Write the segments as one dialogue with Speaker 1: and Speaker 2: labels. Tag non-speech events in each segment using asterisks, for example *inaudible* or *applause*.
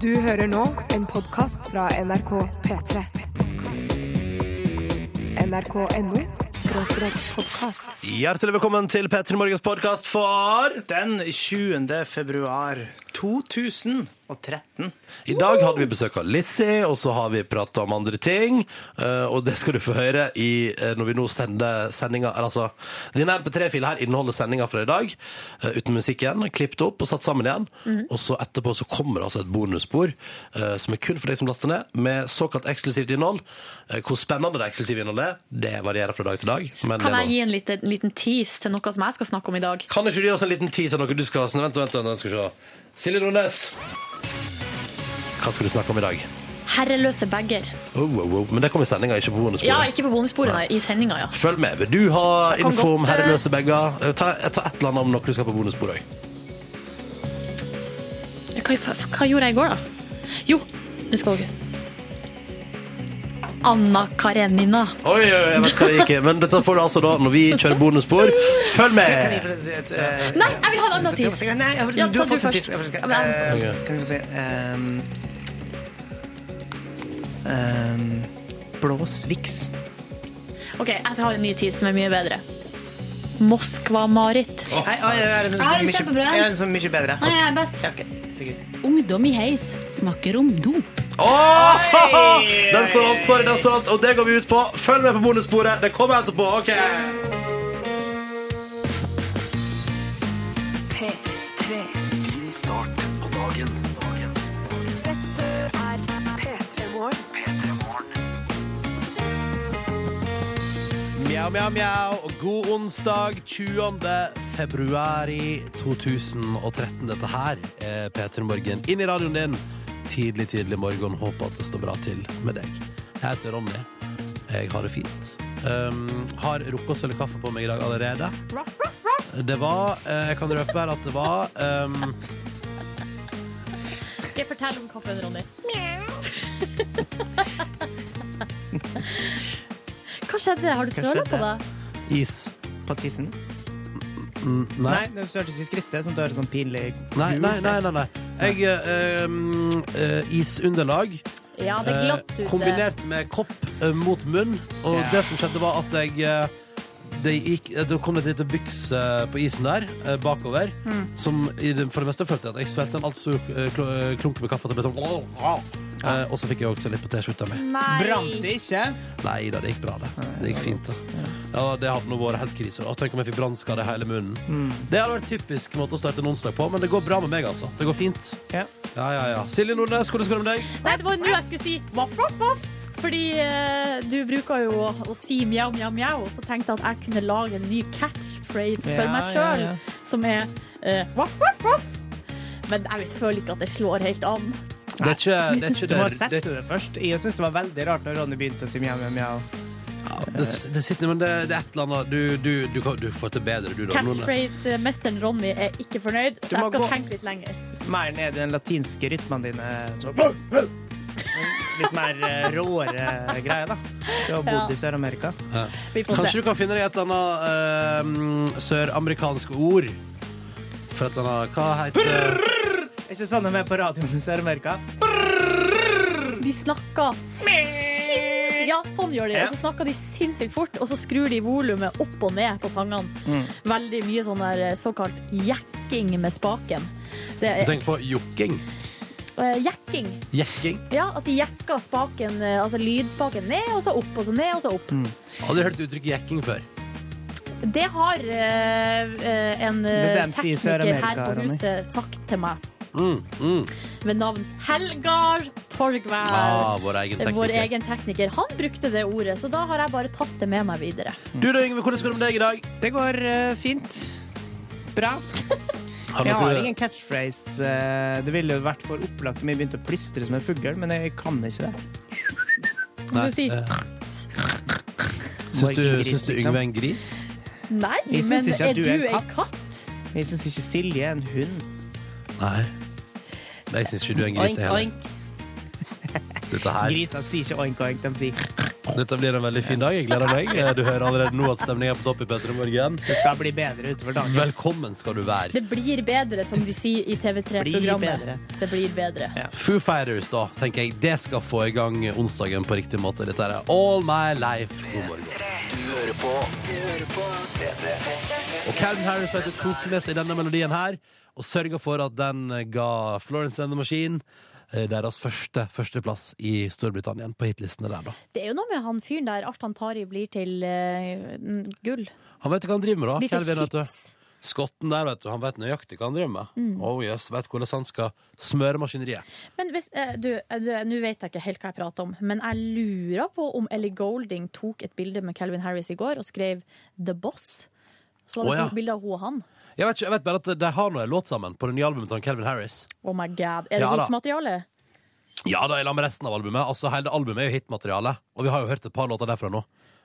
Speaker 1: Du hører nå en podkast fra NRK P3. NRK.no podkast.
Speaker 2: Hjertelig velkommen til P3 Morgens podkast for
Speaker 3: Den 20. februar 2013.
Speaker 2: I dag hadde vi besøk av Lizzie, og så har vi prata om andre ting. eh, Og det skal du få høre i, eh, når vi nå sender sendinga eller Altså, denne MP3-filen her inneholder sendinga fra i dag, eh, uten musikken. Klippet opp og satt sammen igjen.
Speaker 4: Mhm.
Speaker 2: Og så etterpå så kommer det altså et bonusspor eh, som er kun for deg som laster ned, med såkalt eksklusivt innhold. Eh, Hvor spennende det eksklusive innholdet er, det varierer fra dag til dag. Men det
Speaker 4: Kan
Speaker 2: er
Speaker 4: jeg
Speaker 2: noe.
Speaker 4: gi en liten, liten tease til noe som jeg skal snakke om i dag?
Speaker 2: Kan ikke du gi oss en liten tid til noe du skal Vent, vent, vent, vent skal vi se. Silje Nordnes. Hva skal du snakke om i dag?
Speaker 4: Herreløse bager.
Speaker 2: Oh, oh, oh. Men det kommer i sendinga, ikke på bonusbordet.
Speaker 4: Ja, ikke på bonusbordet, nei. I sendinga, ja.
Speaker 2: Følg med. Vil du ha
Speaker 4: Jeg kan
Speaker 2: info om
Speaker 4: godt, eh,
Speaker 2: herreløse bager? Eh, Ta, eh, ta et eller annet om noe du skal på bonusbordet òg.
Speaker 4: Hva, hva gjorde jeg i går, da? Jo, nå skal dere Anna Karenina.
Speaker 2: Oi, oi, oi, jeg vet hva det gikk i. *laughs* Men dette får du altså da når vi kjører bonusspor. Følg
Speaker 3: Kan jeg
Speaker 2: med!
Speaker 3: få si et eh,
Speaker 4: Nei, jeg vil ha en annen
Speaker 3: Nei,
Speaker 4: tease!
Speaker 3: jeg får-
Speaker 4: Ja,
Speaker 3: du
Speaker 4: ta
Speaker 3: har
Speaker 4: du
Speaker 3: fått en
Speaker 4: først.
Speaker 3: tiss. Jeg får-
Speaker 4: Ja, men-
Speaker 3: eh,
Speaker 2: Ok.
Speaker 3: Kan jeg få si ehm, ehm, Blå Swix.
Speaker 4: OK, jeg har en ny tease som er mye bedre. Moskva-Marit.
Speaker 3: Hei, oi, jeg er en
Speaker 5: Jeg har en
Speaker 3: så mye
Speaker 5: kjempebra en.
Speaker 3: jeg er en så mye bedre.
Speaker 5: Nei, jeg er best.
Speaker 3: Ja, ok, sikkert.
Speaker 5: Ungdom i heis snakker om dop.
Speaker 2: Åh! Den står alt, sorry, den står alt, og det går vi ut på. Følg med på bonussporet. Det kommer etterpå. OK.
Speaker 1: P3. Dette er P3 Morgen.
Speaker 2: Mjau, mjau, mjau, og god onsdag 20. februar i 2013. Dette her er P3 Morgen inn i radioen din tidlig, tidlig morgen. Håper at det står bra til med deg. Jeg heter Ronny. Jeg har det fint. Um, har rukket å søle kaffe på meg i dag allerede. Det var eh, Jeg kan røpe her at det var um,
Speaker 4: Ikke fortell om kaffen, Ronny. Hva skjedde? Har du
Speaker 3: Hva
Speaker 4: søla på
Speaker 3: skjedde?
Speaker 4: deg?
Speaker 2: is.
Speaker 3: På tissen?
Speaker 2: Nei.
Speaker 3: Nei, det hørtes i skrittet, sånn at det høres sånn pinlig
Speaker 2: Nei, nei, nei. nei, nei. Jeg eh, um, eh, Isunderlag.
Speaker 4: Ja, det er glatt
Speaker 2: Eh,
Speaker 4: ute.
Speaker 2: Kombinert med kopp eh, mot munn. Og
Speaker 3: Ja.
Speaker 2: det som skjedde, var at jeg eh, det, gikk, eh, det kom et lite byks eh, på isen der, eh, bakover, som i det, for det meste følte jeg at jeg svelte en altfor stor eh, kl- eh, klunk med kaffe. At det ble sånn, Eh, og så fikk jeg også litt på T-skjorta
Speaker 4: Mm.
Speaker 2: mi.
Speaker 3: Brant det ikke?
Speaker 2: Nei da, det gikk bra, det. Det gikk fint, det. Ja, det hadde nå vært helt krise. Og tenk om jeg fikk brannskade i hele munnen. Det hadde vært typisk måte å starte en onsdag på, men det går bra med meg, altså. Det går fint.
Speaker 3: Ja.
Speaker 2: Ja, ja, ja. Silje Nordnes, hvordan går det med deg?
Speaker 4: Nei, det var nå jeg skulle si vaff, vaff, vaff. Fordi eh, du bruker jo å, å si mjau, mjau, mjau, og så tenkte jeg at jeg kunne lage en ny catchphrase
Speaker 3: Ja,
Speaker 4: for meg
Speaker 3: ja,
Speaker 4: sjøl,
Speaker 3: ja.
Speaker 4: som er eh, vaff, vaff, vaff. Men jeg vet- føler ikke at det slår helt an.
Speaker 2: Det er ikke det, er ikke
Speaker 3: Du må
Speaker 2: det, det,
Speaker 3: sette det først. Jeg syns det var veldig rart da Ronny begynte å si mjau, mjau, mjau.
Speaker 2: det, det sitter Men det, det er et eller annet Du, du, du, kan- du får til bedre, du, da. Nordnes.
Speaker 4: Catchphrase-mesteren eh, Ronny er ikke fornøyd, så
Speaker 3: må
Speaker 4: jeg skal
Speaker 3: gå-
Speaker 4: tenke litt lenger.
Speaker 3: Mer ned i den latinske rytmen dine. Så. Litt mer eh, råere greier, da. Du har bodd i Sør-Amerika.
Speaker 4: Vi får
Speaker 2: Kanskje
Speaker 4: se.
Speaker 2: du kan finne deg et eller annet eh, søramerikansk ord? For et eller annet Hva heter
Speaker 3: Er ikke sånn de er på radioen i Sør-Amerika?
Speaker 4: De snakker sinnssykt Ja, sånn gjør de.
Speaker 3: Ja.
Speaker 4: Og så snakker de sinnssykt fort, og så skrur de volumet opp og ned på sangene.
Speaker 3: Mm.
Speaker 4: Veldig mye sånn der eh, såkalt jekking med spaken. Det
Speaker 2: Du
Speaker 4: er
Speaker 2: tenker på jokking?
Speaker 4: eh, jekking.
Speaker 2: Jekking?
Speaker 4: Ja, at de jekker spaken, eh, altså lydspaken ned, og så opp, og så ned, og så opp.
Speaker 2: Aldri hørt uttrykket jekking før.
Speaker 4: Det har eh, eh, en
Speaker 3: Mm. Det er
Speaker 4: eh,
Speaker 3: dem sier i
Speaker 4: tekniker her
Speaker 3: Sør-Amerika,
Speaker 4: på
Speaker 3: Ronny.
Speaker 4: huset sagt til meg,
Speaker 2: Mm, mm.
Speaker 4: ved navn Helgar Torgvær.
Speaker 2: Ah, vår egen tekniker.
Speaker 4: Vår egen tekniker. Han brukte det ordet, så da har jeg bare tatt det med meg videre.
Speaker 2: Du da, Yngve, hvordan går det med deg i dag?
Speaker 3: Det går eh, fint. Bra. Jeg har ingen catchphrase. eh, Det ville jo vært for opplagt om jeg begynte å plystre som en fugl, men jeg kan ikke det.
Speaker 4: Nei. Du sier,
Speaker 2: Syns du,
Speaker 3: Var gris,
Speaker 2: syns du
Speaker 3: liksom.
Speaker 2: Yngve er en gris?
Speaker 4: Nei,
Speaker 3: Jeg synes
Speaker 4: men
Speaker 3: ikke at
Speaker 4: er du ei katt?
Speaker 3: Jeg syns ikke Silje er en hund.
Speaker 2: Nei. Nei, jeg syns ikke du er en gris.
Speaker 3: Oink,
Speaker 2: jeg heller.
Speaker 3: oink.
Speaker 2: Du dette her.
Speaker 3: Griser sier ikke oink oink, de sier
Speaker 2: Dette blir en veldig fin dag. Jeg gleder meg.
Speaker 3: *laughs*
Speaker 2: Eh, Du hører allerede nå at stemningen er på topp i Petter i morgen.
Speaker 3: det skal bli bedre utover dagen.
Speaker 2: Velkommen skal du være.
Speaker 6: Det blir bedre, som de sier i
Speaker 3: Blir
Speaker 6: TV3-programmet.
Speaker 3: bedre.
Speaker 6: Det blir bedre.
Speaker 3: Ja.
Speaker 2: Foo Fighters, da, tenker jeg. Det skal få i gang onsdagen på riktig måte. Dette er All My Life. God morgen. Og Calvin Harris vet, du, tok med seg denne melodien her og sørga for at den ga Florence and the Machine eh, deres første førsteplass i Storbritannia på hitlistene der, da.
Speaker 6: Det er jo noe med han fyren der. Alt han tar i, blir til eh, n- gull.
Speaker 2: Han vet hva han driver med, da.
Speaker 6: Blir til
Speaker 2: Calvin, vet du.
Speaker 6: hits.
Speaker 2: Skotten der, vet du. Han vet nøyaktig hva han driver med. Oh, yes, vet hvordan han skal smøre maskineriet.
Speaker 6: Men hvis, eh, du, eh, du, nå vet jeg ikke helt hva jeg prater om, men jeg lurer på om Ellie Golding tok et bilde med Calvin Harris i går og skrev 'The Boss'. Så var det
Speaker 2: Å, ja.
Speaker 6: et bilde av hun og han.
Speaker 2: Jeg vet, ikke, jeg vet bare at de har nå en låt sammen på det nye albumet til han Calvin Harris.
Speaker 6: Oh my god. Er det
Speaker 2: Ja, da.
Speaker 6: hitmateriale?
Speaker 2: Ja da, i lag med resten av albumet. Altså, Hele albumet er jo hitmateriale, og vi har jo hørt et par låter derfra nå.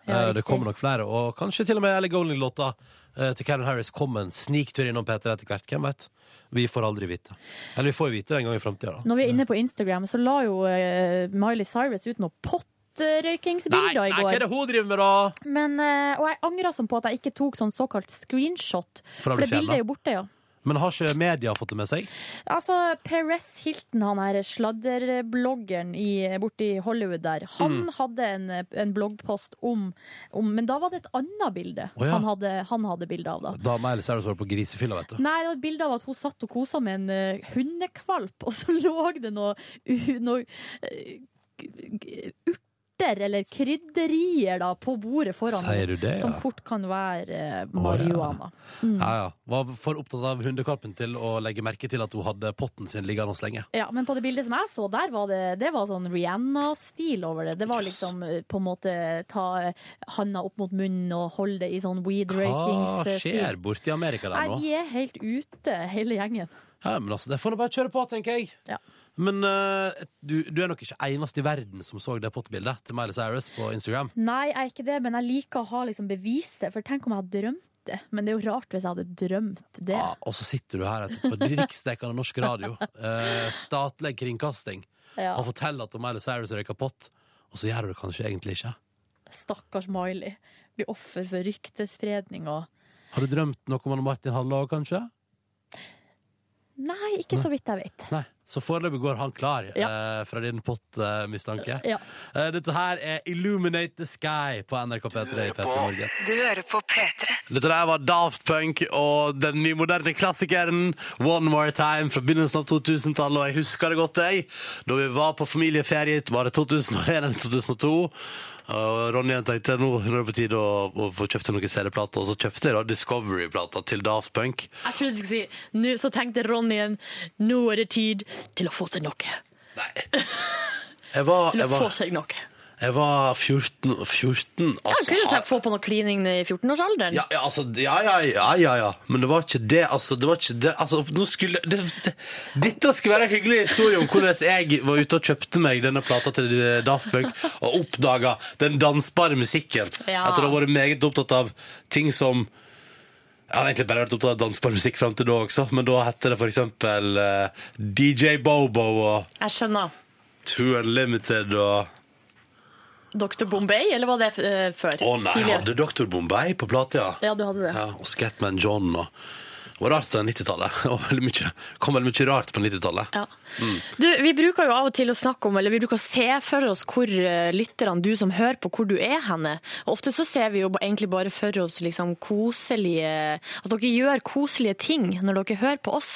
Speaker 6: Ja,
Speaker 2: Eh, det
Speaker 6: riktig.
Speaker 2: kommer nok flere, og kanskje til og med Ellie Golding-låta eh, til Calvin Harris kom en sniktur innom Peter etter hvert. Hvem vet? Vi får aldri vite. Eller vi får jo vite det en gang i framtida, da.
Speaker 6: Når vi er inne på Instagram, så la jo eh, Miley Cyrus ut noen
Speaker 2: Nei,
Speaker 6: potterøykingsbilder
Speaker 2: nei,
Speaker 6: i
Speaker 2: hva er
Speaker 6: går.
Speaker 2: det hun driver med, da?
Speaker 6: Men, eh, og jeg angra sånn på at jeg ikke tok sånn såkalt screenshot.
Speaker 2: For da
Speaker 6: For
Speaker 2: blir
Speaker 6: det bildet
Speaker 2: fjellet.
Speaker 6: er jo borte, ja.
Speaker 2: Men har ikke media fått det med seg?
Speaker 6: Altså, Perez Hilton, han her sladderbloggeren i, borti Hollywood der, han
Speaker 2: Mm.
Speaker 6: hadde en, en bloggpost om, om Men da var det et annet bilde
Speaker 2: Å, ja.
Speaker 6: han, hadde, han hadde bilde av, da.
Speaker 2: Da Miley Cyrus var på grisefylla, vet du.
Speaker 6: Nei, det var et bilde av at hun satt og kosa med en eh, hundekvalp, og så *laughs* lå det noe, u- noe eh, g- g- urter eller krydderier da, på bordet foran
Speaker 2: Sier du
Speaker 6: henne,
Speaker 2: det, ja?
Speaker 6: som fort kan være eh,
Speaker 2: ja.
Speaker 6: marihuana.
Speaker 2: Ja, ja. Var for opptatt av hundekvalpen til å legge merke til at hun hadde potten sin liggende hos lenge.
Speaker 6: Ja, men på det bildet som jeg så der, var det, det var sånn Rihanna-stil over det. Det var
Speaker 2: Yes.
Speaker 6: liksom eh, på en måte ta eh, handa opp mot munnen og holde det i sånn
Speaker 2: Hva Ah, skjer
Speaker 6: weed-rakings-stil.
Speaker 2: borte i Amerika der
Speaker 6: Nei,
Speaker 2: nå?
Speaker 6: de eh, er helt ute, hele gjengen.
Speaker 2: Ja, men altså, Det får nå bare kjøre på, tenker jeg.
Speaker 6: Ja.
Speaker 2: Men eh, du, du er nok ikke eneste i verden som så det pottbildet til Miley Cyrus på Instagram.
Speaker 6: Nei, jeg er ikke det, men jeg liker å ha liksom beviset, for tenk om jeg hadde drømt det. Men det er jo rart hvis jeg hadde drømt det.
Speaker 2: Ja, Ah, og så sitter du her etterpå, riksdekkende norsk radio, eh, statlig kringkasting,
Speaker 6: Ja,
Speaker 2: og forteller at Miley Cyrus røyker pott, og så gjør du det kanskje egentlig ikke.
Speaker 6: stakkars Miley. Blir offer for ryktespredning og
Speaker 2: Har du drømt noe om Martin Halla òg, kanskje?
Speaker 6: Nei, ikke så vidt jeg vet.
Speaker 2: Nei. Så foreløpig går han klar eh, fra din pottmistanke.
Speaker 6: Ja.
Speaker 2: Eh, Dette her er Illuminate the Sky på NRK P3 i P3 Morgen.
Speaker 1: Du hører på P3.
Speaker 2: Dette der var Daft Punk og den nymoderne klassikeren One More Time fra begynnelsen av 2000-tallet, og jeg husker det godt, jeg. Da vi var på familieferie, var det 2001 eller 2002. Og Ronny tenkte nå nå er det på tide å, å få kjøpt noen CD-plater, og så kjøpte jeg da Discovery-plata til Daft Punk.
Speaker 4: Jeg trodde du skulle si nå, Så tenkte Ronny en Nå er det tid til å få seg noe.
Speaker 2: Nei. Jeg var,
Speaker 4: Til å
Speaker 2: jeg
Speaker 4: få
Speaker 2: var,
Speaker 4: seg noe.
Speaker 2: jeg var 14, 14
Speaker 4: Jeg
Speaker 2: altså,
Speaker 4: kunne
Speaker 2: har-
Speaker 4: tenkt få på noe klining i 14-årsalderen.
Speaker 2: Ja, ja, altså, ja, ja, ja, ja, ja. Men det var ikke det, altså. Det var ikke det, altså, nå skulle, det, det, dette skulle være en hyggelig historie om hvordan jeg var ute og kjøpte meg denne plata til eh, Daft Punk og oppdaga den dansbare musikken.
Speaker 4: Ja.
Speaker 2: Etter å ha vært meget opptatt av ting som jeg hadde egentlig bare vært opptatt av dansbar musikk fram til da også, men da hette det f.eks. Uh, DJ Bobo og
Speaker 4: Jeg skjønner.
Speaker 2: True Unlimited og
Speaker 4: Dr. Bombay, eller var det eh, før?
Speaker 2: Å nei, jeg hadde Dr. Bombay på plate, ja.
Speaker 4: Ja, du hadde det.
Speaker 2: Ja, og Scatman John og Det var rart på 90-tallet. *laughs* Det var veldig mye- kom veldig mye rart på 90-tallet.
Speaker 4: Ja.
Speaker 2: Mm.
Speaker 4: Du, vi bruker jo av og til å snakke om, eller vi bruker å se for oss hvor eh, lytterne, du som hører på, hvor du er henne. Og ofte så ser vi jo ba- egentlig bare for oss liksom koselige, at dere gjør koselige ting når dere hører på oss.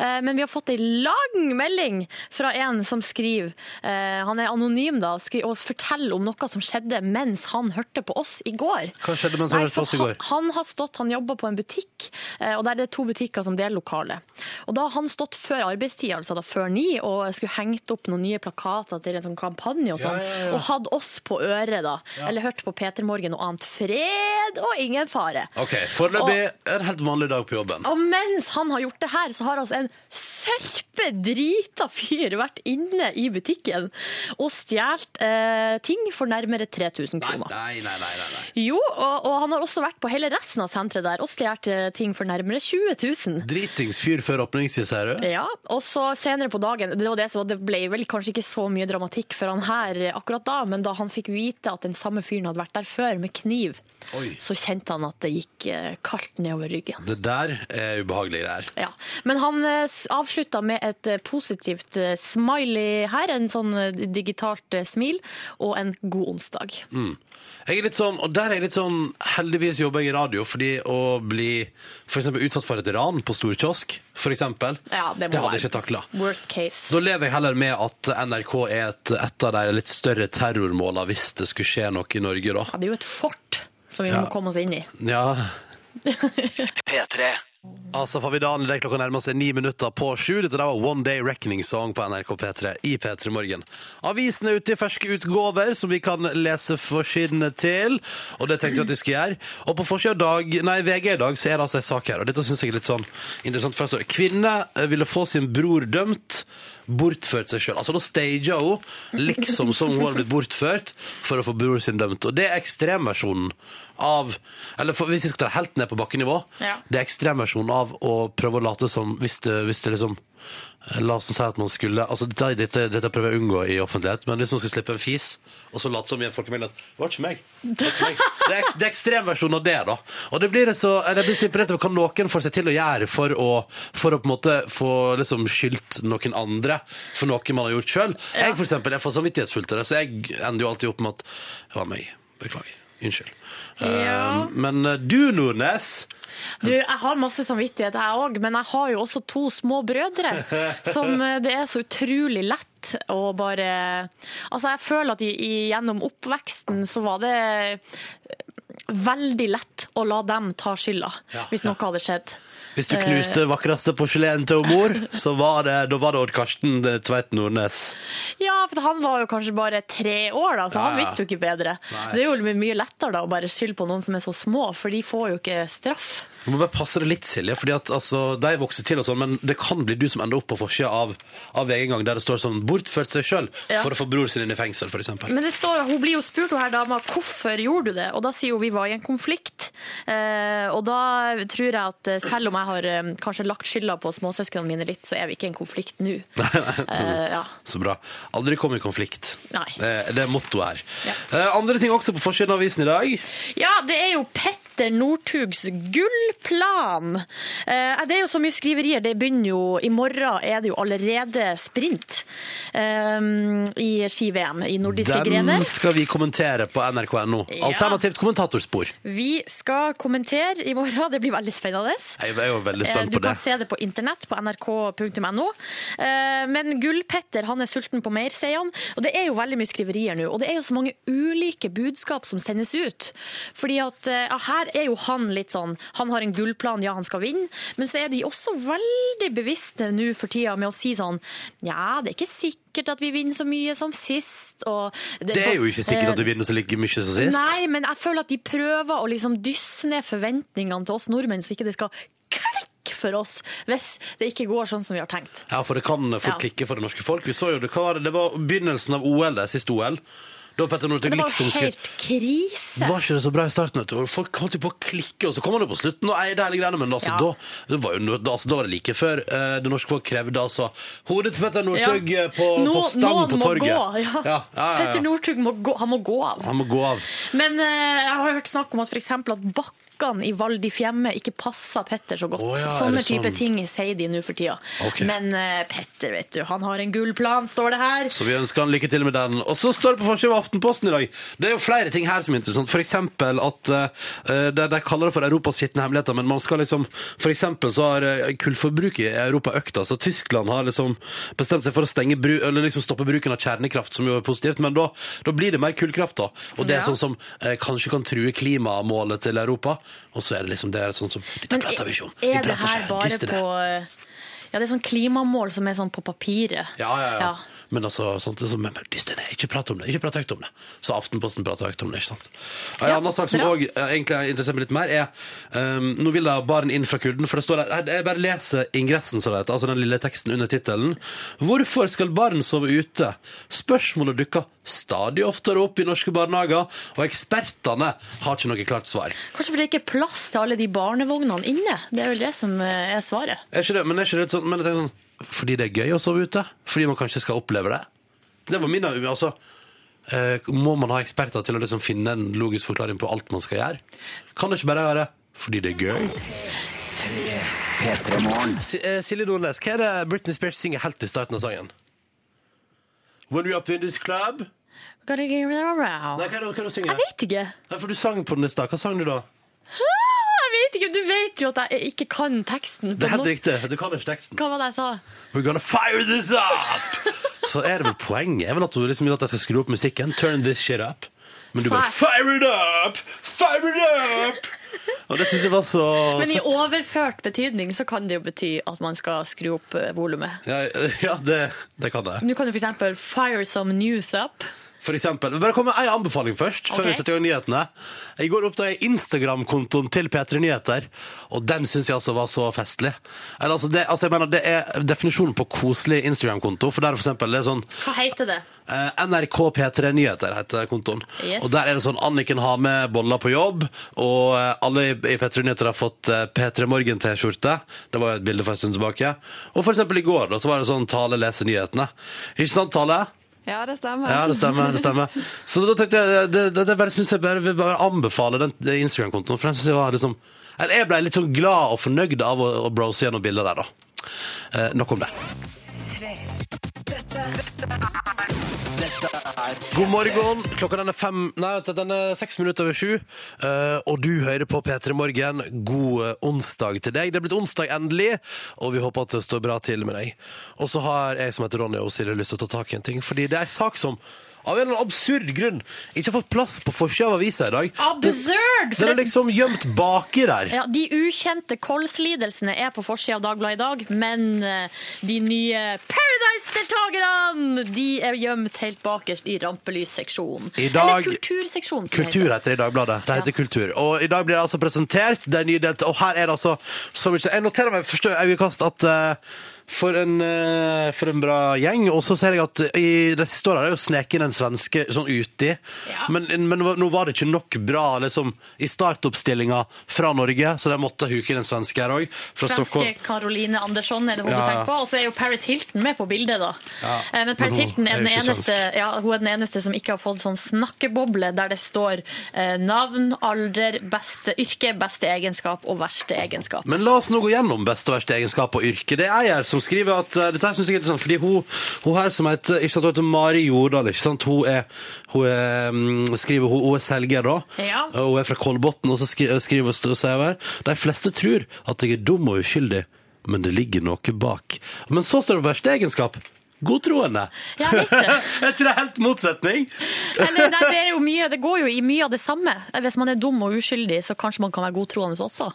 Speaker 4: Eh, Men vi har fått en lang melding fra en som skriver, eh, han er anonym da, skri- og forteller om noe som skjedde mens han hørte på oss i går.
Speaker 2: Hva skjedde mens han
Speaker 4: Nei,
Speaker 2: hørte på oss i
Speaker 4: for
Speaker 2: går?
Speaker 4: Han, han har stått, han jobber på en butikk, eh, og der er det to butikker som deler lokale. Og da har han stått før arbeidstid, altså da før ni, og skulle hengt opp noen nye plakater til en sånn kampanje og sånn,
Speaker 2: Ja, ja, ja.
Speaker 4: og hadde oss på øret da, eller hørt på Peter Morgen og annet fred og ingen fare.
Speaker 2: Ok, Foreløpig en helt vanlig dag på jobben.
Speaker 4: Og mens han har gjort det her, så har altså en sørpe drita fyr vært inne i butikken og stjålet eh, ting for nærmere 3000
Speaker 2: Nei,
Speaker 4: kroner.
Speaker 2: nei, nei, nei, nei.
Speaker 4: Jo, og, og han har også vært på hele resten av senteret der og stjålet eh, ting for nærmere 20 000.
Speaker 2: Dritings fyr før åpningstid, sier du?
Speaker 4: Ja, og så senere på dagen, det, var det, som var- det ble vel kanskje ikke så mye dramatikk for han her eh, akkurat da, men da han fikk vite at den samme fyren hadde vært der før med kniv,
Speaker 2: Oi.
Speaker 4: så kjente han at det gikk eh, kaldt nedover ryggen.
Speaker 2: Det der er ubehagelige greier.
Speaker 4: Ja. Men han eh, s- avslutta med et eh, positivt eh, smiley her, en sånn eh, digitalt eh, smil, og en god onsdag.
Speaker 2: Mm. Jeg er litt sånn, og der er jeg litt sånn Heldigvis jobber jeg i radio Fordi å bli for eksempel utsatt for et ran På stor kiosk, for eksempel
Speaker 4: Ja, det
Speaker 2: hadde
Speaker 4: må være.
Speaker 2: jeg ikke taklet
Speaker 4: Worst case.
Speaker 2: Da lever jeg heller med at NRK er et, et av de litt større terrormålene Hvis det skulle skje noe i Norge da
Speaker 4: Ja, det er jo et fort som vi
Speaker 2: Ja.
Speaker 4: må komme oss inn i.
Speaker 2: Ja Altså Favidalen, det er klokka nærmer seg ni minutter på sju. Dette der var One Day Reckoning Song på NRK P3 i P3 Morgen. Avisen er ute i ferske utgaver som vi kan lese forsidene til, og det tenkte jeg at vi skulle gjøre. Og på forsida av dag, nei, VG i dag så er det altså en sak her, og dette syns jeg er litt sånn interessant. Først står det kvinne eh, ville få sin bror dømt, bortført seg sjøl. Altså da stager hun liksom som hun har blitt bortført for å få bror sin dømt. Og det er ekstremversjonen av Eller for, hvis vi skal ta det helt ned på bakkenivå
Speaker 4: Ja.
Speaker 2: det er ekstremversjonen av å prøve å late som hvis det, hvis det liksom La oss nå si at man skulle altså dette, dette, dette prøver jeg å unngå i offentlighet, men hvis man skulle slippe en fis, og så late som i en folkemengde at Det var ikke meg. Det, var ikke meg. det er, eks- det er ekstremversjonen av det, da. Og det blir det så, eller jeg blir så imponert over hva noen får seg til å gjøre for å, for å på en måte få liksom skyldt noen andre for noe man har gjort sjøl. Jeg for eksempel, jeg får samvittighetsfullt til det, så jeg ender jo alltid opp med at Det var meg. Beklager. Unnskyld.
Speaker 4: Ja.
Speaker 2: Eh, men eh, du, Nordnes
Speaker 4: Du, jeg har masse samvittighet, jeg òg, men jeg har jo også to små
Speaker 2: *laughs*
Speaker 4: brødre som eh, det er så utrolig lett å bare Altså, jeg føler at i, i, gjennom oppveksten så var det eh, veldig lett å la dem ta skylda
Speaker 2: Ja,
Speaker 4: hvis noe hadde skjedd.
Speaker 2: Hvis du knuste vakreste porselen til
Speaker 4: *laughs*
Speaker 2: mor, så var det, da var det Odd Karsten eh, Tveit Nordnes.
Speaker 4: Ja, for han var jo kanskje bare tre år, da, så
Speaker 2: Ja,
Speaker 4: han
Speaker 2: ja.
Speaker 4: visste jo ikke bedre.
Speaker 2: Nei.
Speaker 4: Det er jo my- mye lettere da, å bare skylde på noen som er så små, for de får jo ikke straff.
Speaker 2: Du må bare passe deg litt, Silje, fordi at altså, de vokser til og sånn, men det kan bli du som ender opp på forsida av, av VG en gang, der det står sånn 'bortført seg sjøl'
Speaker 4: Ja.
Speaker 2: for å få bror sin inn i fengsel, for eksempel.
Speaker 4: Men det står, jo- hun blir jo spurt, hun her dama, hvorfor gjorde du det? Og da sier hun vi var i en konflikt. Eh, og da tror jeg at eh, selv om jeg har eh, kanskje lagt skylda på småsøsknene mine litt, så er vi ikke i en konflikt nå. Eh, ja.
Speaker 2: Så bra. Aldri kom i konflikt.
Speaker 4: Nei.
Speaker 2: Det, det er mottoet her.
Speaker 4: Ja.
Speaker 2: Eh, andre ting også på forsiden av avisen i dag.
Speaker 4: ja, det er jo Petter Northugs gullplan. Eh, det er jo så mye skriverier, det begynner jo I morgen er det jo allerede sprint eh, i ski-VM i nordiske
Speaker 2: Den
Speaker 4: grener.
Speaker 2: skal vi kommentere på nrk.no.
Speaker 4: Ja.
Speaker 2: Alternativt kommentatorspor.
Speaker 4: Vi skal kommentere i morgen, *laughs* det blir veldig spennende.
Speaker 2: Jeg er jo veldig
Speaker 4: Eh,
Speaker 2: spent
Speaker 4: Du
Speaker 2: på det.
Speaker 4: kan se det på internett på nrk.no. Eh, Men Gullpetter han er sulten på mer, sier han. Og det er jo veldig mye skriverier nå. Og det er jo så mange ulike budskap som sendes ut. Fordi at eh, ja, her er jo han litt sånn Han har en gullplan, ja han skal vinne. Men så er de også veldig bevisste nå for tida med å si sånn Ja, det er ikke sikkert at vi vinner så mye som sist. Og Eh,
Speaker 2: Det er jo ikke sikkert at du vinner så like mye som sist.
Speaker 4: Nei, men jeg føler at de prøver å liksom dysse ned forventningene til oss nordmenn, så ikke det skal klikke for oss hvis det ikke går sånn som vi har tenkt.
Speaker 2: Ja, for det kan fort
Speaker 4: Ja.
Speaker 2: klikke for det norske folk. Vi så jo det, hva var det? det var begynnelsen av OL, det siste OL. Da Petter Northug
Speaker 4: Det var jo
Speaker 2: liksom skulle
Speaker 4: helt krise.
Speaker 2: var ikke det så bra i starten? vet du? Og Folk holdt jo på å klikke, og så kom han jo på slutten og eide hele greiene. Men altså,
Speaker 4: Ja.
Speaker 2: da, det var jo, no- da- altså, da var det like før eh, det norske folk krevde altså hodet til Petter Northug
Speaker 4: Ja.
Speaker 2: eh, på,
Speaker 4: Nå-
Speaker 2: på stang
Speaker 4: noen
Speaker 2: på
Speaker 4: må
Speaker 2: torget.
Speaker 4: Gå, ja.
Speaker 2: Ja, ja, ja,
Speaker 4: Petter Northug må gå, han må gå av.
Speaker 2: Han må gå av.
Speaker 4: Men eh, jeg har hørt snakk om at for eksempel at bakkene i Val di Fiemme ikke passer Petter så godt.
Speaker 2: Å ja, er
Speaker 4: Sånne
Speaker 2: det
Speaker 4: type
Speaker 2: sånn?
Speaker 4: ting sier de nå for tida.
Speaker 2: Ok.
Speaker 4: Men eh, Petter, vet du, han har en gull plan, står det her.
Speaker 2: Så vi ønsker han lykke til med den. Og så står det på forsiden av Aftenposten i dag. Det er jo flere ting her som er interessant. For eksempel at eh, de, de kaller det for Europas skitne hemmeligheter, men man skal liksom For eksempel så har eh, kullforbruket i Europa økt. Altså Tyskland har liksom bestemt seg for å stenge bru, eller liksom stoppe bruken av kjernekraft, som jo er positivt, men da, da blir det mer kullkraft, da. Og det er
Speaker 4: Ja.
Speaker 2: sånn som eh, kanskje kan true klimamålet til Europa. Og så er det liksom det er sånn som Dette
Speaker 4: Men
Speaker 2: prater vi ikke om. Vi
Speaker 4: Er det
Speaker 2: prater
Speaker 4: her
Speaker 2: ikke.
Speaker 4: bare
Speaker 2: Dyster det.
Speaker 4: på Ja, det er sånn klimamål som er sånn på papiret.
Speaker 2: Ja, ja, ja. Men altså, samtidig så men, men, Dysten, nei, ikke prat om det. Ikke prat høyt om det. Så Aftenposten prater høyt om det, ikke sant. En
Speaker 4: Ja,
Speaker 2: annen sak som
Speaker 4: bra.
Speaker 2: òg egentlig interesserer meg litt mer, er um, Nå vil da barn inn fra kulden, for det står der Jeg bare leser ingressen, så det heter, altså den lille teksten under tittelen. Hvorfor skal barn sove ute? Spørsmålet dukker stadig oftere opp i norske barnehager, og ekspertene har ikke noe klart svar.
Speaker 4: Kanskje fordi det ikke er plass til alle de barnevognene inne. Det er vel det som eh, er svaret.
Speaker 2: Er ikke det, men er ikke det sånn, men jeg tenker sånn Fordi det er gøy å sove ute? Fordi man kanskje skal oppleve det? Det var min altså, eh, Må man ha eksperter til å liksom finne en logisk forklaring på alt man skal gjøre? Kan det ikke bare være fordi det er gøy? Si- eh, Silje Nordnes, hva er det Britney Spears synger helt i starten av sangen? When we up in this club Nei,
Speaker 4: Gotta get around.
Speaker 2: hva er det hva er det hun synger?
Speaker 4: Jeg vet ikke.
Speaker 2: Nei, for du sang på den i stad. Hva sang du da?
Speaker 4: Jeg vet ikke. Du vet jo at jeg ikke kan teksten.
Speaker 2: Det er helt
Speaker 4: Nå-
Speaker 2: riktig. Du kan ikke teksten.
Speaker 4: Hva var det jeg sa?
Speaker 2: We're gonna fire this up! *laughs* Så er det vel poenget er vel at hun liksom vil at jeg skal skru opp musikken. Turn this shit up. Men du bare
Speaker 4: Sa
Speaker 2: fire it up! Fire it up! Og det syns jeg var så
Speaker 4: Men i
Speaker 2: søtt.
Speaker 4: overført betydning så kan det jo bety at man skal skru opp eh, volumet.
Speaker 2: Ja, ja det, det kan det.
Speaker 4: Nå kan du f.eks. fire some news up.
Speaker 2: For eksempel, bare kom med ei anbefaling først. Før
Speaker 4: Ok.
Speaker 2: vi setter i gang nyhetene I går oppdaga jeg Instagram-kontoen til P3 Nyheter, og den syns jeg altså var så festlig. Eller, altså, det, altså, jeg mener, det er definisjonen på koselig Instagram-konto. For der for eksempel, det er sånn
Speaker 4: Hva heter det?
Speaker 2: Eh, NRK P3 Nyheter heter kontoen.
Speaker 4: Yes.
Speaker 2: Og der er det sånn Anniken har med boller på jobb, og eh, alle i i P3 Nyheter har fått eh, P3 Morgen-T-skjorte. Det var jo et bilde for en stund tilbake. Og for eksempel i går da, så var det sånn Tale leser nyhetene. Ikke sant, Tale?
Speaker 7: Ja, det stemmer.
Speaker 2: Ja, det stemmer. det
Speaker 7: *laughs*
Speaker 2: stemmer. Så da tenkte jeg eh, det, det, det bare synes jeg bare vil bare anbefale den den Instagram-kontoen, for den synes jeg var liksom eller jeg ble litt sånn glad og fornøyd av å, å browse gjennom bilder der, da. Eh, nok om det. God morgen. Klokka den er fem Nei, vent, den er seks minutter over sju. Eh, og du hører på P3 Morgen. God eh, onsdag til deg. Det er blitt onsdag endelig, og vi håper at det står bra til med deg. Og så har jeg som heter Ronny og Silje lyst til å ta tak i en ting, fordi det er en sak som av en eller annen absurd grunn ikke har fått plass på forsida av avisa i
Speaker 4: Ah,
Speaker 2: dag. Den
Speaker 4: Absurd! For
Speaker 2: er liksom gjemt baki der.
Speaker 4: Ja, De ukjente kolslidelsene er på forsida av Dagbladet i dag, men eh, de nye Paradise-deltakerne de er gjemt helt bakerst i rampelysseksjonen.
Speaker 2: I dag-
Speaker 4: Eller kulturseksjonen, sånn som
Speaker 2: Kultur
Speaker 4: det heter.
Speaker 2: heter det i Dagbladet. Det heter
Speaker 4: Ja.
Speaker 2: Kultur. Og i dag blir det altså presentert. Det er nye delt, og her er det altså så mye Jeg noterer meg første øyekast at eh, for en, eh, for en bra gjeng. Og så ser jeg at i de siste åra er det jo sneket inn en svenske sånn uti.
Speaker 4: Ja.
Speaker 2: Men, men nå var det ikke nok bra liksom, i startoppstillinga fra Norge, så de måtte huke inn en svenske her òg. Fra
Speaker 4: Svenske
Speaker 2: Stockholm.
Speaker 4: Caroline Andersson er det hun
Speaker 2: Ja.
Speaker 4: du tenker på. Og så er jo Paris Hilton med på bildet, da. Eh, Men Paris
Speaker 2: Men hun
Speaker 4: Hilton
Speaker 2: er
Speaker 4: er,
Speaker 2: jo
Speaker 4: den
Speaker 2: ikke
Speaker 4: eneste,
Speaker 2: svensk.
Speaker 4: ja, hun er den eneste som ikke har fått sånn snakkeboble der det står eh, navn, alder, beste yrke, beste egenskap og verste egenskap.
Speaker 2: Men la oss nå gå gjennom best og verste egenskap og yrke. Det er jeg her som skriver at eh, Dette her synes jeg er interessant, fordi hun, hun her som heter, ikke sant, hun heter Mari Jordal, ikke sant? Hun er, hun er mm, skriver, hun, hun er selger, da.
Speaker 4: Ja.
Speaker 2: Og Hun er fra Kolbotn, og så skri- skriver hun og sier her De fleste tror at jeg er dum og uskyldig, men det ligger noe bak. Men så står det verste egenskap. Godtroende.
Speaker 4: Ja, jeg vet det.
Speaker 2: *laughs* er ikke det helt motsetning?
Speaker 4: Eller, nei, det, er jo mye, det går jo i mye av det samme. Hvis man er dum og uskyldig, så kanskje man kan være godtroende også.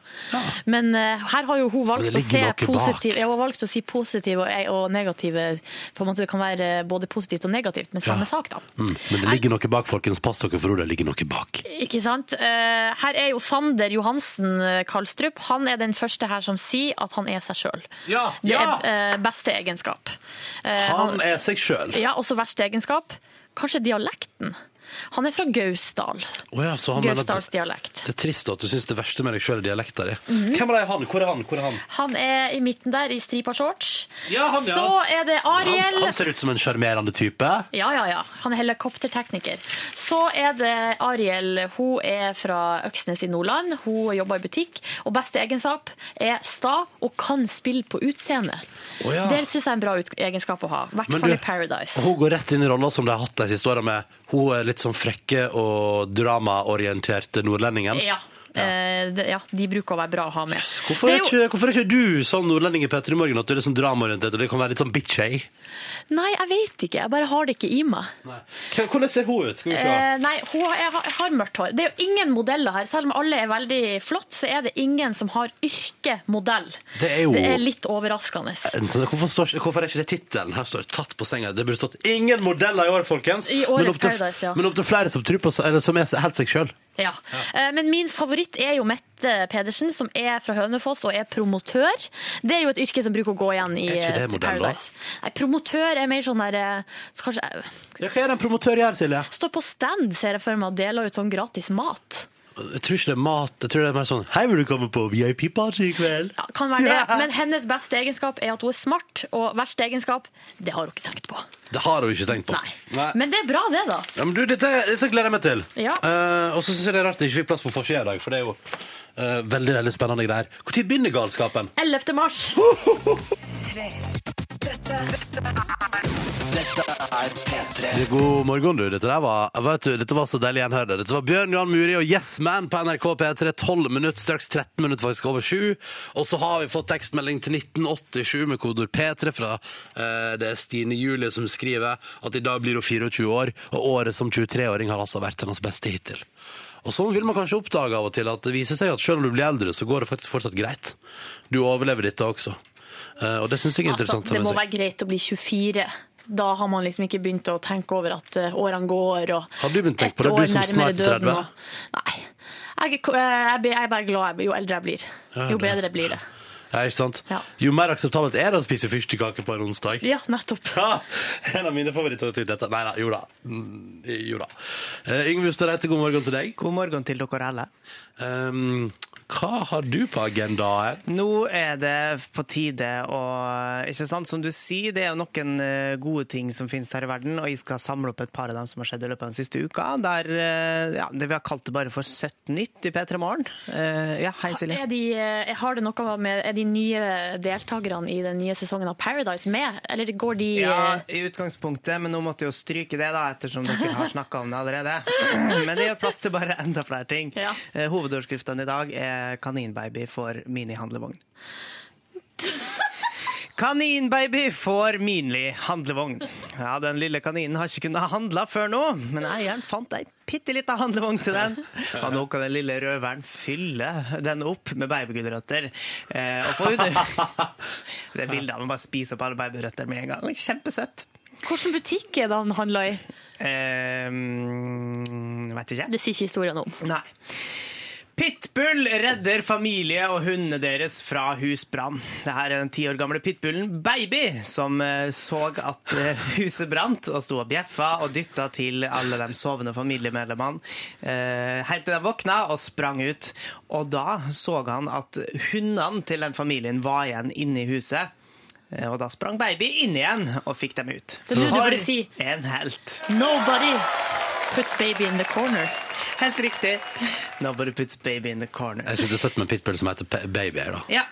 Speaker 4: Men eh, her har jo hun
Speaker 2: Men det
Speaker 4: valgt å, se
Speaker 2: ligger noe bak.
Speaker 4: positiv, ja, hun har valgt å si positive og, og negative På en måte Det kan være eh, både positivt og negativt med samme sak, da.
Speaker 2: Mm, men det ligger noe bak, folkens. Pass dere for ordet. Det ligger noe bak.
Speaker 4: Ikke sant? Eh, Her er jo Sander Johansen eh, Karlstrup. Han er den første her som sier at han er seg sjøl.
Speaker 2: Ja,
Speaker 4: Det
Speaker 2: ja.
Speaker 4: er eh, beste egenskap. Eh,
Speaker 2: Han er seg sjøl.
Speaker 4: Ja, også verste egenskap. Kanskje dialekten. Han er fra Gausdal.
Speaker 2: Å ja, så han mener at-
Speaker 4: Gausdalsdialekt.
Speaker 2: Det er trist at du syns det verste med deg sjøl er dialekta di.
Speaker 4: Mhm.
Speaker 2: Hvem er det? han? Hvor er han? Hvor er han?
Speaker 4: Han er i midten der, i stripa shorts.
Speaker 2: Ja, han, ja.
Speaker 4: Så er det Ariel.
Speaker 2: Han, han ser ut som en sjarmerende type.
Speaker 4: Ja, ja, ja. Han er helikoptertekniker. Så er det Ariel. Hun er fra Øksnes i Nordland. Hun jobber i butikk. Og beste egenskap er sta og kan spille på utseende.
Speaker 2: Å, ja.
Speaker 4: Det syns jeg er en bra ut- egenskap å ha. I hvert
Speaker 2: Men
Speaker 4: fall
Speaker 2: du-
Speaker 4: i Paradise.
Speaker 2: Og hun går rett inn i rolla som de har hatt de siste åra, med hun er litt sånn frekke og dramaorienterte nordlendingen.
Speaker 4: Ja. Eh, det- ja, de bruker å være bra å ha med.
Speaker 2: Hvorfor
Speaker 4: Det
Speaker 2: er,
Speaker 4: er jo-
Speaker 2: ikke, hvorfor er ikke du sånn nordlending i Petter i morgen at du er litt sånn dramaorientert og det kan være litt sånn bitchy?
Speaker 4: Nei, jeg vet ikke. Jeg bare har det ikke i meg.
Speaker 2: Hvordan ser hun ut? Skal vi se.
Speaker 4: Eh, nei, hun, jeg, har, jeg har mørkt hår. Det er jo ingen modeller her. Selv om alle er veldig flott, så er det ingen som har yrke modell.
Speaker 2: Det er jo-
Speaker 4: det er litt overraskende.
Speaker 2: En sånn- Hvorfor, står, ikke- hvorfor er ikke det tittelen? Her står det 'Tatt på senga'. Det burde stått 'Ingen modeller i år', folkens!
Speaker 4: I årets
Speaker 2: men opp til-
Speaker 4: Paradise, ja.
Speaker 2: Men opp til flere som, tror på, eller, som er helt seg sjøl.
Speaker 4: Ja. Eh, Men min favoritt er jo Mette Pedersen, som er fra Hønefoss og er promotør. Det er jo et yrke som bruker å gå igjen i
Speaker 2: Er ikke det
Speaker 4: eh, til
Speaker 2: modell, da?
Speaker 4: Paradise. Nei, promotør er mer sånn der eh, så Kanskje eh,
Speaker 2: Ja, hva er det en promotør gjør, Silje?
Speaker 4: Står på stand, ser jeg for meg, og deler ut sånn gratis mat.
Speaker 2: Jeg tror ikke det er mat. Jeg tror det er mer sånn 'Hei, vil du komme på VIP-party i kveld?'
Speaker 4: Ja, kan være det. Men hennes beste egenskap er at hun er smart, og verste egenskap, det har hun ikke tenkt på.
Speaker 2: Det har hun ikke tenkt på.
Speaker 4: Nei. Men det er bra, det, da.
Speaker 2: Ja, men du, dette, dette gleder jeg meg til.
Speaker 4: Ja.
Speaker 2: Eh, og så syns jeg det er rart det ikke fikk plass på forsida i dag, for det er jo eh, veldig veldig spennende greier. Når begynner galskapen?
Speaker 4: 11. mars.
Speaker 2: God morgen, du. Dette der var, vet du, dette var så deilig gjenhør. det. Dette var Bjørn Johan Muri og Yes Man på NRK P3. 12 minutter, straks 13 minutter faktisk over 7. Og så har vi fått tekstmelding til 1987 med kodord P3 fra eh, det er Stine Julie som skriver at i dag blir hun 24 år, og året som 23-åring har altså vært hennes beste hittil. Og sånn vil man kanskje oppdage av og til at det viser seg at selv om du blir eldre, så går det faktisk fortsatt greit. Du overlever dette også. Eh, og det syns jeg er
Speaker 4: Altså,
Speaker 2: interessant. å
Speaker 4: det
Speaker 2: ha med
Speaker 4: må
Speaker 2: seg.
Speaker 4: være greit å bli 24. Da har man liksom ikke begynt å tenke over at eh, årene går og
Speaker 2: Har du begynt å tenke
Speaker 4: ett
Speaker 2: på det, du
Speaker 4: år
Speaker 2: som
Speaker 4: nærmere
Speaker 2: snart er
Speaker 4: døden
Speaker 2: 30?
Speaker 4: og- Nei. Jeg, er ikke- eh, jeg blir- jeg er bare glad jeg blir- jo eldre jeg blir. Jo bedre blir det.
Speaker 2: Ja, ikke sant?
Speaker 4: Ja.
Speaker 2: Jo mer akseptabelt er det å spise fyrstekake på en onsdag.
Speaker 4: Ja, nettopp.
Speaker 2: Ha! En av mine favoritter til dette. Nei da, jo da. Mm, Jo da. Eh, Yngve Ustadreite, god morgen til deg.
Speaker 3: God morgen til dere alle.
Speaker 2: Um, hva har du på agendaen?
Speaker 3: Nå er det på tide å Ikke sant, som du sier, det er jo noen eh, gode ting som finnes her i verden, og jeg skal samle opp et par av dem som har skjedd i løpet av den siste uka. Der, eh, ja, det vi har kalt det bare for 17 nytt i P3 Morgen. Eh, Ja, hei Silje.
Speaker 4: Er de, eh, har det noe med Er de nye deltakerne i den nye sesongen av Paradise med, eller går de
Speaker 3: Ja,
Speaker 4: eh,
Speaker 3: i utgangspunktet, men nå måtte jeg jo stryke det, da, ettersom dere har snakka om det allerede. Men det gjør plass til bare enda flere ting.
Speaker 4: Ja.
Speaker 3: Eh, Hovedoverskriftene i dag er 'Kaninbaby får minihandlevogn'. Kaninbaby får minlig handlevogn. Ja, Den lille kaninen har ikke kunnet handle før nå, men eieren fant ei bitte lita handlevogn til den. Og nå kan den lille røveren fylle den opp med babygulrøtter. Eh, og få under Det er bildet av å bare spise opp alle babyrøtter med en gang. Kjempesøtt.
Speaker 4: Hvilken butikk er det han handla i?
Speaker 3: Eh, Veit Ehm, ikke.
Speaker 4: Det sier ikke historien om.
Speaker 3: Nei. Pitbull redder familie og hundene deres fra husbrann. Det her er den ti år gamle pitbullen Baby, som eh, så at eh, huset brant, og sto og bjeffa og dytta til alle de sovende familiemedlemmene. eh, Helt til de våkna og sprang ut. Og da så han at hundene til den familien var igjen inne i huset. Eh, Og da sprang baby inn igjen og fikk dem ut.
Speaker 4: Det er nå du
Speaker 3: For
Speaker 4: burde si
Speaker 3: en helt.
Speaker 4: Nobody puts baby in the corner.
Speaker 3: Helt riktig. Nobody puts baby in the corner.
Speaker 2: Jeg synes det er søtt med en pitbull som heter Pe- Baby. her, Da.
Speaker 3: Ja.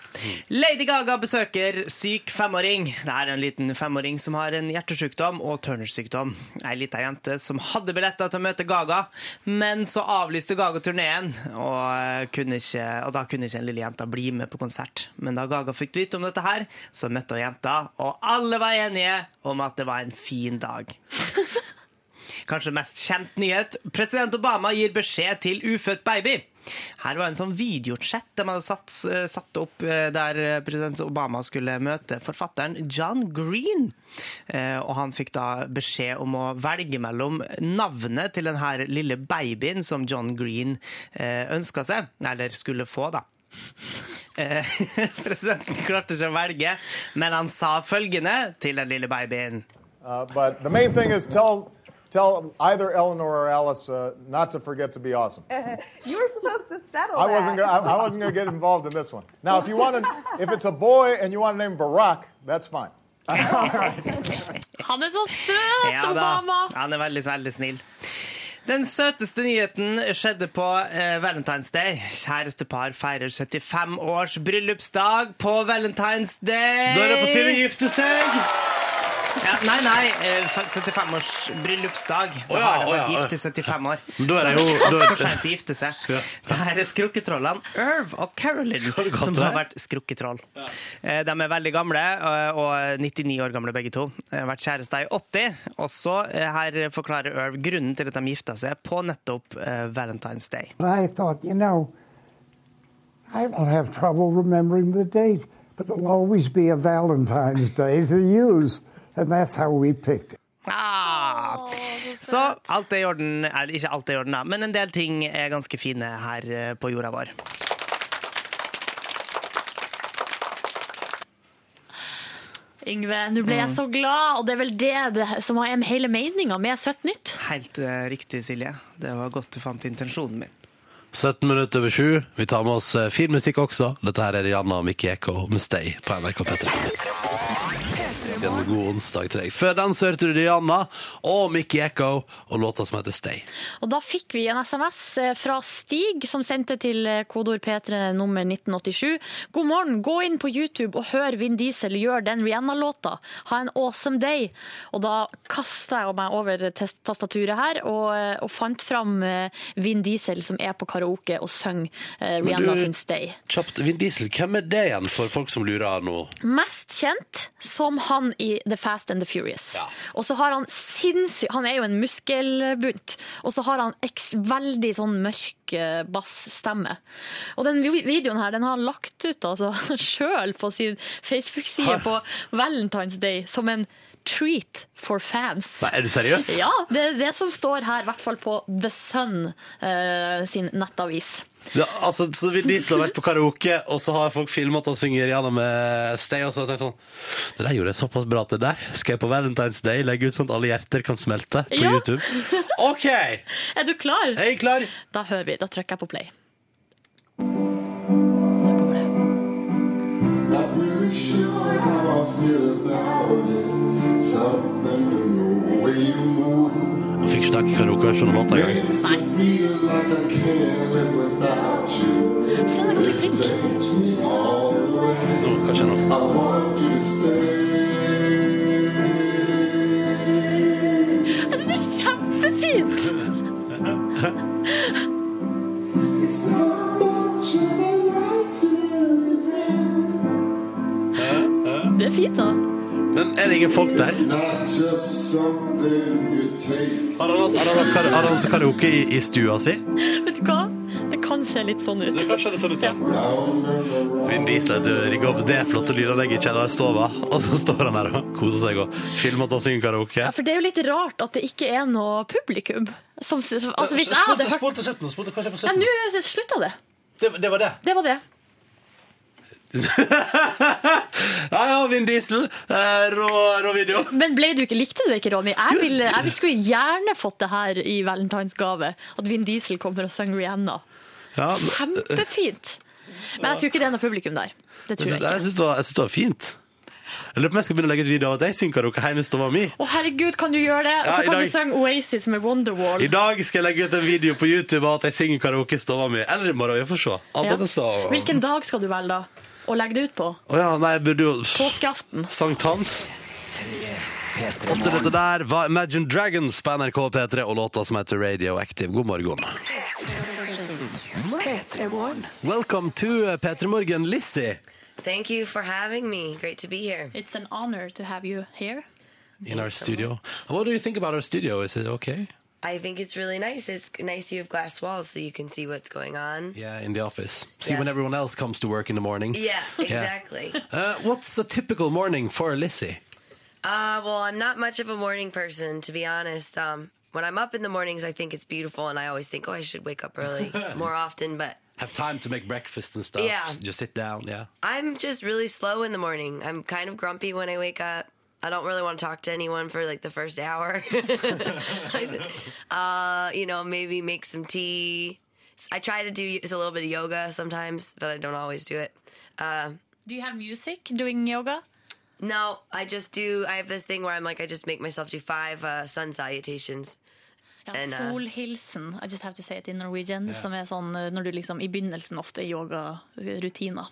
Speaker 3: Lady Gaga besøker syk femåring. Det er en liten femåring som har en hjertesykdom og Turners-sykdom. Ei lita jente som hadde billetter til å møte Gaga, men så avlyste Gaga turneen, og, eh, kunne ikke- og da kunne ikke den lille jenta bli med på konsert. Men da Gaga fikk vite om dette her, så møtte hun jenta, og alle var enige om at det var en fin dag. Kanskje mest kjent nyhet. President Obama gir beskjed til ufødt baby. Her var en sånn videochat de hadde satt, satt opp eh, der president Obama skulle møte forfatteren John Green. Eh, Og han fikk da beskjed om å velge mellom navnet til den her lille babyen som John Green ønska seg, eller skulle få, da. Eh, *laughs* Presidenten klarte ikke å velge, men han sa følgende til den lille babyen.
Speaker 7: Uh, but the main thing is tell tell either Eleanor or Alice uh, not to forget to be awesome.
Speaker 8: You were supposed to settle.
Speaker 7: I wasn't gonna, I, I wasn't going to get involved in this one. Now, if you want to, if it's a boy and you want to name Barack, that's fine.
Speaker 4: Han er så søt,
Speaker 3: Ja da,
Speaker 4: Obama!
Speaker 3: Han er veldig, veldig snill. Den søteste nyheten skjedde på eh, Valentine's Day. Kjærestepar feirer 75 års bryllupsdag på Valentine's Day.
Speaker 2: Da er det på tide å gifte seg!
Speaker 3: Ja, nei, nei. eh, 75-års bryllupsdag. Da
Speaker 2: Å ja,
Speaker 3: har de
Speaker 2: å ja,
Speaker 3: vært
Speaker 2: å ja.
Speaker 3: gift i 75 år.
Speaker 2: Men da er det jo- da er-
Speaker 3: for sent å gifte seg.
Speaker 2: Ja.
Speaker 3: Det her er skrukketrollene Irv og Carolyn,
Speaker 2: Har du gått
Speaker 3: som
Speaker 2: der?
Speaker 3: har vært skrukketroll. Eh, De er veldig gamle, eh, og 99 år gamle begge to. Eh, Vært kjærester i 80. Og så eh, her forklarer Irv grunnen til at de gifta seg på nettopp eh, Valentine's Day.
Speaker 9: But I thought, you know, I will have trouble remembering the date, but there'll always be a Valentine's Day to use. And that's how we picked it.
Speaker 3: Ah. Så alt er i orden, eller ikke alt er i orden, da, men en del ting er ganske fine her eh, på jorda vår.
Speaker 4: Yngve, nå ble
Speaker 3: Mm.
Speaker 4: jeg så glad, og det er vel det, det som er hele meninga med Søtt nytt.
Speaker 3: Helt eh, riktig, Silje. Det var godt du fant intensjonen min.
Speaker 2: 17 minutter over 7. Vi tar med oss eh, fin musikk også. Dette her er Rihanna og Mickey Eko med Stay på NRK P3. En god onsdag til deg. Før den så hørte du Rihanna og Mickey Eko og låta som heter Stay.
Speaker 4: Og da fikk vi en SMS eh, fra Stig, som sendte til eh, kodeord P3 nummer 1987. God morgen, gå inn på YouTube og hør Vin Diesel gjøre den Rihanna-låta. Ha en awesome day. Og da kasta jeg meg over test- tastaturet her og, og fant fram eh, Vin Diesel, som er på karaoke og synger eh,
Speaker 2: Men
Speaker 4: Rihanna
Speaker 2: du-
Speaker 4: sin Stay.
Speaker 2: Kjapt, Vin Diesel, hvem er det igjen for folk som lurer nå?
Speaker 4: mest kjent som han i The Fast and the Furious.
Speaker 2: Ja.
Speaker 4: Og så har han sinnssykt Han er jo en muskelbunt. Og så har han eks, veldig sånn mørk eh, bassstemme. Og den vi- videoen her den har han lagt ut altså, *laughs* sjøl på sin Facebook-side
Speaker 2: *laughs*
Speaker 4: på Valentine's Day som en treat for fans.
Speaker 2: Nei, er du seriøs?
Speaker 4: *laughs* Ja, det er det som står her, i hvert fall på The Sun eh, sin nettavis.
Speaker 2: Ja, altså, så Vin Diesel har vært på karaoke, og så har folk filmet at han synger Rihanna med Stay. Og så har jeg tenkt sånn Det der gjorde jeg såpass bra at det der skal jeg på Valentine's Day legge ut sånn at alle hjerter kan smelte på
Speaker 4: Ja.
Speaker 2: YouTube. OK, er
Speaker 4: Er du klar?
Speaker 2: jeg klar?
Speaker 4: Da hører vi. Da trykker jeg på play. Da kommer det.
Speaker 2: Han fikk ikke tak i karaokeversjonen av låta engang.
Speaker 4: Så han er ganske flink.
Speaker 2: Nå, kanskje nå.
Speaker 4: Jeg synes det er kjempefint! Det er fint, da.
Speaker 2: Men er det ingen folk der? Har han hatt- har han hatt kar- har han hatt karaoke i, i stua si?
Speaker 4: Vet du hva? Det kan se litt sånn ut.
Speaker 2: Kanskje det sånn ut, ja. Vin Diesel du, rigger opp det flotte lydanlegget i kjellerstova, og så står han der og koser seg og filmer at han synger karaoke.
Speaker 4: Ja, For det er jo litt rart at det ikke er noe publikum. Som, altså, hvis jeg hadde hørt
Speaker 2: til 17, spol til kanskje på
Speaker 4: Ja, nå slutta det.
Speaker 2: Det, det var det.
Speaker 4: Det var det.
Speaker 2: Ja, ja, Vin Diesel. Eh, rå, rå video.
Speaker 4: Men ble du ikke likte du det ikke, Ronny? Jeg, vil, jeg vil- skulle gjerne fått det her i valentinsgave. At Vin Diesel kommer og synger Rihanna.
Speaker 2: Ja, men-
Speaker 4: Kjempefint! Men jeg tror ikke det er noe publikum der.
Speaker 2: jeg
Speaker 4: Det tror jeg
Speaker 2: syns
Speaker 4: ikke.
Speaker 2: jeg syns det, var- jeg syns det var fint. Jeg lurer på om jeg skal begynne å legge ut video av at jeg synger karaoke hjemme i stua mi.
Speaker 4: Å herregud, kan du gjøre det? Og
Speaker 2: Ja,
Speaker 4: så
Speaker 2: i
Speaker 4: kan
Speaker 2: dag-
Speaker 4: du synge Oasis med Wonderwall.
Speaker 2: I dag skal jeg legge ut en video på YouTube av at jeg synger karaoke i stua mi. Eller i morgen, vi får se. Alt
Speaker 4: Ja.
Speaker 2: etter så.
Speaker 4: Hvilken dag skal du velge da? Og legge det ut på?
Speaker 2: Å ja, nei, jeg burde jo
Speaker 4: Påskeaften.
Speaker 2: Sankthans. Opp til dette der var Imagine Dragons på NRK P3 og låta som heter Radioactive. God morgen. Welcome to eh, P3 Morgen, Lizzie.
Speaker 10: Thank you for having me. Great to be here.
Speaker 4: It's an honor to have you here.
Speaker 2: In our studio. What do you think about our studio? Is it okay?
Speaker 10: I think it's really nice. It's nice you have glass walls so you can see what's going on.
Speaker 2: Yeah, in the office. See
Speaker 10: Yeah.
Speaker 2: when everyone else comes to work in the morning.
Speaker 10: Yeah, *laughs* exactly.
Speaker 2: Uh, what's the typical morning for Lizzie?
Speaker 10: Uh, well, I'm not much of a morning person, to be honest. Um, when I'm up in the mornings, I think it's beautiful, and I always think, oh, I should wake up *laughs* early more often. But
Speaker 2: Have time to make breakfast and stuff.
Speaker 10: Yeah.
Speaker 2: Just sit down. Yeah.
Speaker 10: I'm just really slow in the morning. I'm kind of grumpy when I wake up. I don't really want to talk to anyone for like the first hour. *laughs* uh, you know, maybe make some tea. I try to do a little bit of yoga sometimes, but I don't always do it.
Speaker 4: Do you have music doing yoga?
Speaker 10: No, I just do. I have this thing where I'm like, I just make myself do five uh, sun salutations.
Speaker 4: Ja,
Speaker 10: And, uh,
Speaker 4: Solhilsen, I just have to say it in Norwegian, som er sånn eh, når du liksom i begynnelsen ofte er yogarutiner.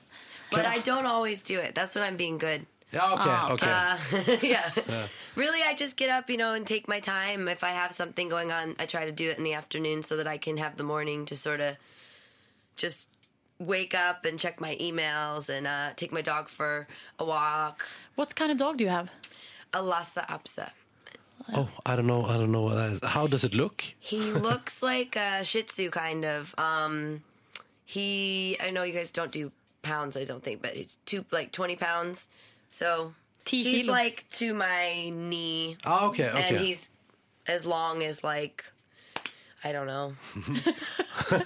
Speaker 10: But I don't always do it. That's when I'm being good.
Speaker 2: Ja, ok,
Speaker 10: Uh,
Speaker 2: ok.
Speaker 10: yeah. Really, I just get up, you know, and take my time. If I have something going on, I try to do it in the afternoon so that I can have the morning to sort of just wake up and check my emails and uh, take my dog for a walk.
Speaker 4: What kind of dog do you have?
Speaker 10: A Lhasa Apso.
Speaker 2: Oh, I don't know. I don't know what that is. How does it look?
Speaker 10: He looks like a Shih Tzu, kind of. Um, he, I know you guys don't do pounds, I don't think, but it's two like twenty pounds. So he's
Speaker 4: kilo.
Speaker 10: like to my knee.
Speaker 2: Oh, okay,
Speaker 10: And
Speaker 2: okay.
Speaker 10: he's as long as like I don't
Speaker 2: *laughs*
Speaker 10: know.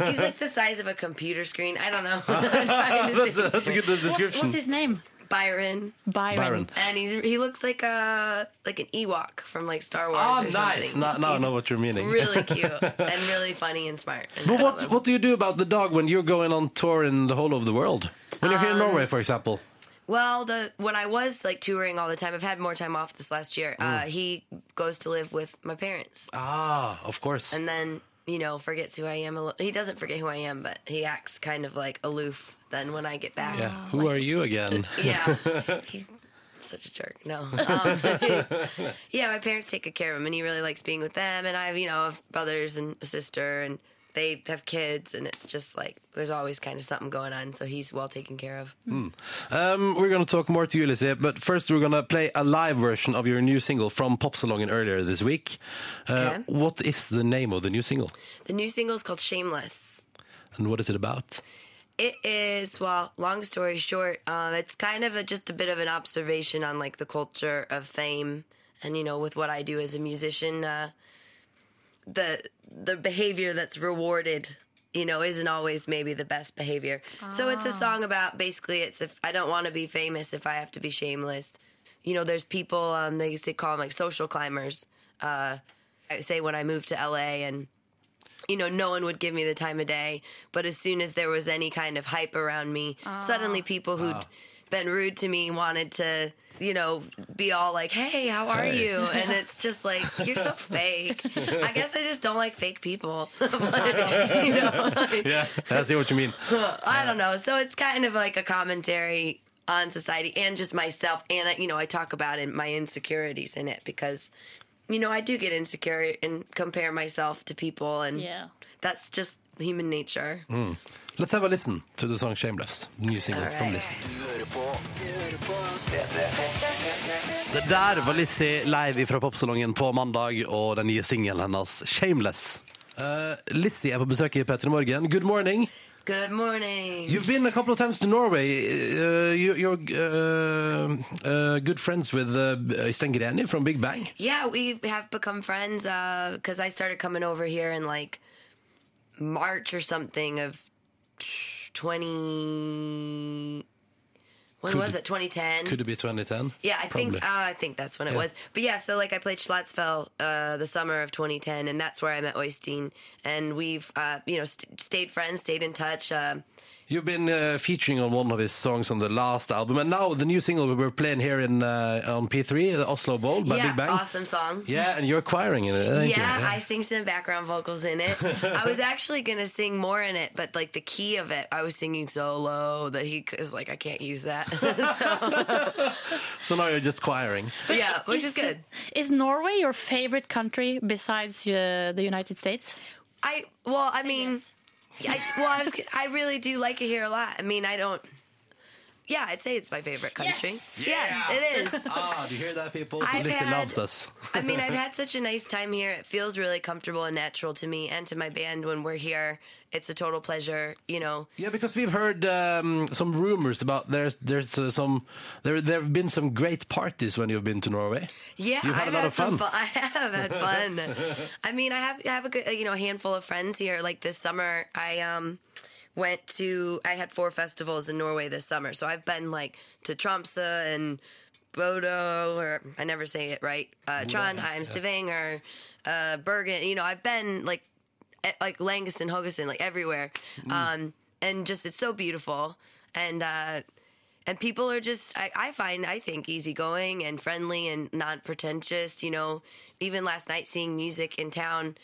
Speaker 10: he's like the size of a computer screen. I
Speaker 2: *laughs*
Speaker 10: don't know. *laughs* I'm trying
Speaker 2: *laughs*
Speaker 10: to
Speaker 2: that's, a,
Speaker 10: think.
Speaker 2: that's a good description.
Speaker 4: name?
Speaker 10: Byron.
Speaker 4: Byron.
Speaker 2: Byron.
Speaker 10: And he's he looks like a like an Ewok from like Star Wars.
Speaker 2: Ah,
Speaker 10: or
Speaker 2: nice.
Speaker 10: something.
Speaker 2: Now, now I know what you're meaning. *laughs*
Speaker 10: Really cute and really funny and smart. And
Speaker 2: But
Speaker 10: I love
Speaker 2: what
Speaker 10: him.
Speaker 2: what do you do about the dog when you're going on tour in the whole of the world? When you're here in Norway, for example.
Speaker 10: Well, the when I was like touring all the time, I've had more time off this last
Speaker 2: Mm.
Speaker 10: year. Uh, he goes to live with my parents,
Speaker 2: Ah, of course.
Speaker 10: and then you know forgets who I am. A little. He doesn't forget who I am, but he acts kind of like aloof. Then when I get back,
Speaker 2: yeah. Who are you again?
Speaker 10: Yeah. He's such a jerk. No. Um, *laughs* yeah, my parents take good care of him, and he really likes being with them. And I have, you know, have brothers and a sister, and they have kids, and it's just like there's always kind of something going on. So he's well taken care of.
Speaker 2: Um, we're going to talk more to you, Lizzie, but first we're going to play a live version of your new single from Pop Salongen earlier this week. Uh,
Speaker 10: Okay.
Speaker 2: What is the name of the new single,
Speaker 10: The new single is called Shameless.
Speaker 2: and what is it about?
Speaker 10: It is well. Long story short, um, it's kind of a, just a bit of an observation on like the culture of fame, and you know, with what I do as a musician, uh, the the behavior that's rewarded, you know, isn't always maybe the best behavior. So it's a song about basically, it's if I don't want to be famous, if I have to be shameless. You know, there's people um, they used to call them like social climbers. Uh, I say when I moved to LA and you know, no one would give me the time of day. But as soon as there was any kind of hype around me, suddenly people who'd been rude to me wanted to, you know, be all like, hey, how are
Speaker 2: Hey.
Speaker 10: you? And it's just like, you're so fake. I guess I just don't like fake people. *laughs* But, you know, like,
Speaker 2: Yeah, *laughs* I see what you mean.
Speaker 10: I don't know. So it's kind of like a commentary on society and just myself. And, I- you know, I talk about it, my insecurities in it because, you know, I do get insecure and compare myself to people. And
Speaker 4: Yeah.
Speaker 10: that's just human nature.
Speaker 2: Let's have a listen to the song Shameless, new single
Speaker 10: All
Speaker 2: from
Speaker 10: right.
Speaker 2: Lizzie. Det der var Lizzie live fra popsalongen på mandag, og den nye singelen hennes Shameless. Uh, Lizzie er på besøk i P3 Morgen. Good morning.
Speaker 10: Good morning.
Speaker 2: You've been a couple of times to Norway. Uh, you, you're uh, uh, good friends with uh, Øystein Greni from Big Bang.
Speaker 10: yeah, we have become friends because I started coming over here in like March or something of 20. When was it? 2010?
Speaker 2: Could it be 2010?
Speaker 10: Yeah, I think
Speaker 2: Probably.
Speaker 10: uh, I think that's when it
Speaker 2: Yeah.
Speaker 10: was. But yeah, so like I played Schlatzfeld uh, the summer of 2010, and that's where I met Oystein, and we've uh, you know st- stayed friends, stayed in touch. Uh,
Speaker 2: You've been uh, featuring on one of his songs on the last album, and now the new single we're playing here in uh, on P3, the Oslo Bowl by
Speaker 10: yeah,
Speaker 2: Big Bang.
Speaker 10: awesome song.
Speaker 2: Yeah, and you're acquiring in it. Thank
Speaker 10: yeah,
Speaker 2: you.
Speaker 10: I sing some background vocals in it. I
Speaker 2: *laughs*
Speaker 10: was actually gonna sing more in it, but like the key of it, I was singing so low that he was like, I can't use that. *laughs*
Speaker 2: *laughs*
Speaker 10: so,
Speaker 2: So now you're just choiring.
Speaker 10: yeah, which is good.
Speaker 4: Is Norway your favorite country besides uh, the United States?
Speaker 10: I well, I mean, I, well, I was I really do like it here a lot. I mean, I don't. Yeah, I'd say it's my favorite country. Yes, it *laughs* is.
Speaker 2: Ah, do you hear that, people?
Speaker 10: I've
Speaker 2: Lizzie
Speaker 10: had-
Speaker 2: loves us.
Speaker 10: I mean, I've had such a nice time here. It feels really comfortable and natural to me and to my band when we're here. It's a total pleasure, you know.
Speaker 2: Yeah, because we've heard um, some rumors about there's there's uh, some there there have been some great parties when you've been to Norway.
Speaker 10: Yeah,
Speaker 2: You've had
Speaker 10: I've
Speaker 2: a lot
Speaker 10: had
Speaker 2: of
Speaker 10: some
Speaker 2: fun.
Speaker 10: fu- I have
Speaker 2: *laughs*
Speaker 10: had fun. I mean, I have I have a good, you know handful of friends here. Like this summer, I um went to I had four festivals in Norway this summer, so I've been like to Tromsø and Bodo, or I never say it right, uh, Trondheim, Stavanger, uh, Bergen. You know, I've been like at, like Langeston, Hogeston, like everywhere.
Speaker 2: Mm.
Speaker 10: Um, and just it's so beautiful. And uh, and people are just I, I find I think easygoing and friendly and not pretentious. You know, even last night seeing music in town.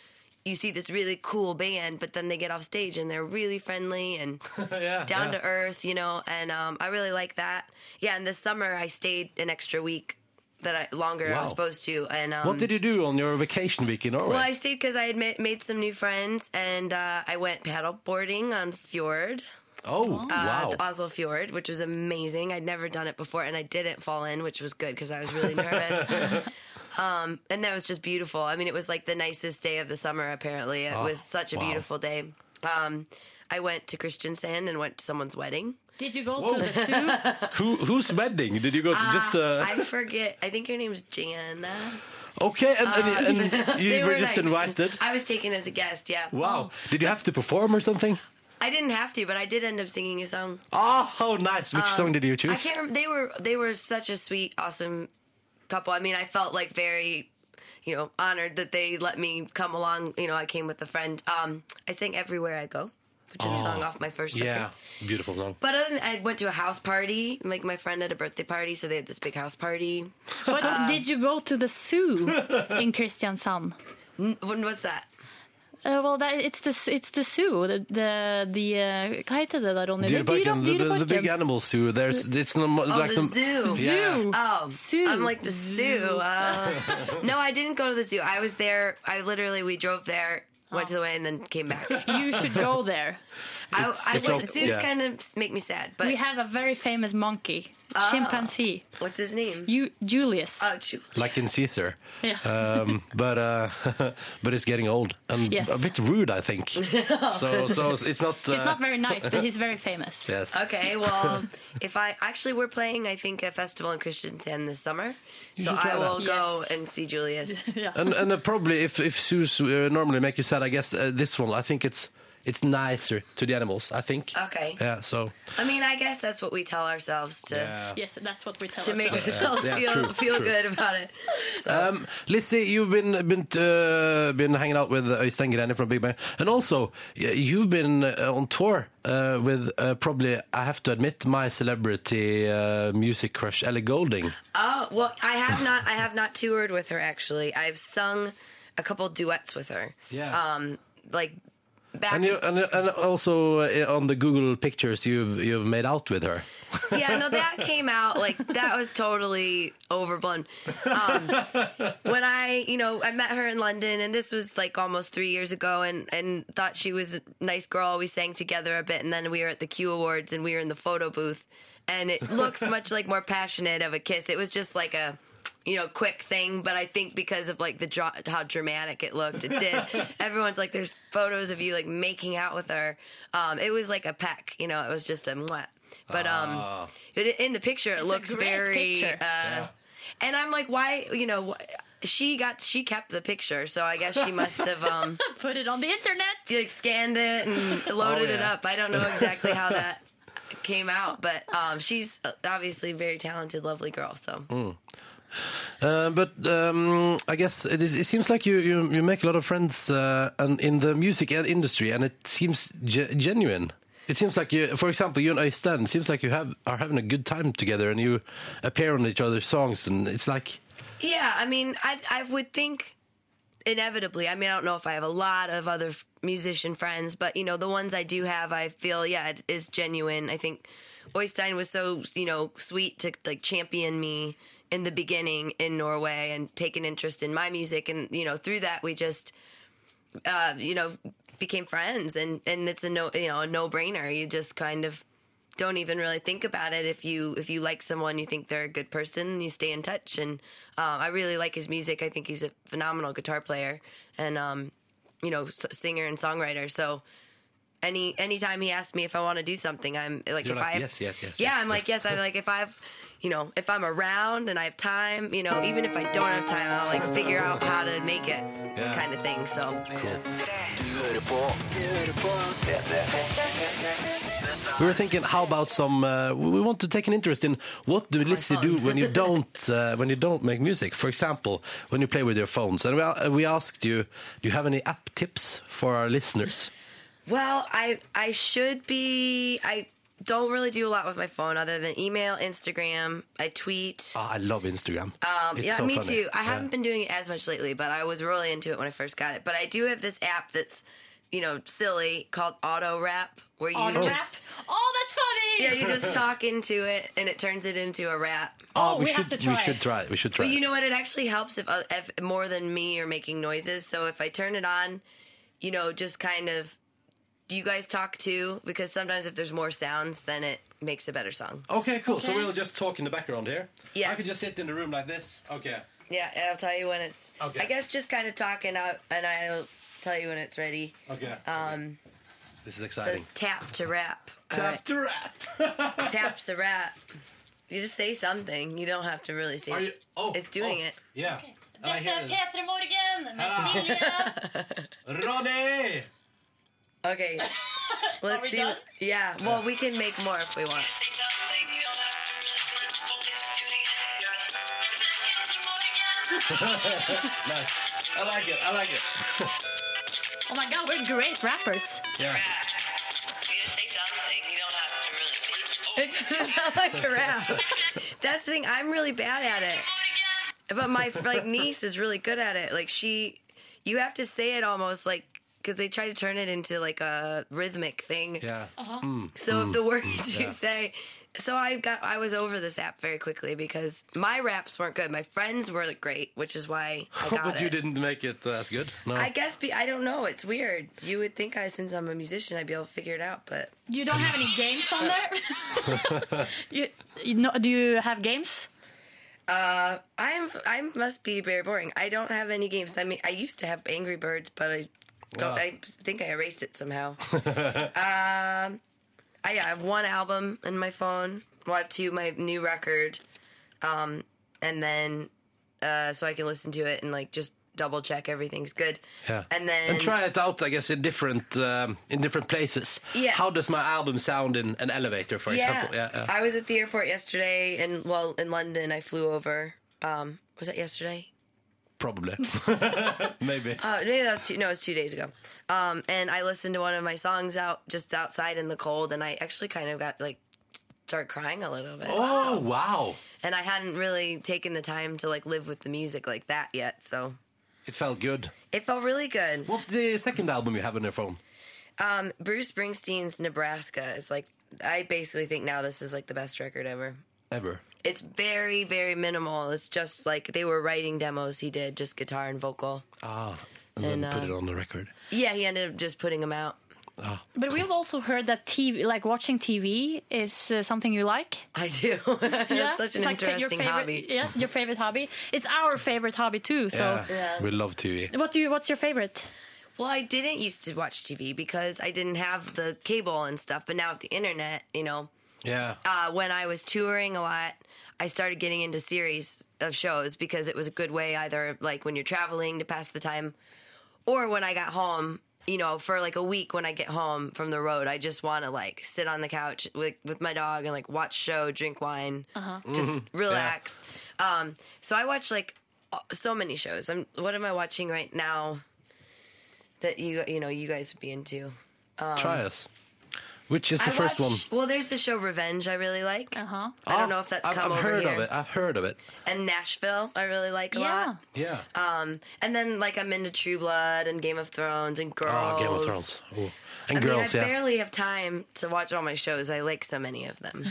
Speaker 10: you see this really cool band, but then they get off stage and they're really friendly and
Speaker 2: *laughs* Yeah,
Speaker 10: down
Speaker 2: yeah.
Speaker 10: to earth, you know. And um, I really like that. Yeah, and this summer I stayed an extra week that I longer I was
Speaker 2: Wow.
Speaker 10: supposed to. And um,
Speaker 2: What did you do on your vacation week in Norway?
Speaker 10: well, I stayed because I had ma- made some new friends, and uh, I went paddle boarding on Fjord.
Speaker 2: Oh,
Speaker 10: uh,
Speaker 2: wow.
Speaker 10: The Oslo Fjord, which was amazing. I'd never done it before, and I didn't fall in, which was good because I was really nervous. um, and that was just beautiful. I mean, it was like the nicest day of the summer, apparently. It
Speaker 5: Oh,
Speaker 10: was such a
Speaker 5: wow.
Speaker 10: beautiful day. Um, I went to Christiansand and went to someone's wedding.
Speaker 4: Did you go
Speaker 10: Whoa.
Speaker 4: to the zoo?
Speaker 2: Who whose wedding did you go to? just
Speaker 10: Uh,
Speaker 2: uh,
Speaker 10: I forget. I think your name's Jana.
Speaker 2: okay, and, and,
Speaker 10: Um, *laughs*
Speaker 2: and
Speaker 10: they
Speaker 2: you were,
Speaker 10: were
Speaker 2: just
Speaker 10: nice.
Speaker 2: invited.
Speaker 10: I was taken as a guest, yeah. Oh,
Speaker 2: Wow, did you have to perform or something?
Speaker 10: I didn't have to, but I did end up singing a song.
Speaker 2: Oh, how nice! Which song did you choose?
Speaker 10: Um, I can't remember. They were they were such a sweet, awesome couple. I mean, I felt like very, you know, honored that they let me come along. You know, I came with a friend. Um, I sang "Everywhere I Go," which is a song off my first record.
Speaker 2: Oh, Yeah, beautiful song.
Speaker 10: But other than I went to a house party. Like my friend had a birthday party, so they had this big house party. *laughs*
Speaker 4: But did you go to the zoo
Speaker 6: in Kristiansand?
Speaker 10: What's that?
Speaker 4: Uh, well, that, it's, the, it's the zoo. The, the, the, uh, hva heter det da, Ronny? Det er
Speaker 2: Dyreparken, the,
Speaker 4: dyre-
Speaker 2: the, the big animal zoo. There's it's no,
Speaker 10: Oh,
Speaker 2: like
Speaker 10: the zoo.
Speaker 2: Yeah.
Speaker 10: Oh, zoo. I'm like the zoo. Uh, *laughs* no, I didn't go to the zoo. I was there. I literally we drove there, went to the way, and then came back.
Speaker 4: You should go there.
Speaker 10: I,
Speaker 4: It's-
Speaker 10: I
Speaker 4: it's
Speaker 10: was,
Speaker 4: okay.
Speaker 10: zoos
Speaker 4: Yeah.
Speaker 10: kind of make me sad, but
Speaker 4: we have a very famous monkey,
Speaker 10: Ah.
Speaker 4: chimpanzee.
Speaker 10: What's his name?
Speaker 4: You, Julius.
Speaker 10: Oh, Ju-
Speaker 2: like in Caesar.
Speaker 4: Yeah.
Speaker 2: Um, but uh, *laughs* but it's getting old and
Speaker 4: Yes.
Speaker 2: a bit rude, I think. so so it's not. Uh,
Speaker 4: He's not very nice, but he's very famous.
Speaker 2: Yes.
Speaker 10: Okay, well,
Speaker 4: *laughs*
Speaker 10: if I actually we're playing, I think a festival in Christiansand this summer,
Speaker 2: You
Speaker 10: so
Speaker 2: should try
Speaker 10: I will
Speaker 2: that.
Speaker 10: go and see
Speaker 4: *laughs*
Speaker 10: Julius.
Speaker 2: and and uh, probably if if zoos uh, normally make you sad, I guess uh, this one I think it's it's nicer to the animals. I think.
Speaker 10: Okay.
Speaker 2: Yeah. So.
Speaker 10: I mean, I guess that's what we tell ourselves to
Speaker 2: Yeah.
Speaker 4: yes, that's what we tell
Speaker 10: to make
Speaker 2: ourselves.
Speaker 10: ourselves
Speaker 2: Yeah,
Speaker 10: feel
Speaker 2: true,
Speaker 10: feel
Speaker 2: true.
Speaker 10: good about it.
Speaker 2: Um, Lizzie, you've been been uh, been hanging out with Øystein Greni from Big Bang, and also y- you've been uh, on tour uh, with uh, probably I have to admit my celebrity uh, music crush Ellie Golding.
Speaker 10: Oh well, I have not. I have not toured with her actually. I've sung a couple duets with her.
Speaker 2: Yeah.
Speaker 10: Um, like back.
Speaker 2: And, you, and and also uh, on the Google pictures you've you've made out with her.
Speaker 10: yeah, no,
Speaker 2: *laughs*
Speaker 10: that came out like that was totally overblown. Um, when I, you know, I met her in London, and this was like almost three years ago, and and thought she was a nice girl. We sang together a bit, and then we were at the Q Awards, and we were in the photo booth, and it
Speaker 5: *laughs*
Speaker 10: looks much like more passionate of a kiss. It was just like a. You know, quick thing, but I think because of like the dra- how dramatic it looked, it
Speaker 5: *laughs*
Speaker 10: did. Everyone's like, "There's photos of you like making out with her." Um, it was like a peck, you know. It was just a mwah. But um,
Speaker 5: Ah.
Speaker 10: it, in the picture, it
Speaker 5: It's a
Speaker 10: looks
Speaker 5: great
Speaker 10: very.
Speaker 5: picture.
Speaker 10: Uh, And I'm like, why? You know, wh- she got she kept the picture, so I guess she must
Speaker 4: *laughs*
Speaker 10: have um,
Speaker 4: put it on the internet.
Speaker 10: like scanned it and loaded
Speaker 4: Oh,
Speaker 10: it
Speaker 4: yeah.
Speaker 10: up. I don't know exactly
Speaker 4: *laughs*
Speaker 10: how that came out, but um, she's obviously a very talented, lovely girl. So
Speaker 2: Mm. Uh, but um, I guess it, is, it seems like you, you, you make a lot of friends uh, and in the music and industry, and it seems ge- genuine. It seems like you, for example, you and Øystein seems like you have are having a good time together, and you appear on each other's songs, and it's like
Speaker 10: yeah, I mean, I I would think inevitably. I mean, I don't know if I have a lot of other f- musician friends, but you know, the ones I do have, I feel yeah, it is genuine. I think Oystein was so you know sweet to like champion me in the beginning in Norway and take an interest in my music, and you know, through that we just uh, you know became friends, and and it's a no you know a no brainer. You just kind of don't even really think about it if you if you like someone you think they're a good person you stay in touch and uh, i really like his music i think he's a phenomenal guitar player and um, you know s- singer and songwriter so any anytime he asks me if i want to do something i'm like
Speaker 2: You're
Speaker 10: if
Speaker 2: like,
Speaker 10: i
Speaker 2: "Yes, yes, yes,
Speaker 10: yeah
Speaker 2: yes."
Speaker 10: i'm like yes i'm like if i've you know if i'm around and i have time you know even if i don't have time i'll like figure out how to make it
Speaker 2: Yeah.
Speaker 10: kind of thing so
Speaker 2: we were thinking, how about some? Uh, we want to take an interest in what
Speaker 10: Oh
Speaker 2: do Lizzie do when
Speaker 10: *laughs*
Speaker 2: you don't uh, when you don't make music? For example, when you play with your phones, and we, a- we asked you, do you have any app tips for our listeners?
Speaker 10: Well, I I should be I don't really do a lot with my phone other than email, Instagram. I tweet.
Speaker 2: Ah, I love Instagram.
Speaker 10: Um,
Speaker 2: It's
Speaker 10: yeah,
Speaker 2: so
Speaker 10: me
Speaker 2: funny.
Speaker 10: too. I
Speaker 2: Yeah.
Speaker 10: haven't been doing it as much lately, but I was really into it when I first got it. But I do have this app that's, you know, silly called Auto Rap, where you
Speaker 4: Auto rap?
Speaker 10: just
Speaker 4: Oh, that's funny!
Speaker 10: yeah, you just talk into it and it turns it into a rap.
Speaker 4: Oh,
Speaker 2: Ah, we, should we should try it. We should try
Speaker 10: But
Speaker 2: it.
Speaker 10: you know what? It actually helps if, uh, if more than me are making noises. So if I turn it on, you know, just kind of, do you guys talk too? Because sometimes if there's more sounds, then it makes a better song.
Speaker 2: Okay, cool. So we'll just talk in the background here.
Speaker 10: Yeah.
Speaker 2: I could just sit in the room like this. Okay.
Speaker 10: Yeah, and I'll tell you when it's.
Speaker 2: Okay.
Speaker 10: I guess just kind of talking out, and I'll tell you when it's ready.
Speaker 2: Okay.
Speaker 10: Um,
Speaker 2: This is exciting.
Speaker 10: says tap to rap.
Speaker 2: Tap to rap.
Speaker 10: Taps a rap. You just say something. You don't have to really say.
Speaker 2: Are you- oh,
Speaker 10: it's doing
Speaker 2: oh,
Speaker 10: it.
Speaker 2: Yeah. And I hear it.
Speaker 4: Petre Morgen med
Speaker 2: Ah.
Speaker 4: Silje.
Speaker 2: Ronny! *laughs*
Speaker 10: Okay. Let's
Speaker 4: we
Speaker 10: see.
Speaker 4: done?
Speaker 10: Yeah. Well, we can make more if we want.
Speaker 2: nice. I like it. I like it.
Speaker 4: Oh my god, we're great rappers.
Speaker 2: Yeah.
Speaker 10: It doesn't sound like a rap. That's the thing. I'm really bad at it. But my like niece is really good at it. Like she, you have to say it almost like because they try to turn it into like a rhythmic thing.
Speaker 2: Yeah. Mm.
Speaker 10: So if the words
Speaker 2: yeah.
Speaker 10: you say, so I got I was over this app very quickly because my raps weren't good. My friends were great, which is why I got
Speaker 2: but you
Speaker 10: it.
Speaker 2: didn't make it uh, as good. No.
Speaker 10: I guess be, I don't know. It's weird. You would think I, since I'm a musician, I'd be able to figure it out, but
Speaker 4: You don't have any games on there?
Speaker 2: *laughs*
Speaker 4: *laughs* you, you know, do you have games?
Speaker 10: uh, I'm I must be very boring. I don't have any games. I mean, I used to have Angry Birds, but I don't.
Speaker 2: Wow.
Speaker 10: I think I erased
Speaker 2: *laughs*
Speaker 10: it somehow. um, I, I have one album in my phone. Well, I have two. My new record, um, and then uh, so I can listen to it and like just double check everything's good.
Speaker 2: Yeah.
Speaker 10: And then
Speaker 2: and try it out, I guess, in different um, in different places.
Speaker 10: Yeah.
Speaker 2: How does my album sound in an elevator, for example? Yeah. yeah.
Speaker 10: I was at the airport yesterday, and well, in London, I flew over. Um, was that yesterday? *laughs*
Speaker 2: Probably. *laughs* Maybe.
Speaker 10: Uh, maybe that was two, no, it was two days ago. Um, and I listened to one of my songs out just outside in the cold, and I actually kind of got like started crying a little bit.
Speaker 2: oh wow!
Speaker 10: And I hadn't really taken the time to like live with the music like that yet, so
Speaker 2: It felt good.
Speaker 10: it felt really good.
Speaker 2: What's the second album you have on your phone?
Speaker 10: Um, Bruce Springsteen's Nebraska is like I basically think now this is like the best record ever.
Speaker 2: Ever.
Speaker 10: It's very, very minimal. It's just like they were writing demos he did, just guitar and vocal.
Speaker 2: Ah, and,
Speaker 10: And,
Speaker 2: then put
Speaker 10: uh,
Speaker 2: it on the record.
Speaker 10: Yeah, he ended up just putting them out.
Speaker 4: But we've also heard that TV, like watching TV is uh, something you like.
Speaker 10: I do. *laughs* That's such an
Speaker 4: It's your
Speaker 10: interesting
Speaker 4: favorite-
Speaker 10: hobby.
Speaker 4: Yes, your favorite hobby. It's our favorite hobby too. So,
Speaker 10: Yeah.
Speaker 2: we love TV.
Speaker 4: what do you? What's your favorite?
Speaker 10: Well, I didn't used to watch TV because I didn't have the cable and stuff, but now with the internet, you know,
Speaker 2: Yeah,
Speaker 10: uh, when I was touring a lot, I started getting into series of shows because it was a good way either like when you're traveling to pass the time or when I got home, you know, for like a week when I get home from the road, I just want to like sit on the couch with, with my dog and like watch show, drink wine, just relax. Um, so I watch like uh, so many shows. I'm what am I watching right now that you you know you guys would be into?
Speaker 2: try us. Which is the
Speaker 10: Um, I
Speaker 2: first one?
Speaker 10: watch- Well, there's the show Revenge I really like.
Speaker 4: Uh-huh.
Speaker 10: I
Speaker 2: Ah,
Speaker 10: don't know if that's
Speaker 2: I've,
Speaker 10: come
Speaker 2: I've
Speaker 10: over
Speaker 2: heard
Speaker 10: here.
Speaker 2: of it. I've heard of it.
Speaker 10: And Nashville, I really like a
Speaker 4: Yeah.
Speaker 10: lot.
Speaker 2: Yeah.
Speaker 10: Um, and then like I'm into True Blood and Game of Thrones and Girls.
Speaker 2: oh, Game of Thrones. Ooh. And
Speaker 10: I
Speaker 2: girls,
Speaker 10: mean, I
Speaker 2: yeah.
Speaker 10: barely have time to watch all my shows. I like so many of
Speaker 4: *laughs*
Speaker 10: them.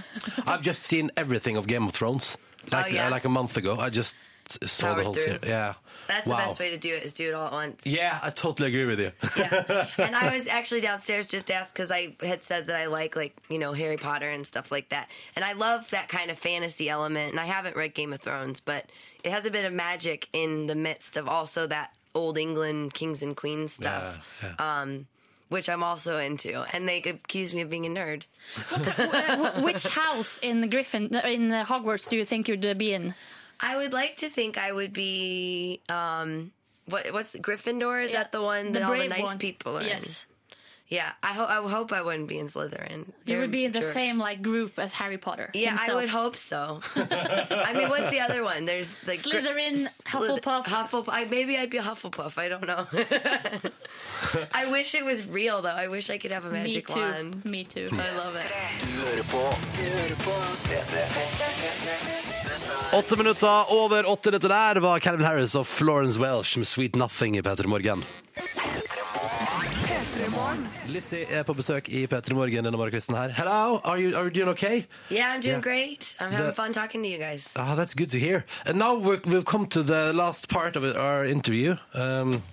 Speaker 2: I've just seen everything of Game of Thrones. Like
Speaker 10: Oh, yeah?
Speaker 2: like a month ago, I just saw the
Speaker 10: Powered
Speaker 2: whole
Speaker 10: through.
Speaker 2: series. Yeah.
Speaker 10: That's
Speaker 2: wow.
Speaker 10: the best way to do it is do it all at once.
Speaker 2: Yeah, I totally agree with you. *laughs*
Speaker 10: Yeah. and I was actually downstairs just asked because I had said that I like like you know Harry Potter and stuff like that, and I love that kind of fantasy element. And I haven't read Game of Thrones, but it has a bit of magic in the midst of also that old England kings and queens stuff,
Speaker 2: Yeah,
Speaker 10: Um, which I'm also into. And they accuse me of being a nerd.
Speaker 4: Wh-
Speaker 10: *laughs*
Speaker 4: Which house in Griffin in uh, Hogwarts do you think you'd uh, be in?
Speaker 10: I would like to think I would be. Um, what, what's Gryffindor? Is that the one that all the
Speaker 4: brave
Speaker 10: nice
Speaker 4: one.
Speaker 10: people are in?
Speaker 4: Yes.
Speaker 10: Yeah, I hope I hope I wouldn't be in Slytherin.
Speaker 5: You
Speaker 10: They're
Speaker 5: would be in the
Speaker 10: jerks.
Speaker 5: same like group as Harry Potter.
Speaker 10: Yeah, I
Speaker 5: himself.
Speaker 10: would hope so. I mean, what's the other one? There's like gr-
Speaker 5: Slytherin,
Speaker 10: Slyth-
Speaker 5: Hufflepuff.
Speaker 10: Hufflepuff. I, maybe I'd be a Hufflepuff. I don't know. *laughs* I wish it was real though. I wish I could have a
Speaker 5: Me
Speaker 10: magic
Speaker 5: too.
Speaker 10: wand.
Speaker 5: Me too.
Speaker 10: *laughs* I love it.
Speaker 2: Åtte minutter over åtte. Dette der var Calvin Harris og Florence Welsh med Sweet Nothing i P3 Morgen. Lizzie er på besøk i P3 Morgen denne morgenkvisten her. Hello, are you, are you doing okay?
Speaker 10: Yeah, I'm doing
Speaker 2: Yeah.
Speaker 10: great. I'm having
Speaker 2: The-
Speaker 10: fun talking to you guys.
Speaker 2: Ah, that's good to hear. And now we're, we've come to the last part of our interview. Um,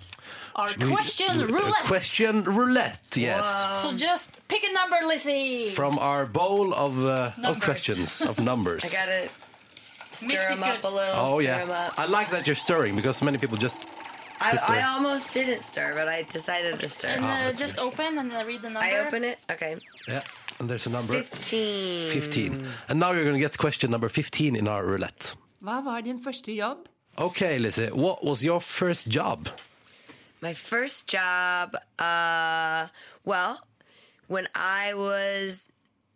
Speaker 5: Our
Speaker 2: we-
Speaker 5: question roulette.
Speaker 2: Question roulette, yes.
Speaker 5: So just pick a number, Lizzie.
Speaker 2: From our bowl of, uh, of
Speaker 5: Numbers.
Speaker 2: questions, of numbers.
Speaker 10: *laughs* I gotta stir
Speaker 5: Mix it
Speaker 10: them up a
Speaker 5: good.
Speaker 10: little.
Speaker 2: Oh
Speaker 10: stir
Speaker 2: yeah,
Speaker 10: 'em up.
Speaker 2: I like that you're stirring because many people just
Speaker 10: I,
Speaker 2: put the-
Speaker 10: I almost didn't stir, but I decided to stir.
Speaker 5: And uh,
Speaker 2: Oh, that's
Speaker 5: just open and uh, read the number.
Speaker 10: I open it. Okay,
Speaker 2: yeah. And there's a number
Speaker 10: fifteen.
Speaker 2: 15. And now you're going to get question number 15 in our roulette.
Speaker 11: Hva var din første jobb?
Speaker 2: Okay, Lizzie, what was your first job? Ah,
Speaker 10: My first job, uh, well, when I was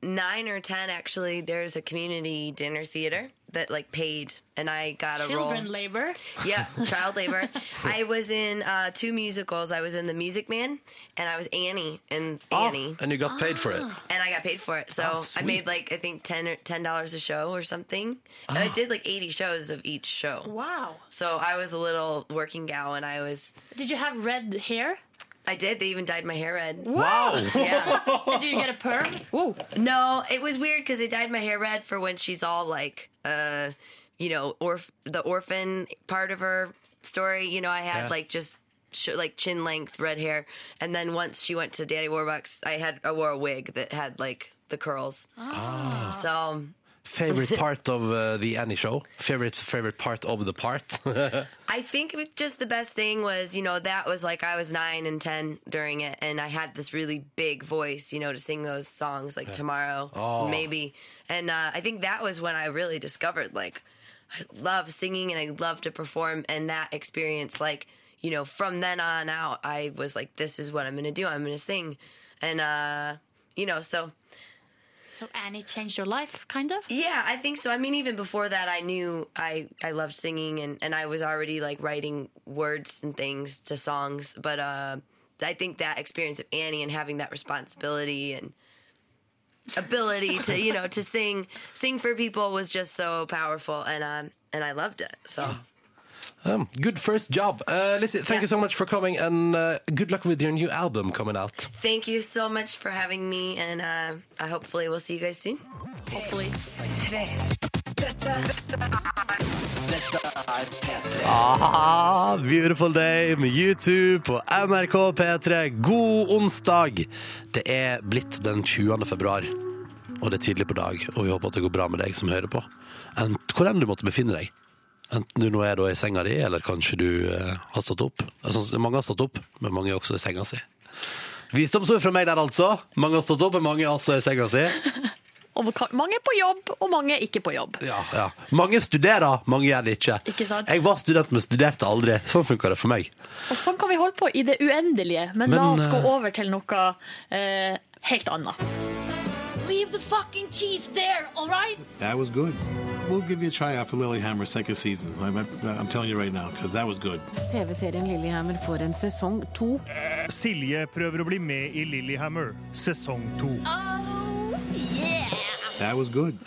Speaker 10: nine or ten, actually, there's a community dinner theater that like paid, and I got a role.
Speaker 5: Children labor.
Speaker 10: yeah,
Speaker 5: *laughs*
Speaker 10: child labor. I was in uh, two musicals. I was in The Music Man, and I was Annie and Annie,
Speaker 2: And you got paid for it.
Speaker 11: Ah.
Speaker 10: and I got paid for it. So
Speaker 2: Ah,
Speaker 10: I
Speaker 2: Oh. sweet.
Speaker 10: made like I think ten or ten dollars a show or something. And I did like eighty shows of each show.
Speaker 5: Wow.
Speaker 10: So I was a little working gal, and I was.
Speaker 5: Did you have red hair?
Speaker 10: I did. They even dyed my hair red.
Speaker 2: Wow!
Speaker 10: Yeah.
Speaker 5: And do you get a
Speaker 4: *laughs*
Speaker 5: perm?
Speaker 10: No, it was weird because they dyed my hair red for when she's all like, uh, you know, orf- the orphan part of her story. You know, I had
Speaker 2: Yeah.
Speaker 10: like just sh- like chin length red hair, and then once she went to Daddy Warbucks, I had I wore a wig that had like the curls. So
Speaker 2: favorite part of uh, the Annie show? Favorite favorite part of the part?
Speaker 10: I think it was just the best thing was, you know, that was like I was nine and 10 during it, and I had this really big voice, you know, to sing those songs like tomorrow,
Speaker 2: Oh.
Speaker 10: maybe. And uh, I think that was when I really discovered like I love singing and I love to perform, and that experience, like, you know, from then on out, I was like, this is what I'm gonna do, I'm gonna sing. And, uh, you know, so
Speaker 5: So Annie changed your life, kind of.
Speaker 10: yeah, I think so. I mean, even before that, I knew I I loved singing and and I was already like writing words and things to songs. But uh, I think that experience of Annie and having that responsibility and ability to you know to sing sing for people was just so powerful and um and I loved it. So
Speaker 2: um, good first job. Uh, Lizzie, thank you so much for coming and uh, good luck with your new album coming out.
Speaker 10: thank you so much for having me, and uh, I hopefully we'll see you guys soon.
Speaker 5: Hopefully.
Speaker 2: Ah, beautiful day med YouTube på NRK P3. God onsdag! Det er blitt den 20. februar, og det er tidlig på dag. Og vi håper at det går bra med deg som hører på. Ent, hvor enn du måtte befinne deg. Enten du nå er da i senga di, eller kanskje du eh, har stått opp. Altså, mange har stått opp, men mange er også i senga si. Visdomsord fra meg der, altså. Mange har stått opp, men mange er altså i senga si.
Speaker 4: Og ka- mange er på jobb, og mange er ikke på jobb.
Speaker 2: Ja, ja. Mange studerer, mange gjør det ikke.
Speaker 4: Ikke sant?
Speaker 2: Jeg var student, men studerte aldri. Sånn funka det for meg.
Speaker 4: Og sånn kan vi holde på i det uendelige, men, la
Speaker 2: Men,
Speaker 4: oss gå
Speaker 2: eh,
Speaker 4: over til noe eh, helt annet.
Speaker 5: Leave the fucking cheese there, all right?
Speaker 12: That was good. We'll give you a tryout for Lilyhammer second season. I'm, I'm telling you right now, because that was good.
Speaker 13: TV-serien Lillehammer får en sesong to.
Speaker 14: Silje prøver å bli med i Lillehammer, sesong to.
Speaker 12: That was good.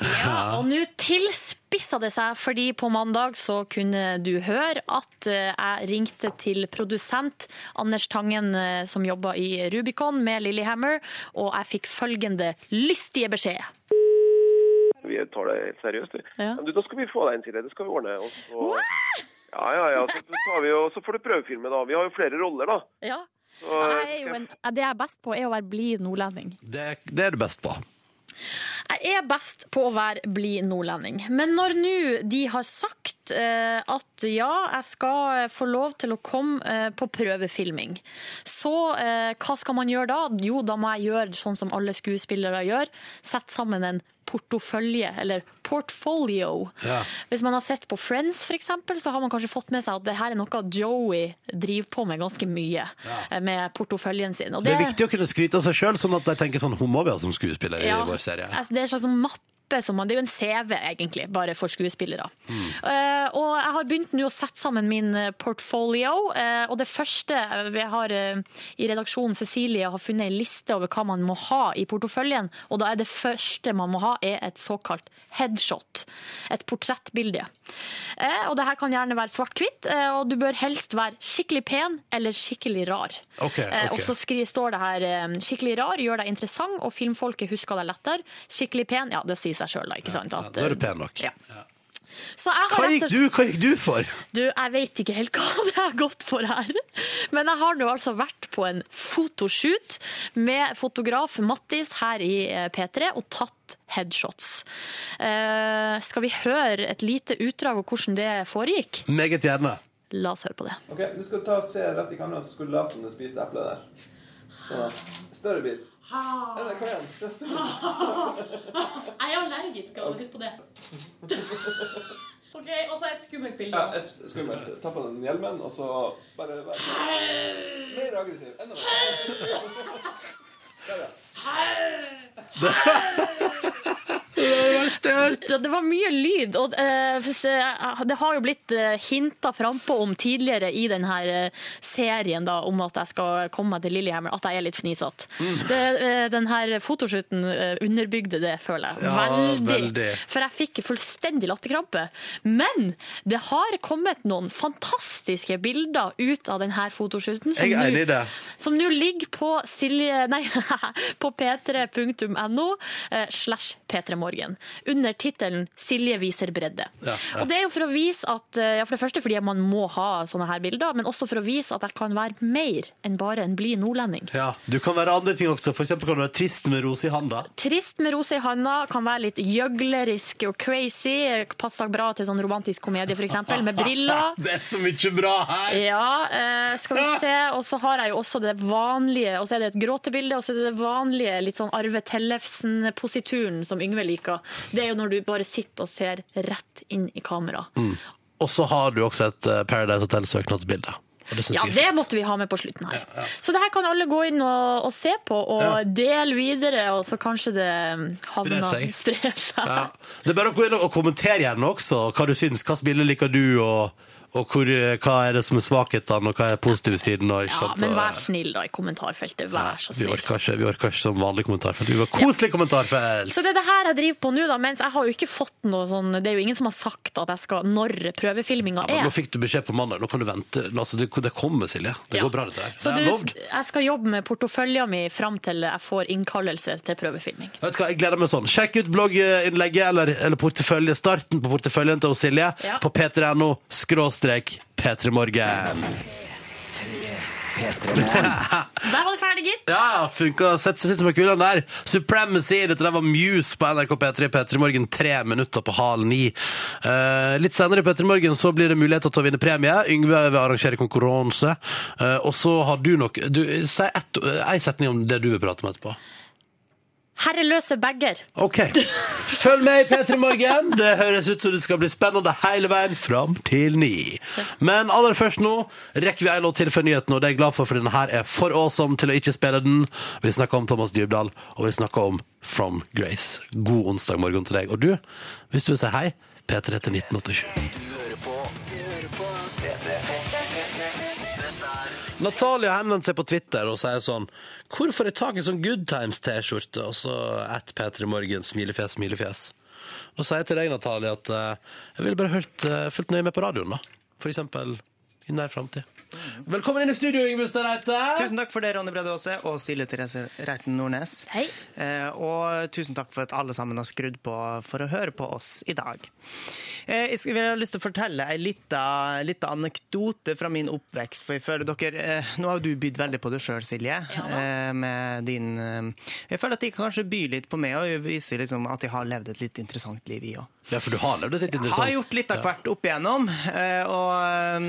Speaker 4: Og nå tilspissa det seg, fordi på mandag så kunne du høre at eh, jeg ringte til produsent Anders Tangen, eh, som jobba i Rubicon med Lillehammer, og jeg fikk følgende lystige beskjed.
Speaker 15: Vi tar det helt seriøst. vi.
Speaker 4: Ja.
Speaker 15: Men Du, da skal vi få deg inn til det. Det skal vi ordne. Og så, ja, ja, ja. Så, tar vi, og så får du prøvefilme, da. Vi har jo flere roller, da.
Speaker 4: Ja.
Speaker 15: Så,
Speaker 4: Jeg er jo en, det jeg er best på, er å være blid nordlending.
Speaker 2: Det, det er du best på.
Speaker 4: Jeg er best på å være blid nordlending. Men når nå de har sagt eh, at ja, jeg skal få lov til å komme eh, på prøvefilming, så eh, hva skal man gjøre da? Jo, da må jeg gjøre sånn som alle skuespillere gjør, sette sammen en portefølje, eller portfolio.
Speaker 2: Ja.
Speaker 4: Hvis man har sett på Friends for eksempel, så har man kanskje fått med seg at det her er noe Joey driver på med ganske mye, eh, med porteføljen sin. Og
Speaker 2: Det er viktig å kunne skryte av seg sjøl, sånn at de tenker sånn Hun må vi ha som skuespiller
Speaker 4: Ja,
Speaker 2: i vår serie.
Speaker 4: altså, det er en slags mappe som man, det er jo en CV egentlig, bare for skuespillere.
Speaker 2: Mm.
Speaker 4: Eh, og jeg har begynt nå å sette sammen min eh, portfolio, eh, og det første eh, vi har eh, i redaksjonen Cecilie har funnet en liste over hva man må ha i porteføljen, og da er det første man må ha er et såkalt headshot, et portrettbilde. Eh, og det her kan gjerne være svart-hvitt, eh, og du bør helst være skikkelig pen eller skikkelig rar.
Speaker 2: Ok,
Speaker 4: Eh,
Speaker 2: ok.
Speaker 4: Og så skri, står det her eh, 'skikkelig rar', gjør deg interessant, og filmfolket husker deg lettere. 'Skikkelig pen', ja, det sier seg sjøl, da. ikke sant?
Speaker 2: Ja, da er du pen nok.
Speaker 4: Ja. Så jeg har
Speaker 2: Hva
Speaker 4: rett
Speaker 2: gikk
Speaker 4: og
Speaker 2: du, hva gikk du for?
Speaker 4: du, jeg vet ikke helt *laughs* hva det er godt for her. Men jeg har nå altså vært på en fotoshoot med fotograf Mattis her i eh, P3 og tatt headshots. Eh, skal vi høre et lite utdrag av hvordan det foregikk?
Speaker 2: Meget gjerne.
Speaker 4: La oss høre på det.
Speaker 16: Ok, Du skal ta og se rett i kameraet, så skal du late som du spiste eplet der. Sånn. Større bit. Eller, kom igjen.
Speaker 4: Jeg er allergisk, husk på det.
Speaker 2: *laughs*
Speaker 4: OK, og så et skummelt
Speaker 16: Ja, et s- skummelt. Ta på den hjelmen, og så bare bare- Mer aggressiv. Enda mer. Der, ja.
Speaker 4: Ja, Det var mye lyd, og eh, hvis, eh, det har jo blitt eh, hinta frampå om tidligere i denne serien da, om at jeg skal komme meg til Lillehammer, at jeg er litt fnisete.
Speaker 2: Mm.
Speaker 4: Denne fotoshooten eh, underbygde det, føler jeg.
Speaker 2: Ja, veldig.
Speaker 4: For jeg fikk fullstendig latterkrampe. Men det har kommet noen fantastiske bilder ut av denne fotoshooten. som
Speaker 2: Jeg er
Speaker 4: nå-
Speaker 2: enig i det.
Speaker 4: som nå ligger på, Silje, nei, *laughs* på p3.no eh, slash p3morgen under tittelen 'Silje viser bredde'.
Speaker 2: Ja, ja.
Speaker 4: Og det er jo for å vise at, eh, ja, for det første fordi man må ha sånne her bilder, men også for å vise at jeg kan være mer enn bare en blid nordlending.
Speaker 2: Ja, Du kan være andre ting også. For eksempel kan du være trist med rose i handa.
Speaker 4: Trist med rose i handa, kan være litt gjøglerisk og crazy, passer bra til sånn romantisk komedie f.eks., med briller.
Speaker 2: *laughs* Det er så mye bra her!
Speaker 4: Ja, eh, skal vi se. Og så har jeg jo også det vanlige, og så er det et gråtebilde, og så er det det vanlige litt sånn Arve Tellefsen-posituren som Yngve liker. Det er jo når du bare sitter og ser rett inn i kamera.
Speaker 2: Mm. Og så har du også et eh, Paradise Hotel-søknadsbilde. Og det synes
Speaker 4: Ja,
Speaker 2: jeg er
Speaker 4: det måtte vi ha med på slutten her. Så det her kan alle gå inn og, og se på, og
Speaker 2: Ja.
Speaker 4: del videre, og så kanskje det havner
Speaker 2: Sprer seg.
Speaker 4: *laughs* Sprer seg.
Speaker 2: Ja. Det er bare å gå inn og kommentere gjerne også hva du syns. Hvilket bilde liker du, og, og hvor, eh, hva er det som er svakhetene, og hva er positive siden? Og, ikke
Speaker 4: Ja,
Speaker 2: sant?
Speaker 4: men
Speaker 2: Og,
Speaker 4: vær snill da i kommentarfeltet, vær så
Speaker 2: eh, vi
Speaker 4: snill.
Speaker 2: orker ikke, vi orker ikke som vanlig kommentarfelt. Vi var koselig kommentarfelt!
Speaker 4: Så det er det her jeg driver på nå, da, mens jeg har jo ikke fått noe sånn Det er jo ingen som har sagt at jeg skal når prøvefilminga
Speaker 2: Men
Speaker 4: er.
Speaker 2: nå fikk du beskjed på mandag. Nå kan du vente. Altså, det, det kommer, Silje. Det
Speaker 4: Ja.
Speaker 2: går bra, dette her.
Speaker 4: Så
Speaker 2: Det er lovd.
Speaker 4: du, jeg skal jobbe med portefølja mi fram til jeg får innkallelse til prøvefilming.
Speaker 2: Vet du hva, Jeg gleder meg sånn. Sjekk ut blogginnlegget eller, eller portefølje, starten på porteføljen til Silje
Speaker 4: Ja.
Speaker 2: på p3.no skråstrek p3morgen.
Speaker 4: Der var det ferdig, gitt!
Speaker 2: Ja, funka. Sett seg sitt som en kule der. Supremacy. Dette der var Muse på NRK P3 P3 Morgen tre minutter på halv ni. Eh, litt senere i P3 Morgen så blir det muligheter til å vinne premie. Yngve vil arrangere konkurranse. Eh, og så har du nok du, Si ett- eh, en setning om det du vil prate om etterpå.
Speaker 4: Herreløse bager.
Speaker 2: OK. Følg med i P3 Morgen. Det høres ut som det skal bli spennende hele veien fram til ni. Men aller først nå rekker vi en låt til for nyheten, og det er jeg glad for, for denne her er for awesome til å ikke spille den. Vi snakker om Thomas Dybdahl, og vi snakker om From Grace. God onsdag morgen til deg. Og du, hvis du vil si hei, P3 til 1987. Natalia henvendte seg på Twitter og sier sånn Hvor får jeg tak i sånn Good Times-T-skjorte? Og så at P3 Morgen, smilefjes, smilefjes. Da sier jeg til deg, Natalia, at eh, jeg ville bare hørt, eh, fulgt nøye med på radioen, da. For eksempel i nær framtid. Velkommen inn i studio, Yngve Ustadreite.
Speaker 3: Tusen takk for det, Ronny Brede Aase og Silje Therese Reiten Nordnes.
Speaker 4: Hei.
Speaker 3: Eh, og tusen takk for at alle sammen har skrudd på for å høre på oss i dag. Eh, jeg, skal, jeg har lyst til å fortelle en liten, liten anekdote fra min oppvekst. For jeg føler dere, eh, nå har jo du bydd veldig på det sjøl, Silje. eh, med din, eh, jeg føler at jeg kan kanskje by litt på meg og vise liksom at jeg har levd et litt interessant liv, jeg òg.
Speaker 2: Ja, for du har levd et litt
Speaker 3: Jeg
Speaker 2: interessant
Speaker 3: har gjort litt av hvert opp igjennom. eh, Og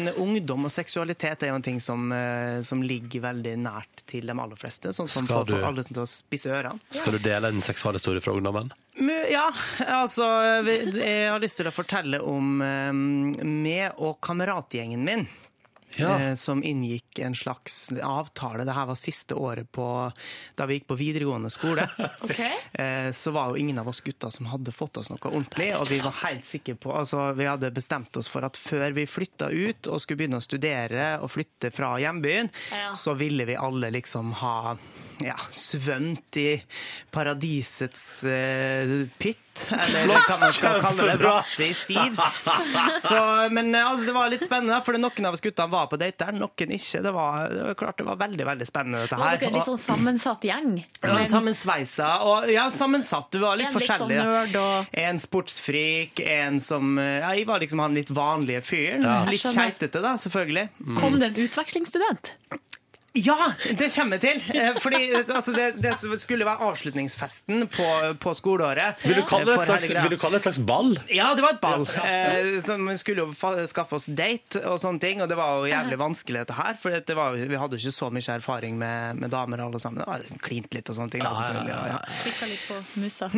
Speaker 3: eh, ungdom og seksualitet er jo en ting som, eh, som ligger veldig nært til de aller fleste. Sånn som
Speaker 2: Skal
Speaker 3: får får
Speaker 2: du-
Speaker 3: alle til å spisse ørene.
Speaker 2: Skal du dele en seksualhistorie fra ungdommen?
Speaker 3: Men, Ja, altså vi- Jeg har lyst til å fortelle om eh, meg og kameratgjengen min. eh, Som inngikk en slags avtale. Dette var siste året på, da vi gikk på videregående skole.
Speaker 2: *laughs*
Speaker 3: Eh, Så var jo ingen av oss gutter som hadde fått oss noe ordentlig. Og vi var helt sikre på altså, Vi hadde bestemt oss for at før vi flytta ut og skulle begynne å studere og flytte fra hjembyen,
Speaker 4: Ja.
Speaker 3: så ville vi alle liksom ha ja, svømt i paradisets eh, pytt, eller
Speaker 17: Flott.
Speaker 3: hva man skal kalle det.
Speaker 17: Kjempebra.
Speaker 3: Vasse i siv. Så, men eh, altså, det var litt spennende, for noen av oss guttene var på date der, noen ikke. Det var, det var klart det var veldig, veldig spennende, dette
Speaker 4: Var
Speaker 3: her.
Speaker 4: dere en
Speaker 3: Og-
Speaker 4: litt sånn sammensatt gjeng?
Speaker 3: ja, men sammensveisa og ja, sammensatt. Du var litt
Speaker 4: En litt sånn
Speaker 3: forskjellig. ja. En sportsfrik, en som Ja, jeg var liksom han litt vanlige fyren.
Speaker 4: Ja.
Speaker 3: Litt
Speaker 4: Jeg skjønner.
Speaker 3: keitete, da, selvfølgelig.
Speaker 4: Kom det en utvekslingsstudent?
Speaker 3: Ja, det kommer jeg til! Eh, Fordi eh, altså, det, det skulle være avslutningsfesten på, på skoleåret.
Speaker 2: Vil du kalle det
Speaker 3: Eh,
Speaker 2: et
Speaker 3: for
Speaker 2: slags,
Speaker 3: hele greia.
Speaker 2: vil du kalle det et slags ball?
Speaker 3: Ja, det var et ball. Eh, som vi skulle jo fa- skaffe oss date og sånne ting, og det var jo jævlig vanskelig dette her, for det var, jo- vi hadde jo ikke så mye erfaring med, med damer alle sammen. Det var klint litt og sånne ting, da, selvfølgelig. Ja, ja.
Speaker 4: Kikka litt på musa.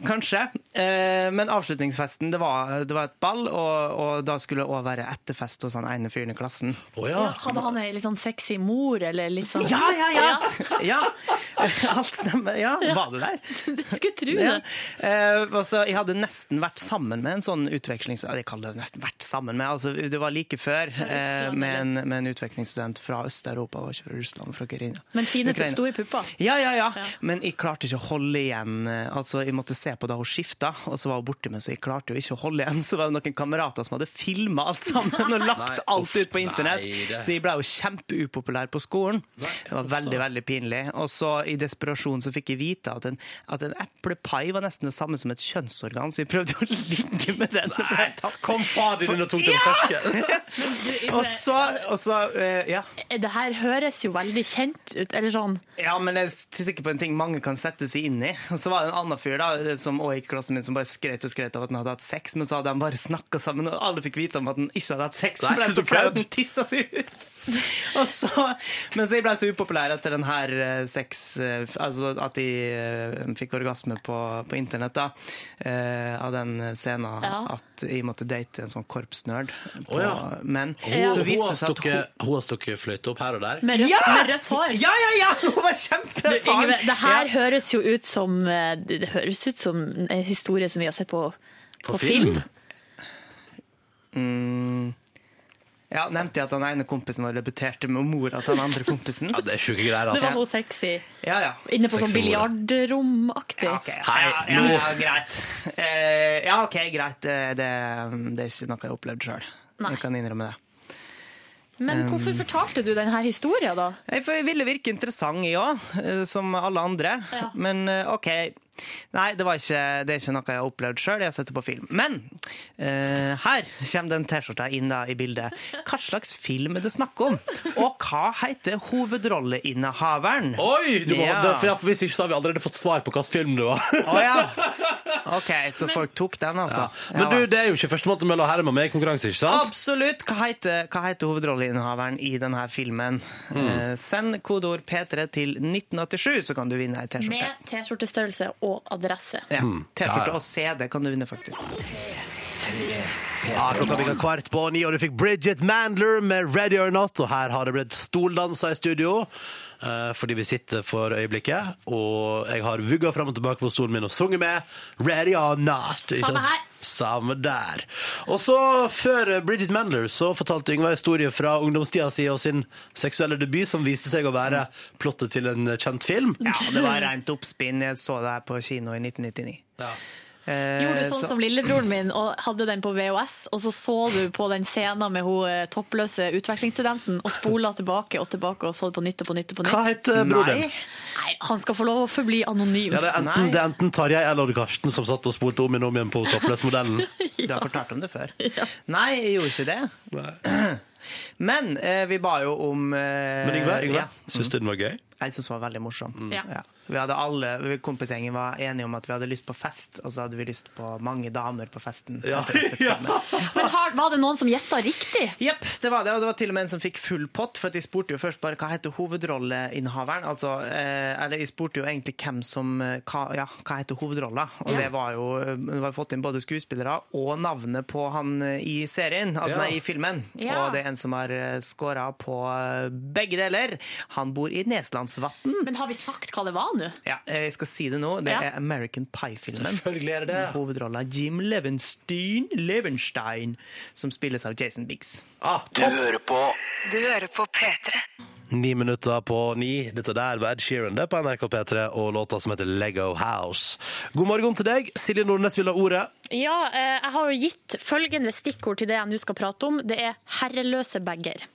Speaker 3: *laughs* Kanskje. Eh, men avslutningsfesten, det var, det var et ball, og, og da skulle det òg være etterfest hos han ene fyren i klassen.
Speaker 4: *laughs* Ja, hadde han ei litt sånn sexy mor, eller litt sånn
Speaker 3: Ja, ja, ja. ja. *laughs* Alt stemmer. Ja, var du der?
Speaker 4: Jeg skulle tro *laughs* det.
Speaker 3: Ja. Eh, og så jeg hadde nesten vært sammen med en sånn utvekslingsstudent Jeg kaller det nesten vært sammen med. Altså, det var like før eh,
Speaker 4: sånn
Speaker 3: med, en, med en utvekslingsstudent fra Øst-Europa, var ikke fra Russland, men fra Ukraina.
Speaker 4: Men fine,
Speaker 3: Ukraina.
Speaker 4: store pupper.
Speaker 3: Ja, ja, ja, Men jeg klarte ikke å holde igjen. Altså, Jeg måtte se på da hun skifta, og så var hun borte med, så jeg klarte jo ikke å holde igjen. *laughs* Så var det noen kamerater som hadde filma alt sammen og lagt
Speaker 2: Nei,
Speaker 3: alt
Speaker 2: uff,
Speaker 3: ut på internett.
Speaker 2: nei, det-
Speaker 3: Så jeg ble jo kjempeupopulær på skolen. Det var veldig, veldig pinlig. Og så i desperasjon så fikk jeg vite at en, at en eplepai var nesten det samme som et kjønnsorgan, så jeg prøvde å ligge med den.
Speaker 2: Kom fader inn og tok den
Speaker 3: *laughs*
Speaker 2: ferske!
Speaker 3: Og så, og så eh, ja.
Speaker 4: Det her høres jo veldig kjent ut, eller sånn.
Speaker 3: Ja, men jeg er sikker på en ting mange kan sette seg inn i. Og så var det en annen fyr da, eh, som også gikk i klassen min, som bare skrøt og skrøt av at han hadde hatt sex, men så hadde han bare snakka sammen, og alle fikk vite om at han ikke hadde hatt sex.
Speaker 2: Nei,
Speaker 3: for
Speaker 2: så
Speaker 3: han
Speaker 2: du
Speaker 3: så flau
Speaker 2: flaut.
Speaker 3: at han tissa seg ut. Og så, men så jeg ble så upopulær etter den her eh, sex eh, Altså at jeg eh, fikk orgasme på, på internett, da. eh, Av den scenen
Speaker 2: Ja.
Speaker 3: at jeg måtte date en sånn korpsnerd. på-
Speaker 2: Å ja.
Speaker 3: Men
Speaker 2: Hun,
Speaker 3: så
Speaker 2: hun, har
Speaker 3: viste det seg at hun
Speaker 2: stukket, hun har stukket fløyte opp her og der.
Speaker 4: Med rødt, med rødt hår.
Speaker 3: Ja, ja, ja! Hun var
Speaker 4: Du,
Speaker 3: kjempefan!
Speaker 4: Yngve, det her
Speaker 3: Ja.
Speaker 4: høres jo ut som eh, Det høres ut som en historie som vi har sett på, på, film.
Speaker 3: Mm. Ja, nevnte jeg at han ene kompisen vår repeterte med mora til den andre kompisen? ja,
Speaker 2: Det er sjuke greier,
Speaker 4: Det var
Speaker 2: altså.
Speaker 4: hun sexy.
Speaker 3: Ja, ja.
Speaker 4: Inne på sånn
Speaker 3: Sexy mora.
Speaker 4: biljardromaktig.
Speaker 3: Hei, ja,
Speaker 2: nå.
Speaker 3: ja, greit. Eh, ja, OK, greit. Eh, Det, det er ikke noe jeg har opplevd sjøl. Jeg kan innrømme det.
Speaker 4: Men hvorfor
Speaker 3: Um.
Speaker 4: fortalte du denne historien, da?
Speaker 3: Jeg for jeg ville virke interessant, jeg òg, som alle andre. Men eh, OK. Nei, det, var ikke, det er ikke noe jeg har opplevd sjøl, jeg har sett det på film. Men eh, her kommer den T-skjorta inn da i bildet. Hva slags film er det snakk om? Og hva heter hovedrolleinnehaveren?
Speaker 2: Oi! Du må,
Speaker 3: Ja.
Speaker 2: det- for, ja, for hvis ikke så har vi allerede fått svar på hvilken film det var. *laughs*
Speaker 3: Å ja. *laughs* OK, så folk tok den, altså.
Speaker 2: Men du, det er jo ikke førstemann til mølla her med meg i konkurranse, ikke sant?
Speaker 3: Absolutt! Hva heter, hva heter hovedrolleinnehaveren i denne filmen?
Speaker 2: Mm.
Speaker 3: Eh, send kodeord P3 til 1987, så kan du vinne ei T-skjorte.
Speaker 4: Med T-skjortestørrelse og adresse.
Speaker 3: Ja.
Speaker 2: Mm. Ja,
Speaker 3: T-skjorte
Speaker 2: ja.
Speaker 3: og CD kan du vinne,
Speaker 2: *laughs*
Speaker 3: faktisk.
Speaker 2: Ja, klokka bikka kvart på ni, og du fikk Bridget Mandler med Ready or Not. Og her har det blitt stoldanser i studio, eh, fordi vi sitter for øyeblikket. Og jeg har vugga fram og tilbake på stolen min og sunget med Ready or Not. ikke sant?
Speaker 17: her.
Speaker 2: Samme der. Og så, før Bridget Mandler, så fortalte Yngvar historie fra ungdomstida si og sin seksuelle debut, som viste seg å være plottet til en kjent film.
Speaker 3: Ja, det var rent oppspinn. Jeg så det her på kino i 1999. Eh,
Speaker 4: Gjorde du sånn
Speaker 3: så-
Speaker 4: som lillebroren min og hadde den på VHS, og så så du på den scenen med hun eh, toppløse utvekslingsstudenten og spola tilbake og tilbake og så det på nytt og på nytt og på nytt?
Speaker 2: Hva het, eh, broren din?
Speaker 4: Nei. Nei, han skal få lov å forbli anonym.
Speaker 2: Ja, det, er enten, det er enten Tarjei eller Odd Karsten som satt og spolte om igjen og om igjen på
Speaker 4: *laughs*
Speaker 2: toppløsmodellen.
Speaker 3: Du har fortalt om det før. Nei, jeg gjorde ikke det. Men eh, vi ba jo om eh,
Speaker 2: Men Yngve, Yngve
Speaker 3: ja.
Speaker 2: syns du den var gøy?
Speaker 3: Jeg syntes det var veldig morsom.
Speaker 2: Ja.
Speaker 3: Ja. Vi hadde alle, vi- Kompisgjengen var enige om at vi hadde lyst på fest, og så hadde vi lyst på mange damer på festen.
Speaker 2: *laughs* Ja.
Speaker 3: etter å ha sett filmen.
Speaker 4: Men har, var det noen som gjetta riktig?
Speaker 3: Jepp, det var det. Og det var til og med en som fikk full pott, for at jeg spurte jo først bare hva heter hovedrolleinnehaveren. Altså, eh, eller jeg spurte jo egentlig hvem som eh, hva, Ja, hva heter hovedrolla? Og
Speaker 17: Ja.
Speaker 3: det var jo eh, Det var fått inn både skuespillere og navnet på han eh, i serien, altså
Speaker 17: Ja.
Speaker 3: nei, i filmen.
Speaker 4: Ja.
Speaker 3: Og det er en som har scora på eh, begge deler. Han bor i Neslandsvatn.
Speaker 4: Men har vi sagt hva det var nå?
Speaker 3: Ja, eh, jeg skal si det nå. Det
Speaker 4: Ja.
Speaker 3: er American Pie-filmen.
Speaker 2: Selvfølgelig er det det.
Speaker 3: Hovedrolla Jim Levenstein, Levenstein, som spilles av Jason Biggs.
Speaker 2: Du hører på
Speaker 18: Du hører på P3.
Speaker 2: Ni minutter på ni. Dette der var Ed Sheeran det er på NRK P3 og låta som heter Lego House. God morgen til deg. Silje Nordnes vil ha ordet.
Speaker 4: Ja, eh, jeg har jo gitt følgende stikkord til det jeg nå skal prate om. Det er herreløse bager.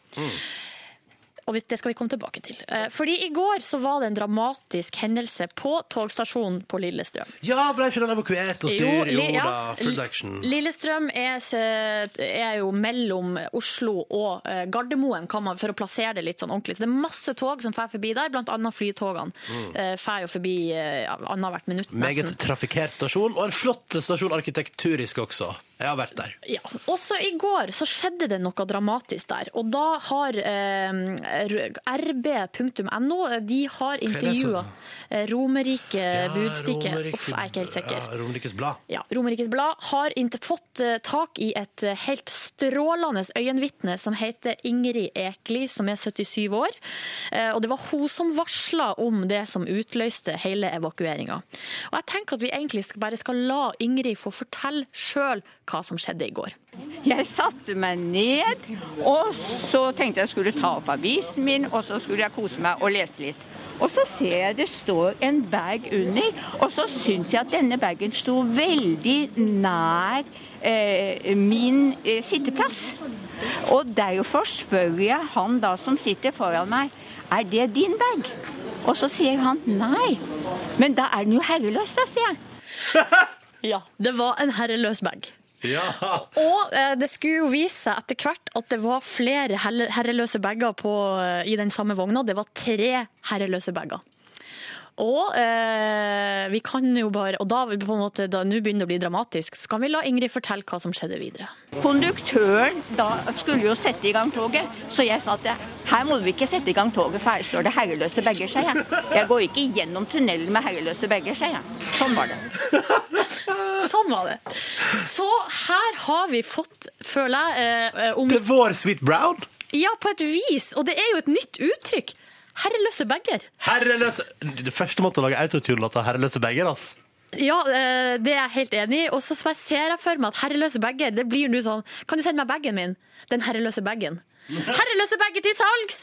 Speaker 4: Og vi- det skal vi komme tilbake til. Eh, Fordi i går så var det en dramatisk hendelse på togstasjonen på Lillestrøm.
Speaker 2: Ja, ble ikke den evakuert og styr? Jo,
Speaker 4: li- ja.
Speaker 2: da, full action.
Speaker 4: Lillestrøm er, s- er jo mellom Oslo og eh, Gardermoen, kan man, for å plassere det litt sånn ordentlig. Så det er masse tog som fær forbi der, blant annet flytogene.
Speaker 2: Mm.
Speaker 4: Eh, Fær jo forbi eh, ja, annethvert minutt,
Speaker 2: Meget
Speaker 4: nesten.
Speaker 2: trafikkert stasjon, og en flott stasjon arkitekturisk også. Jeg har vært der.
Speaker 4: Ja. Også i går så skjedde det noe dramatisk der. Og da har eh, rb.no eh, de har
Speaker 2: er det
Speaker 4: intervjua
Speaker 2: sånn?
Speaker 4: Romerike Eh, Budstikke.
Speaker 2: Romerike-
Speaker 4: Uff, jeg er ikke helt sikker.
Speaker 2: Ja, Romerikes Blad.
Speaker 4: Ja, Romerikes Blad har inte fått eh, tak i et eh, helt strålende øyenvitne som heter Ingrid Ekli, som er 77 år. Eh, Og det var hun som varsla om det som utløste hele evakueringa. Og jeg tenker at vi egentlig skal- bare skal la Ingrid få fortelle sjøl hva som skjedde i går.
Speaker 19: Jeg satte meg ned, og så tenkte jeg skulle ta opp avisen min, og så skulle jeg kose meg og lese litt. Og så ser jeg det står en bag under, og så syns jeg at denne bagen sto veldig nær eh, min eh, sitteplass. Og derfor spør jeg han da som sitter foran meg, er det din bag? Og så sier han nei. Men da er den jo herreløs, da, sier jeg.
Speaker 4: Ja, det var en herreløs bag.
Speaker 2: *laughs* Ja!
Speaker 4: Og eh, det skulle jo vise seg etter hvert at det var flere herre- herreløse bager på, eh, i den samme vogna. Det var tre herreløse bager. Og eh, vi kan jo bare, og da vi på en måte, da nå begynner det å bli dramatisk, så kan vi la Ingrid fortelle hva som skjedde videre.
Speaker 19: Konduktøren da skulle jo sette i gang toget, så jeg sa at her må vi ikke sette i gang toget, for her står det herreløse bager, sa jeg. Jeg går ikke gjennom tunnelen med herreløse bager, sa jeg. Sånn var det.
Speaker 4: Sånn var det. Så her har vi fått, føler jeg, eh, om
Speaker 2: Det er vår Sweet Brown.
Speaker 4: Ja, på et vis, og det er jo et nytt uttrykk. Herreløse bager.
Speaker 2: Herreløse Det første måtte lage autotune at det er herreløse bager, ass.
Speaker 4: Ja, eh, det er jeg helt enig i. Og så bare ser jeg for meg at herreløse bager, det blir nå sånn Kan du sende meg bagen min? Den herreløse bagen. Herreløse bager til salgs!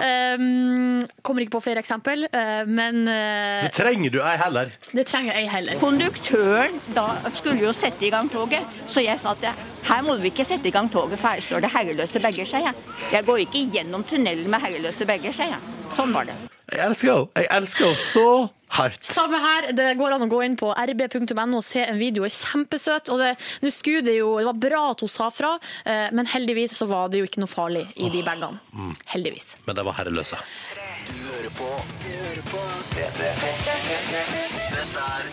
Speaker 4: Um, kommer ikke på flere eksempel, eh, men eh,
Speaker 2: Det trenger du ei heller.
Speaker 4: det trenger jeg heller.
Speaker 19: Konduktøren da skulle jo sette i gang toget, så jeg sa at her må vi ikke sette i gang toget, for her står det herreløse bager, sa jeg. Jeg går ikke gjennom tunnelen med herreløse bager, sa jeg. Sånn var det.
Speaker 2: Jeg elsker henne. Jeg elsker henne så hardt.
Speaker 4: Samme her, det går an å gå inn på rb.no og se en video, er kjempesøt. Og det, nå skulle det jo, det var bra at hun sa fra, eh, men heldigvis så var det jo ikke noe farlig i de bagene. Mm. Heldigvis.
Speaker 2: Men de var herreløse.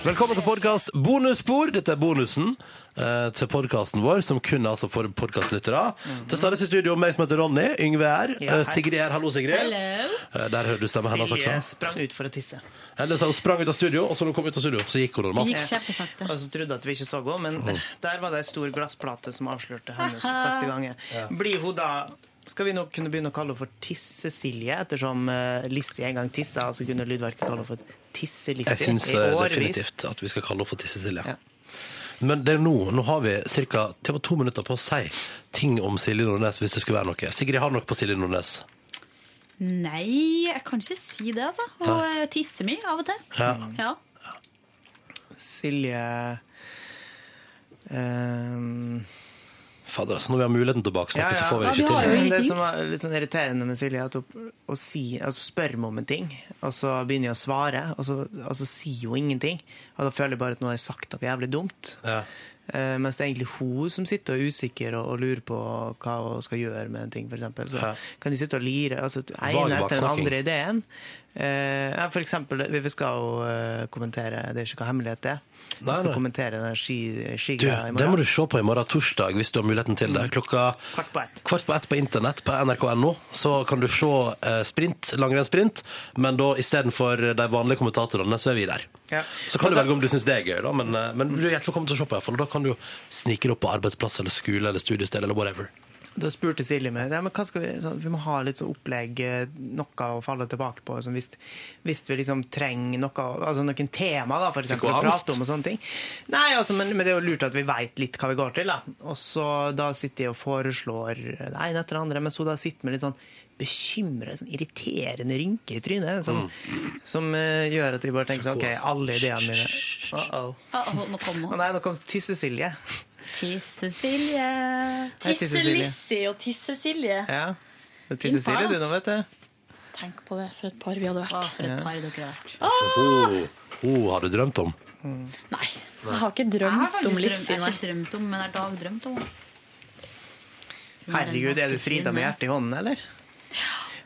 Speaker 2: Velkommen til podkast Bonusspor. Dette er bonusen eh, til podkasten vår, som kun er altså for podkastlyttere. Til stadighet i studio meg som heter Ronny. Yngve er her.
Speaker 3: Mm. Ja,
Speaker 2: Eh,
Speaker 3: hei.
Speaker 2: Sigrid er her. Hallo, Sigrid. Eh, der hører du stemmen hennes
Speaker 3: Silje
Speaker 2: også.
Speaker 3: sprang ut for å tisse.
Speaker 2: Eller så hun sprang ut av studio, og så når hun kom ut av studio, så gikk hun normalt.
Speaker 3: Og så trodde jeg at vi ikke så henne, men der var det ei stor glassplate som avslørte hennes sakte gange.
Speaker 2: Ja.
Speaker 3: Blir hun da skal vi nå kunne begynne å kalle henne for Tisse-Silje, ettersom eh, Lissi en gang tissa, og så kunne lydverket kalle henne for Tisse-Lissi
Speaker 2: Jeg syns
Speaker 3: i
Speaker 2: eh,
Speaker 3: årevis.
Speaker 2: definitivt at vi skal kalle henne for Tisse-Silje. Men det er nå, nå har vi ca. to minutter på å si ting om Silje Nordnes hvis det skulle være noe. Sigrid har noe på Silje Nordnes.
Speaker 20: Nei, jeg kan ikke si det, altså. Hun eh, tisser mye av og til.
Speaker 2: Ja.
Speaker 20: Ja.
Speaker 3: Silje Um,
Speaker 2: Fader, altså, når vi har muligheten til å baksnakke, så får vi det
Speaker 3: Ja,
Speaker 2: ikke til.
Speaker 3: men Det som var litt sånn irriterende med Silje, er at hun hun sier- altså, spør meg om en ting, og så begynner jeg å svare, og så, og så sier hun ingenting. Og da føler jeg bare at nå har jeg sagt noe jævlig dumt. Eh, mens det er egentlig hun som sitter og er usikker og, og lurer på hva hun skal gjøre med en ting, for eksempel. Så kan de sitte og lire. Altså,
Speaker 2: Vag
Speaker 3: ene etter den
Speaker 2: baksnakking.
Speaker 3: andre ideen. Eh, ja, for eksempel, vi skal jo eh, kommentere, det er ikke hva hemmelighet det er. Vi
Speaker 2: Nei,
Speaker 3: skal
Speaker 2: nei.
Speaker 3: kommentere den ski-
Speaker 2: Du,
Speaker 3: skigreia i
Speaker 2: det må
Speaker 3: morgen. Mm.
Speaker 2: du se på i morgen torsdag, hvis du har muligheten til det. Klokka
Speaker 3: Kvart på ett.
Speaker 2: Kvart på ett på internett på nrk.no så kan du se eh, sprint, langrennssprint, men da istedenfor de vanlige kommentatorene, så er vi der.
Speaker 3: Ja.
Speaker 2: Så kan
Speaker 3: Og
Speaker 2: du
Speaker 3: da-
Speaker 2: velge om du syns det er gøy, da, men, eh, men du er hjertelig velkommen til å se på. i hvert fall. Da kan du jo snike deg opp på arbeidsplass eller skole eller studiested eller whatever.
Speaker 3: Da spurte Silje meg ja, men hva skal vi, sånn, vi må ha litt sånn opplegg, eh, noe å falle tilbake på. Sånn, hvis, hvis vi liksom trenger noe, altså noen tema da, for eksempel, å
Speaker 21: angst.
Speaker 3: prate om og sånne ting. Nei, altså, men, men det er jo lurt at vi veit litt hva vi går til. Da. Og så da sitter jeg og foreslår det ene etter det andre, mens hun da sitter med litt sånn bekymra, sånn irriterende rynke i trynet, som, som eh, gjør at vi bare tenker sånn OK, alle ideene mine Uh-oh.
Speaker 10: Å, å, nå kom
Speaker 3: Å
Speaker 10: hun.
Speaker 3: nei, nå kom Tisse-Silje.
Speaker 4: Tisse-Silje.
Speaker 3: Hei, Tisse-Silje.
Speaker 4: Tisse-Lissi og Tisse-Silje.
Speaker 3: Ja. Det er Tisse-Silje du nå, vet du.
Speaker 4: Tenk på det, for et par vi hadde vært.
Speaker 3: for et Ja. par
Speaker 4: dere hadde vært.
Speaker 2: Så hun, hun har du drømt om.
Speaker 4: Jeg har ikke
Speaker 10: Jeg har
Speaker 4: drømt om
Speaker 10: faktisk drømt,
Speaker 4: Lissi,
Speaker 10: jeg har
Speaker 4: nei.
Speaker 10: ikke drømt om, men jeg har dagdrømt om henne.
Speaker 3: Herregud, er du Frida med
Speaker 10: Nei.
Speaker 3: hjertet i hånden, eller?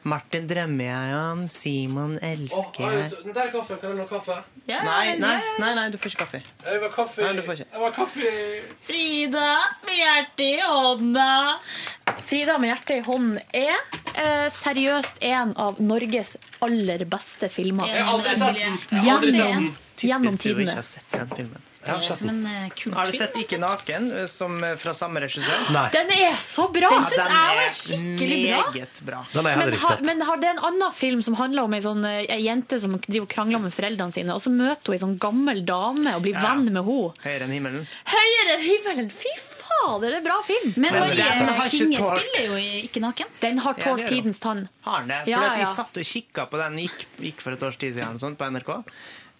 Speaker 3: Martin drømmer jeg om, Simon elsker jeg
Speaker 2: Den der kaffen, kan du ha kaffe?
Speaker 3: Nei, nei, nei, nei, du får ikke kaffe.
Speaker 2: Jeg vil ha kaffe.
Speaker 3: Nei, du får ikke.
Speaker 2: Jeg vil ha kaffe.
Speaker 4: Frida med hjertet i hånda. Frida med hjertet i hånden er eh, seriøst en av Norges aller beste filmer.
Speaker 10: Jeg har aldri
Speaker 3: sånn-
Speaker 10: sett den. Jeg har aldri sett den.
Speaker 4: Gjennom, gjennom
Speaker 3: Hvis du ikke
Speaker 4: tidene.
Speaker 3: har sett den filmen.
Speaker 10: Det er som en eh, kultfilm.
Speaker 3: sånn- Har du sett Ikke naken, eh, som eh, fra samme regissør?
Speaker 2: Nei.
Speaker 4: Den er så bra!
Speaker 10: Den synes jeg var skikkelig bra.
Speaker 3: Meget bra.
Speaker 2: Den har jeg
Speaker 4: Men,
Speaker 2: heller ikke
Speaker 4: har-
Speaker 2: sett.
Speaker 4: men har det en annen film som handler om ei sånn, eh, ei jente som driver og krangler med foreldrene sine, og så møter hun ei sånn gammel dame og blir
Speaker 3: Ja.
Speaker 4: venn med henne?
Speaker 3: Høyere enn himmelen.
Speaker 4: Høyere enn himmelen! Fy fader, det er en bra film!
Speaker 10: Men
Speaker 3: Men det er- sånn-
Speaker 10: Marie
Speaker 3: den har ikke
Speaker 10: Kinge
Speaker 3: tålt-
Speaker 10: spiller jo i Ikke naken.
Speaker 4: Den har
Speaker 3: Ja,
Speaker 4: tålt
Speaker 3: det gjør den.
Speaker 4: tidens tann.
Speaker 3: Har den det? For
Speaker 4: Ja,
Speaker 3: at jeg
Speaker 4: ja.
Speaker 3: satt og kikka på den, gikk, gikk for et års tid siden sånn, på NRK,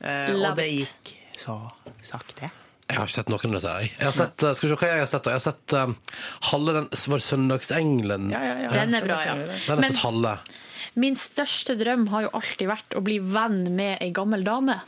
Speaker 3: eh,
Speaker 4: Love
Speaker 3: og det
Speaker 4: it.
Speaker 3: gikk så sakte.
Speaker 2: Jeg har ikke sett noen av disse. her, Jeg. Jeg har sett, eh, skal vi se hva jeg har sett. da? Jeg har sett um, halve den Var det Søndagsengelen?
Speaker 4: ja. Den er bra, ja.
Speaker 2: Den har jeg sett halve.
Speaker 4: Min største drøm har jo alltid vært å bli venn med ei gammel dame.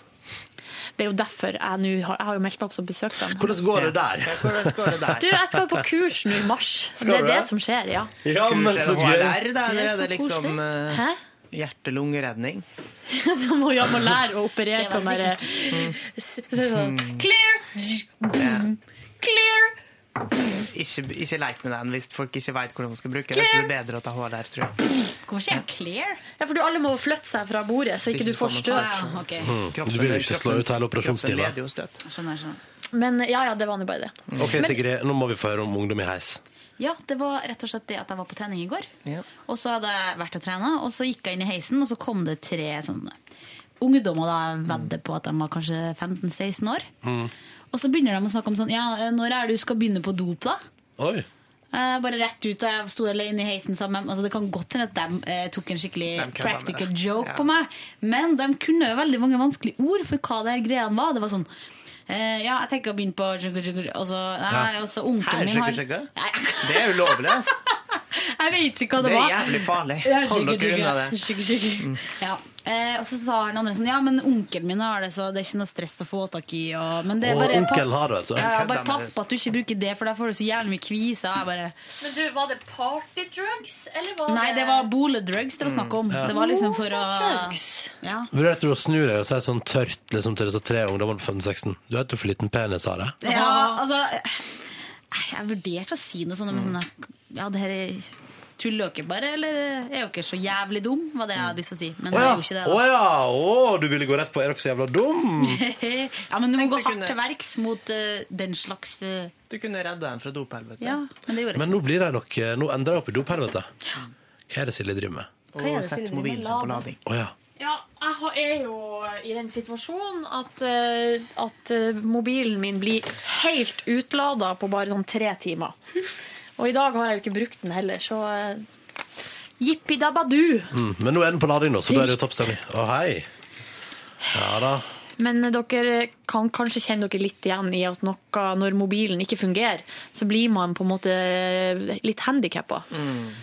Speaker 4: Det er jo derfor jeg nå har, jeg har jo meldt meg opp som besøksvenn.
Speaker 2: Hvordan går det der?
Speaker 3: Hvordan går det der?
Speaker 4: Du, jeg skal på kurs nå i mars. Så
Speaker 2: Skal
Speaker 4: det er
Speaker 2: du
Speaker 4: det
Speaker 2: det?
Speaker 4: som skjer, ja.
Speaker 2: Ja, men så
Speaker 3: gøy.
Speaker 2: gøy.
Speaker 3: Der, da,
Speaker 4: Det
Speaker 3: eller
Speaker 4: er
Speaker 3: er
Speaker 4: så
Speaker 3: det liksom eh,
Speaker 4: Hæ?
Speaker 3: hjerte-lungeredning?
Speaker 4: *laughs* Så må jeg må lære å operere
Speaker 10: Det var
Speaker 4: sånn derre Så- sånn, Clear! Clear!
Speaker 3: Ikke, ikke lek med den hvis folk ikke veit hvordan man skal bruke det. Så det er bedre å ta HLR, tror jeg.
Speaker 10: Hvorfor sier jeg clear?
Speaker 4: Ja, for du, alle må flytte seg fra bordet, så ikke du får støt.
Speaker 10: Ja, ok.
Speaker 2: Mm. Du vil jo ikke slå ut hele operasjonstida.
Speaker 3: Kroppen leder jo støt.
Speaker 10: Skjønner, skjønner.
Speaker 4: Men ja, ja, det var nå bare det.
Speaker 2: OK, Sigrid, nå må vi få høre om ungdom i heis.
Speaker 10: Ja, det var rett og slett det at jeg var på trening i går.
Speaker 3: Ja.
Speaker 10: Og så hadde jeg vært og trena, og så gikk jeg inn i heisen, og så kom det tre sånne ungdommer. da Jeg vedder på at de var kanskje 15-16 år.
Speaker 3: Mm.
Speaker 10: Og så begynner de å snakke om sånn Ja, eh, når er det du skal begynne på dop, da?
Speaker 2: Oi.
Speaker 10: Eh, bare rett ut, og jeg sto alene i heisen sammen. Altså, det kan godt hende at de eh, tok en skikkelig
Speaker 3: De kødda med
Speaker 10: practical
Speaker 3: det.
Speaker 10: joke
Speaker 3: Ja.
Speaker 10: på meg, men de kunne jo veldig mange vanskelige ord for hva det her greiene var. Det var sånn eh, Ja, jeg tenker å begynne på sugar, sugar, og så Nei,
Speaker 3: Ja.
Speaker 10: og så onkelen
Speaker 3: Her,
Speaker 10: min
Speaker 3: sjekke,
Speaker 10: har
Speaker 3: sjekke. Det er ulovlig, altså.
Speaker 10: Jeg vet ikke hva
Speaker 3: Det
Speaker 10: det
Speaker 3: er
Speaker 10: var.
Speaker 3: jævlig farlig.
Speaker 10: Ja,
Speaker 3: Hold
Speaker 10: sugar,
Speaker 3: dere unna
Speaker 10: sugar.
Speaker 3: det. Mm.
Speaker 10: Sugar, sugar. Ja. Eh, og så sa han andre sånn Ja, men onkelen min har det, så det er ikke noe stress å få tak i. Og, men det er
Speaker 2: Å,
Speaker 10: bare
Speaker 2: onkelen har det, altså. vet du.
Speaker 10: ja, ja,
Speaker 2: Kødda med
Speaker 10: bare pass
Speaker 2: det.
Speaker 10: på at du ikke bruker det, for da får du så jævlig mye kviser. Jeg bare
Speaker 4: Men du, var det partydrugs, eller var
Speaker 10: Nei, det var boledrugs det var snakk om.
Speaker 2: Mm, Ja.
Speaker 10: Det var liksom for å
Speaker 4: Boledrugs?
Speaker 10: ja.
Speaker 2: Vurderte du å snu deg og si sånn tørt liksom, til disse tre ungdommene på 15-16? Du vet jo for liten penis, har jeg.
Speaker 10: ja, altså eh, Jeg vurderte å si noe sånt, men sånn at, Ja, det her er tuller dere bare, eller er dere så jævlig dum? Var det jeg hadde lyst til å si.
Speaker 2: Å
Speaker 10: Men jeg
Speaker 2: ja.
Speaker 10: gjorde ikke det.
Speaker 2: Å
Speaker 10: da.
Speaker 2: ja. Å, du ville gå rett på Er dere så jævla dum?
Speaker 10: *laughs* ja, men du må gå hardt til verks mot eh, den slags eh,
Speaker 3: Du kunne redda dem fra dophelvete.
Speaker 10: Ja, men det gjorde
Speaker 2: *laughs*
Speaker 10: jeg
Speaker 2: Men nå blir de nok eh, Nå endrer de opp i dophelvete. Hva er det Silje driver med?
Speaker 4: Hva er
Speaker 3: Og
Speaker 4: det
Speaker 3: sett
Speaker 4: Silje
Speaker 3: mobilen
Speaker 4: driver
Speaker 3: sin på
Speaker 4: med?
Speaker 3: lading.
Speaker 2: Å ja.
Speaker 4: Ja, jeg har- er jo i den situasjonen at, eh, at eh, mobilen min blir helt utlada på bare sånn tre timer. Og i dag har jeg jo ikke brukt den heller, så eh, jippi dabba du!
Speaker 2: Mm. Men nå er den på lading, da, så da er det jo toppstemning. Å, hei. Ja da.
Speaker 4: Men dere kan kanskje kjenne dere litt igjen i at noe, når mobilen ikke fungerer, så blir man på en måte litt handikappa.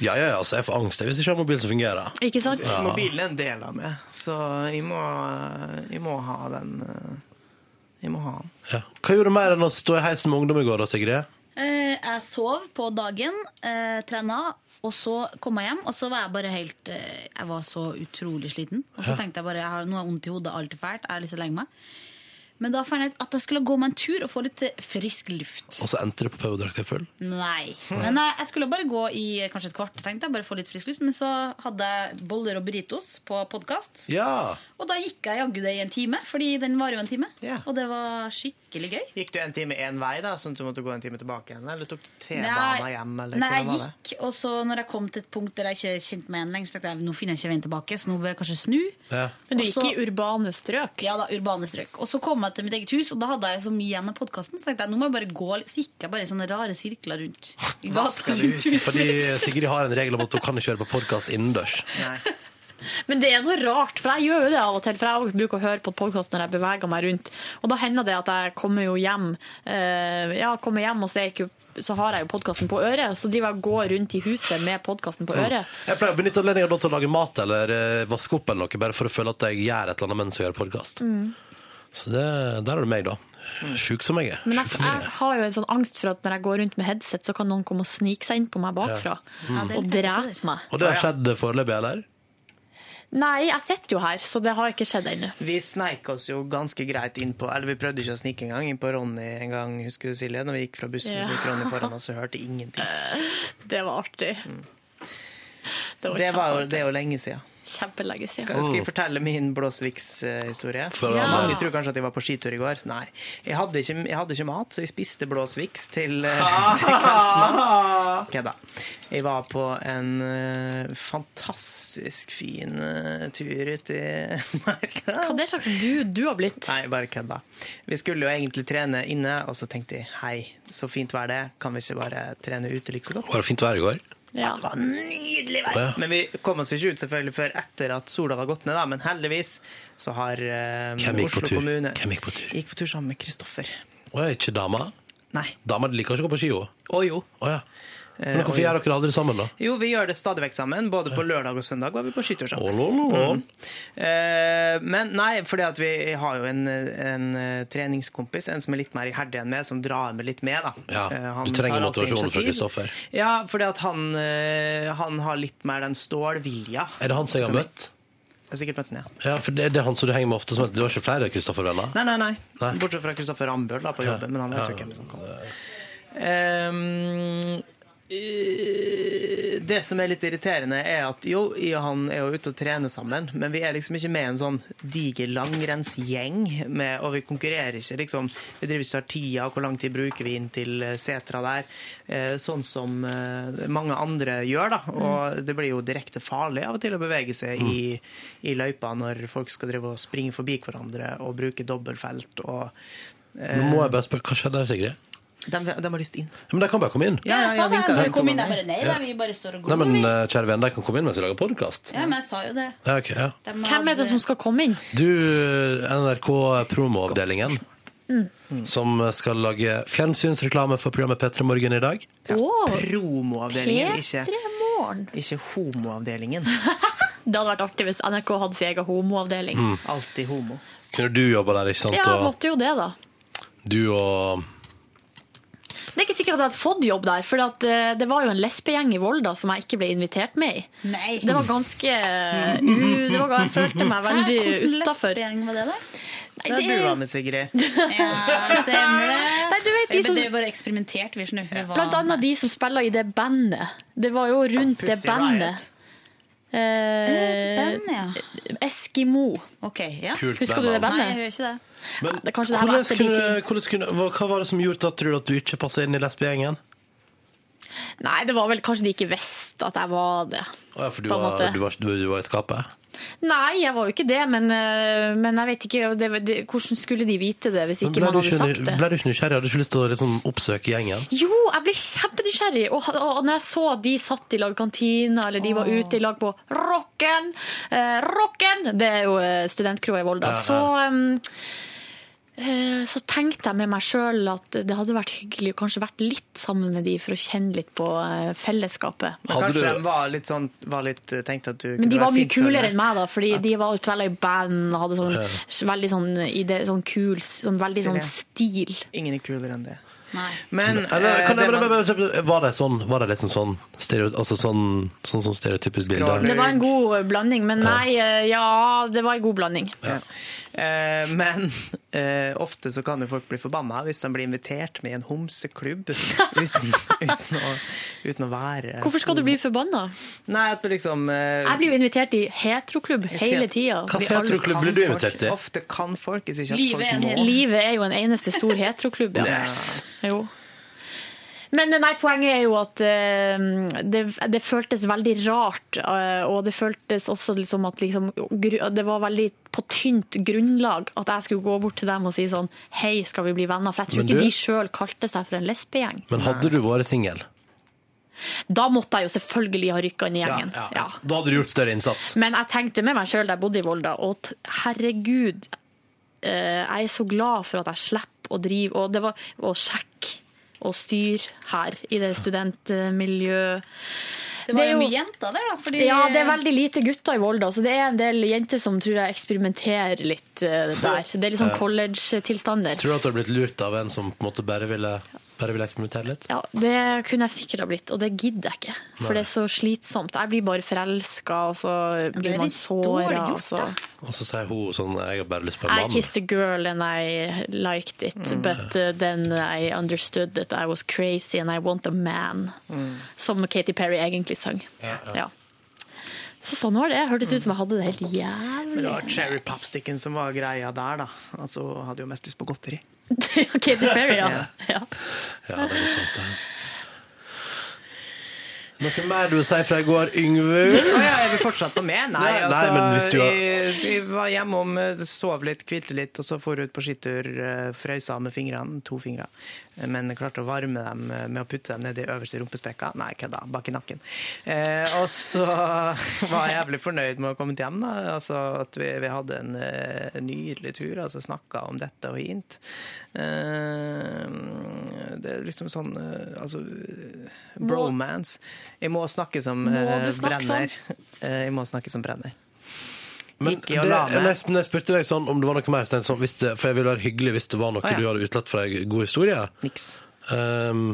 Speaker 2: Ja, ja, ja, altså, jeg får angst jeg, hvis jeg ikke har mobil som fungerer.
Speaker 4: Ikke sant?
Speaker 2: Ja.
Speaker 3: Mobilen er en del av meg, så jeg må, jeg må ha den. eh, Jeg må ha den.
Speaker 2: Ja. Hva gjorde du mer enn å stå i heisen med ungdom i går, da, Sigrid?
Speaker 10: Eh, jeg sov på dagen, eh, trena, og så kom jeg hjem. Og så var jeg bare helt eh, Jeg var så utrolig sliten. Og så
Speaker 22: Ja.
Speaker 10: tenkte jeg bare jeg har, nå har jeg vondt i hodet, alt er fælt, jeg har lyst til å legge meg. Men da fant jeg ut at jeg skulle gå meg en tur og få litt eh, frisk luft.
Speaker 2: Og så endte det på Pøbedrakt til full.
Speaker 10: Nei. Men jeg, jeg skulle bare gå i eh, kanskje et kvarter, tenkte jeg. Bare få litt frisk luft. Men så hadde jeg boller og burritos på podkast.
Speaker 2: Ja.
Speaker 10: Og da gikk jeg jaggu det i en time, fordi den varer jo en time. Og det var skikkelig gøy.
Speaker 3: Gikk du en time én vei, da, sånn at du måtte gå en time tilbake igjen? Eller tok du T-bana
Speaker 10: Nei,
Speaker 3: hjem? Eller,
Speaker 10: nei,
Speaker 3: hvordan
Speaker 10: jeg
Speaker 3: var det?
Speaker 10: gikk, og så når jeg kom til et punkt der jeg ikke kjente meg igjen lenger, så tenkte jeg nå finner jeg ikke veien tilbake, så nå bør jeg kanskje snu.
Speaker 4: Men du gikk i urbane strøk?
Speaker 10: Altså- Ja da, urbane strøk. Og så kom jeg til mitt eget hus, og da hadde jeg så mye igjen av podkasten, så tenkte jeg nå må jeg bare gå litt. Så gikk jeg bare i sånne rare sirkler rundt i gata. rundt huset.
Speaker 2: Fordi Sigrid har en regel om at hun kan ikke høre på podkast innendørs.
Speaker 4: Men det er noe rart, for jeg gjør jo det av og til. For jeg bruker å høre på podkast når jeg beveger meg rundt. Og da hender det at jeg kommer jo hjem, eh, ja, kommer hjem og så, er jeg ikke, så har jeg jo podkasten på øret. Og så driver jeg og går rundt i huset med podkasten på øret.
Speaker 2: Jeg pleier å benytte anledningen da til å lage mat eller eh, vaske opp eller noe, bare for å føle at jeg gjør et eller annet mens jeg gjør podkast.
Speaker 3: Mm.
Speaker 2: Så det, der er det meg, da. Sjuk som jeg er.
Speaker 4: Men
Speaker 3: altså,
Speaker 4: jeg, jeg har jo en sånn angst for at når jeg går rundt med headset, så kan noen komme og snike seg inn på meg bakfra
Speaker 2: Ja. Mm.
Speaker 4: og drepe meg.
Speaker 2: Og det har skjedd foreløpig, eller?
Speaker 4: Nei, jeg sitter jo her, så det har ikke skjedd ennå.
Speaker 3: Vi sneik oss jo ganske greit innpå Eller vi prøvde ikke å snike engang innpå Ronny en gang, husker du Silje? Når vi gikk fra bussen,
Speaker 4: Ja.
Speaker 3: så gikk Ronny foran oss og hørte ingenting.
Speaker 4: Det var artig. Det
Speaker 3: Det,
Speaker 4: var,
Speaker 3: var jo,
Speaker 4: kjempeartig.
Speaker 3: det er jo lenge siden.
Speaker 4: kjempelenge
Speaker 3: Skal
Speaker 4: siden.
Speaker 3: skal jeg fortelle min Blåsviks-historie?
Speaker 4: For Ja. all del.
Speaker 3: Mange tror kanskje at jeg var på skitur i går. Nei. Jeg hadde ikke, jeg hadde ikke mat, så jeg spiste Blåsviks til, eh, til kveldsmat. Kødda. Jeg var på en eh, fantastisk fin eh, tur ute i *laughs* marka.
Speaker 4: Hva er det slags du du har blitt?
Speaker 3: Nei, bare kødda. Vi skulle jo egentlig trene inne, og så tenkte jeg hei, så fint vær det er, kan vi ikke bare trene ute like så godt?
Speaker 2: Var det fint vær i går?
Speaker 3: Det var nydelig vær.
Speaker 2: Å, ja.
Speaker 3: Men vi kom oss ikke ut selvfølgelig før etter at sola var gått ned, da. men heldigvis så har eh,
Speaker 2: Hvem gikk på
Speaker 3: Oslo
Speaker 2: tur?
Speaker 3: kommune
Speaker 2: Hvem gikk på tur?
Speaker 3: Gikk på tur sammen med Kristoffer.
Speaker 2: Å, er ikke dama?
Speaker 3: Nei.
Speaker 2: Dama liker ikke å gå på ski, hun.
Speaker 3: Å jo.
Speaker 2: Å ja.
Speaker 3: Eh,
Speaker 2: Men
Speaker 3: og
Speaker 2: hvorfor
Speaker 3: jo.
Speaker 2: gjør dere aldri sammen, da?
Speaker 3: Jo, vi gjør det stadig vekk sammen. Både på lørdag og søndag var vi på skitur sammen.
Speaker 2: lo.
Speaker 3: Mm. Eh, men nei, fordi at vi har jo en, en eh, treningskompis, en som er litt mer iherdig enn meg, som drar meg litt med. da.
Speaker 2: Ja,
Speaker 3: Eh, han
Speaker 2: du
Speaker 3: tar
Speaker 2: trenger
Speaker 3: alltid
Speaker 2: motivasjon fra
Speaker 3: initiativ.
Speaker 2: Kristoffer.
Speaker 3: Ja, fordi at han, eh, han har litt mer den stålvilja.
Speaker 2: Er det han som jeg har
Speaker 3: Skal vi-
Speaker 2: møtt?
Speaker 3: Jeg har sikkert møtt han, ja.
Speaker 2: Ja, for det, det er han som du henger med ofte som heter Du har ikke flere Kristoffer-venner?
Speaker 3: Nei, nei, nei.
Speaker 2: Nei.
Speaker 3: Bortsett fra Kristoffer Rambøll da, på
Speaker 2: Ja.
Speaker 3: jobben, men han vet jo
Speaker 2: Ja.
Speaker 3: ikke hvem som kommer. Ehm, eh, det som er litt irriterende, er at jo, jeg og han er jo ute og trener sammen, men vi er liksom ikke med i en sånn diger langrennsgjeng, med, og vi konkurrerer ikke, liksom. Vi driver ikke og tar tida, og hvor lang tid bruker vi inn til eh, setra der, eh, sånn som eh, mange andre gjør, da. Og det blir jo direkte farlig av og til å bevege seg i, i løypa når folk skal drive og springe forbi hverandre og bruke dobbeltfelt og
Speaker 2: Nå må
Speaker 4: Eh.
Speaker 2: jeg bare spørre, hva skjedde der, Sigrid?
Speaker 3: de, de har lyst inn.
Speaker 2: Ja, Men de kan bare komme inn.
Speaker 10: Ja, jeg sa det
Speaker 3: vinket
Speaker 10: når
Speaker 3: rundt
Speaker 10: du kom inn.
Speaker 3: om
Speaker 10: Jeg bare nei,
Speaker 2: Ja.
Speaker 10: da, vi bare står og
Speaker 2: Nei,
Speaker 10: glor.
Speaker 2: men
Speaker 10: vi.
Speaker 2: eh, kjære venn, de kan komme inn mens vi lager podkast.
Speaker 10: Ja, men jeg sa jo det.
Speaker 2: Ja, ok, ja.
Speaker 10: De
Speaker 4: Hvem er det
Speaker 10: hadde-
Speaker 4: som skal komme inn?
Speaker 2: Du, eh, NRK promoavdelingen,
Speaker 4: Mm.
Speaker 2: som skal lage fjernsynsreklame for programmet P3 Morgen i dag.
Speaker 4: Ja,
Speaker 3: Promoavdelingen, ikke,
Speaker 4: P3morgen.
Speaker 3: ikke homoavdelingen.
Speaker 4: Det hadde vært artig hvis NRK hadde sin egen homoavdeling.
Speaker 2: Mm.
Speaker 3: Alltid homo.
Speaker 2: Kunne du jobba der, ikke sant?
Speaker 4: Ja,
Speaker 2: Og
Speaker 4: måtte jo det, da.
Speaker 2: du og
Speaker 4: Det er ikke sikkert at jeg hadde fått jobb der, for at, eh, det var jo en lesbegjeng i Volda som jeg ikke ble invitert med i. Det var ganske
Speaker 3: Mm.
Speaker 4: u, det var, Jeg følte meg veldig
Speaker 10: Hæ,
Speaker 4: utafor.
Speaker 10: Hvordan lesbegjeng var det, da?
Speaker 3: Der
Speaker 4: det er
Speaker 3: du
Speaker 4: jo-
Speaker 3: var med, Sigrid.
Speaker 10: Ja, stemmer det.
Speaker 4: *laughs* Nei, du vet, de
Speaker 10: Vi
Speaker 4: som-
Speaker 10: bedrev bare eksperimentert, vi, skjønner du. Vi var-
Speaker 4: Blant annet de som spiller i det bandet. Det var jo rundt det
Speaker 10: Pussy
Speaker 4: bandet.
Speaker 10: Eh,
Speaker 4: Eh,
Speaker 10: band, ja.
Speaker 4: Eskimo.
Speaker 10: ja.
Speaker 2: Kult
Speaker 4: Husker
Speaker 2: band,
Speaker 4: du det
Speaker 2: da.
Speaker 4: bandet?
Speaker 10: Nei, jeg gjør ikke det.
Speaker 2: Men
Speaker 4: det- kanskje det her var
Speaker 2: hvordan
Speaker 4: etter de
Speaker 2: kunne, hvordan kunne, hva, hva var det som gjorde at, tror du, at du ikke passa inn i lesbegjengen?
Speaker 4: Nei, det var vel kanskje de ikke visste at jeg var det.
Speaker 2: Å ja, for du
Speaker 4: På en
Speaker 2: var,
Speaker 4: måte.
Speaker 2: du, var, du, du var i skapet?
Speaker 4: Nei, jeg var jo ikke det, men, eh, men jeg vet ikke det, det, hvordan skulle de vite det hvis
Speaker 2: Men ble
Speaker 4: ikke man
Speaker 2: du
Speaker 4: hadde
Speaker 2: ikke-
Speaker 4: sagt det?
Speaker 2: Ble du ikke nysgjerrig? Hadde du ikke lyst til å liksom oppsøke gjengen?
Speaker 4: Jo, jeg ble kjempenysgjerrig. Og, og, og når jeg så de satt i lag i kantina, eller de var ute i lag på Rocken eh, Rocken! Det er jo eh, studentkroa i
Speaker 2: Ja,
Speaker 4: Volda.
Speaker 2: ja.
Speaker 4: Så em, eh, så tenkte jeg med meg sjøl at det hadde vært hyggelig å kanskje vært litt sammen med de for å kjenne litt på eh, fellesskapet.
Speaker 3: Men kanskje de var litt sånn var litt, eh, tenkte at du
Speaker 4: Men
Speaker 3: kunne
Speaker 4: de var
Speaker 3: være
Speaker 4: mye
Speaker 3: fin følge.
Speaker 4: kulere enn meg, da, fordi de var alt veldig i band og hadde sånn,
Speaker 3: Ja.
Speaker 4: veldig sånn, ide, sånn kul sånn, Veldig sånn stil.
Speaker 3: Ingen er kulere enn det. Men
Speaker 2: Eller,
Speaker 3: eh,
Speaker 2: kan jeg, men,
Speaker 3: det man-
Speaker 2: men, men, var det sånn Var det liksom sånn stereo, altså sånn, sånn som stereotypisk bilde?
Speaker 4: Det var en god blanding, men nei, eh, ja, det var en god blanding.
Speaker 3: Eh, men *laughs* eh, ofte så kan jo folk bli forbanna hvis de blir invitert med i en
Speaker 4: *laughs*
Speaker 3: homseklubb uten, uten, å, uten å være
Speaker 4: Hvorfor skal du bli forbanna?
Speaker 3: Nei, at du liksom eh,
Speaker 4: Jeg blir jo invitert i heteroklubb hele tida.
Speaker 3: Fordi alle kan folk- Ofte kan folk, hvis ikke at folk må.
Speaker 4: Livet er jo en eneste stor heteroklubb, *laughs* ja.
Speaker 3: Yes.
Speaker 4: Jo. Men eh, nei, poenget er jo at eh, det, det føltes veldig rart, eh, og det føltes også liksom at liksom, gru- det var veldig på tynt grunnlag at jeg skulle gå bort til dem og si sånn Hei, skal vi bli venner? For jeg tror
Speaker 2: Men
Speaker 4: ikke
Speaker 2: du-
Speaker 4: de sjøl kalte seg for en lesbegjeng.
Speaker 2: Men hadde du vært singel?
Speaker 4: Da måtte jeg jo selvfølgelig ha rykka inn i gjengen. Ja,
Speaker 2: Da hadde du gjort større innsats.
Speaker 4: Men jeg tenkte med meg sjøl da jeg bodde i Volda, og t- herregud, eh, jeg er så glad for at jeg slipper å drive og, det var, og sjekke og styre her i det studentmiljøet.
Speaker 20: Det var jo mye jenter der, da. Fordi
Speaker 4: Ja, det er veldig lite gutter i Volda, så det er en del jenter som tror jeg eksperimenterer litt
Speaker 2: *laughs*
Speaker 4: eh, der. Det er litt sånn
Speaker 2: Ja.
Speaker 4: college-tilstander.
Speaker 2: Tror du at du har blitt lurt av en som på en måte bare ville, bare ville eksperimentere litt?
Speaker 4: Ja, Det kunne jeg sikkert ha blitt, og det gidder jeg ikke. For
Speaker 2: Nei.
Speaker 4: det er så slitsomt. Jeg blir bare forelska, og så
Speaker 20: det er
Speaker 4: blir man
Speaker 20: litt dårlig
Speaker 4: såra.
Speaker 20: gjort,
Speaker 4: Og så
Speaker 2: Og så sier hun sånn Jeg har bare lyst på en
Speaker 4: I
Speaker 2: mann.
Speaker 4: kissed a girl and I liked it,
Speaker 2: Mm.
Speaker 4: but uh, then I understood that I was crazy and I want a man. Som Katy Perry egentlig sang.
Speaker 3: Mm. Ja, ja.
Speaker 4: Så sånn var det. Hørtes ut som jeg hadde det helt
Speaker 3: Men det var
Speaker 4: jævlig. *laughs*
Speaker 3: cherry popsticken som var greia der, da. Altså, hadde jo mest lyst på godteri.
Speaker 4: Katy Perry, ja.
Speaker 3: Ja.
Speaker 4: ja.
Speaker 2: Ja, det er sant, det. Noe mer du vil si fra i går, Yngve?
Speaker 3: Å ja, er vi fortsatt på med? Nei,
Speaker 2: Nei, nei,
Speaker 3: altså,
Speaker 2: men hvis du har-
Speaker 3: jeg, jeg var hjemme om, eh, sov litt, kvilte litt, og så for ut på skitur, eh, frøysa med fingrene, to fingre, Eh, men klarte å varme dem eh, med å putte dem ned i øverste rumpespekka. Nei, kødda, bak i nakken. Eh, og så *laughs* var jeg jævlig fornøyd med å ha kommet hjem, da. Altså at vi, vi hadde en eh, nydelig tur, altså snakka om dette og hint. Eh, det er liksom sånn, eh, altså,
Speaker 4: Må-
Speaker 3: bromance. Jeg må snakke som
Speaker 4: Må
Speaker 3: eh,
Speaker 4: du snakke
Speaker 3: brenner.
Speaker 4: sånn?
Speaker 3: *laughs* Eh, Jeg må snakke som brenner.
Speaker 2: Men
Speaker 3: Ikke
Speaker 2: det,
Speaker 3: å la
Speaker 2: når,
Speaker 3: meg.
Speaker 2: jeg, sp- når jeg spurte deg sånn om det var noe mer, Stein, sånn, hvis det, for jeg ville være hyggelig hvis det var noe
Speaker 3: Å, ja.
Speaker 2: du hadde utelatt fra ei god historie
Speaker 3: Niks.
Speaker 2: Um,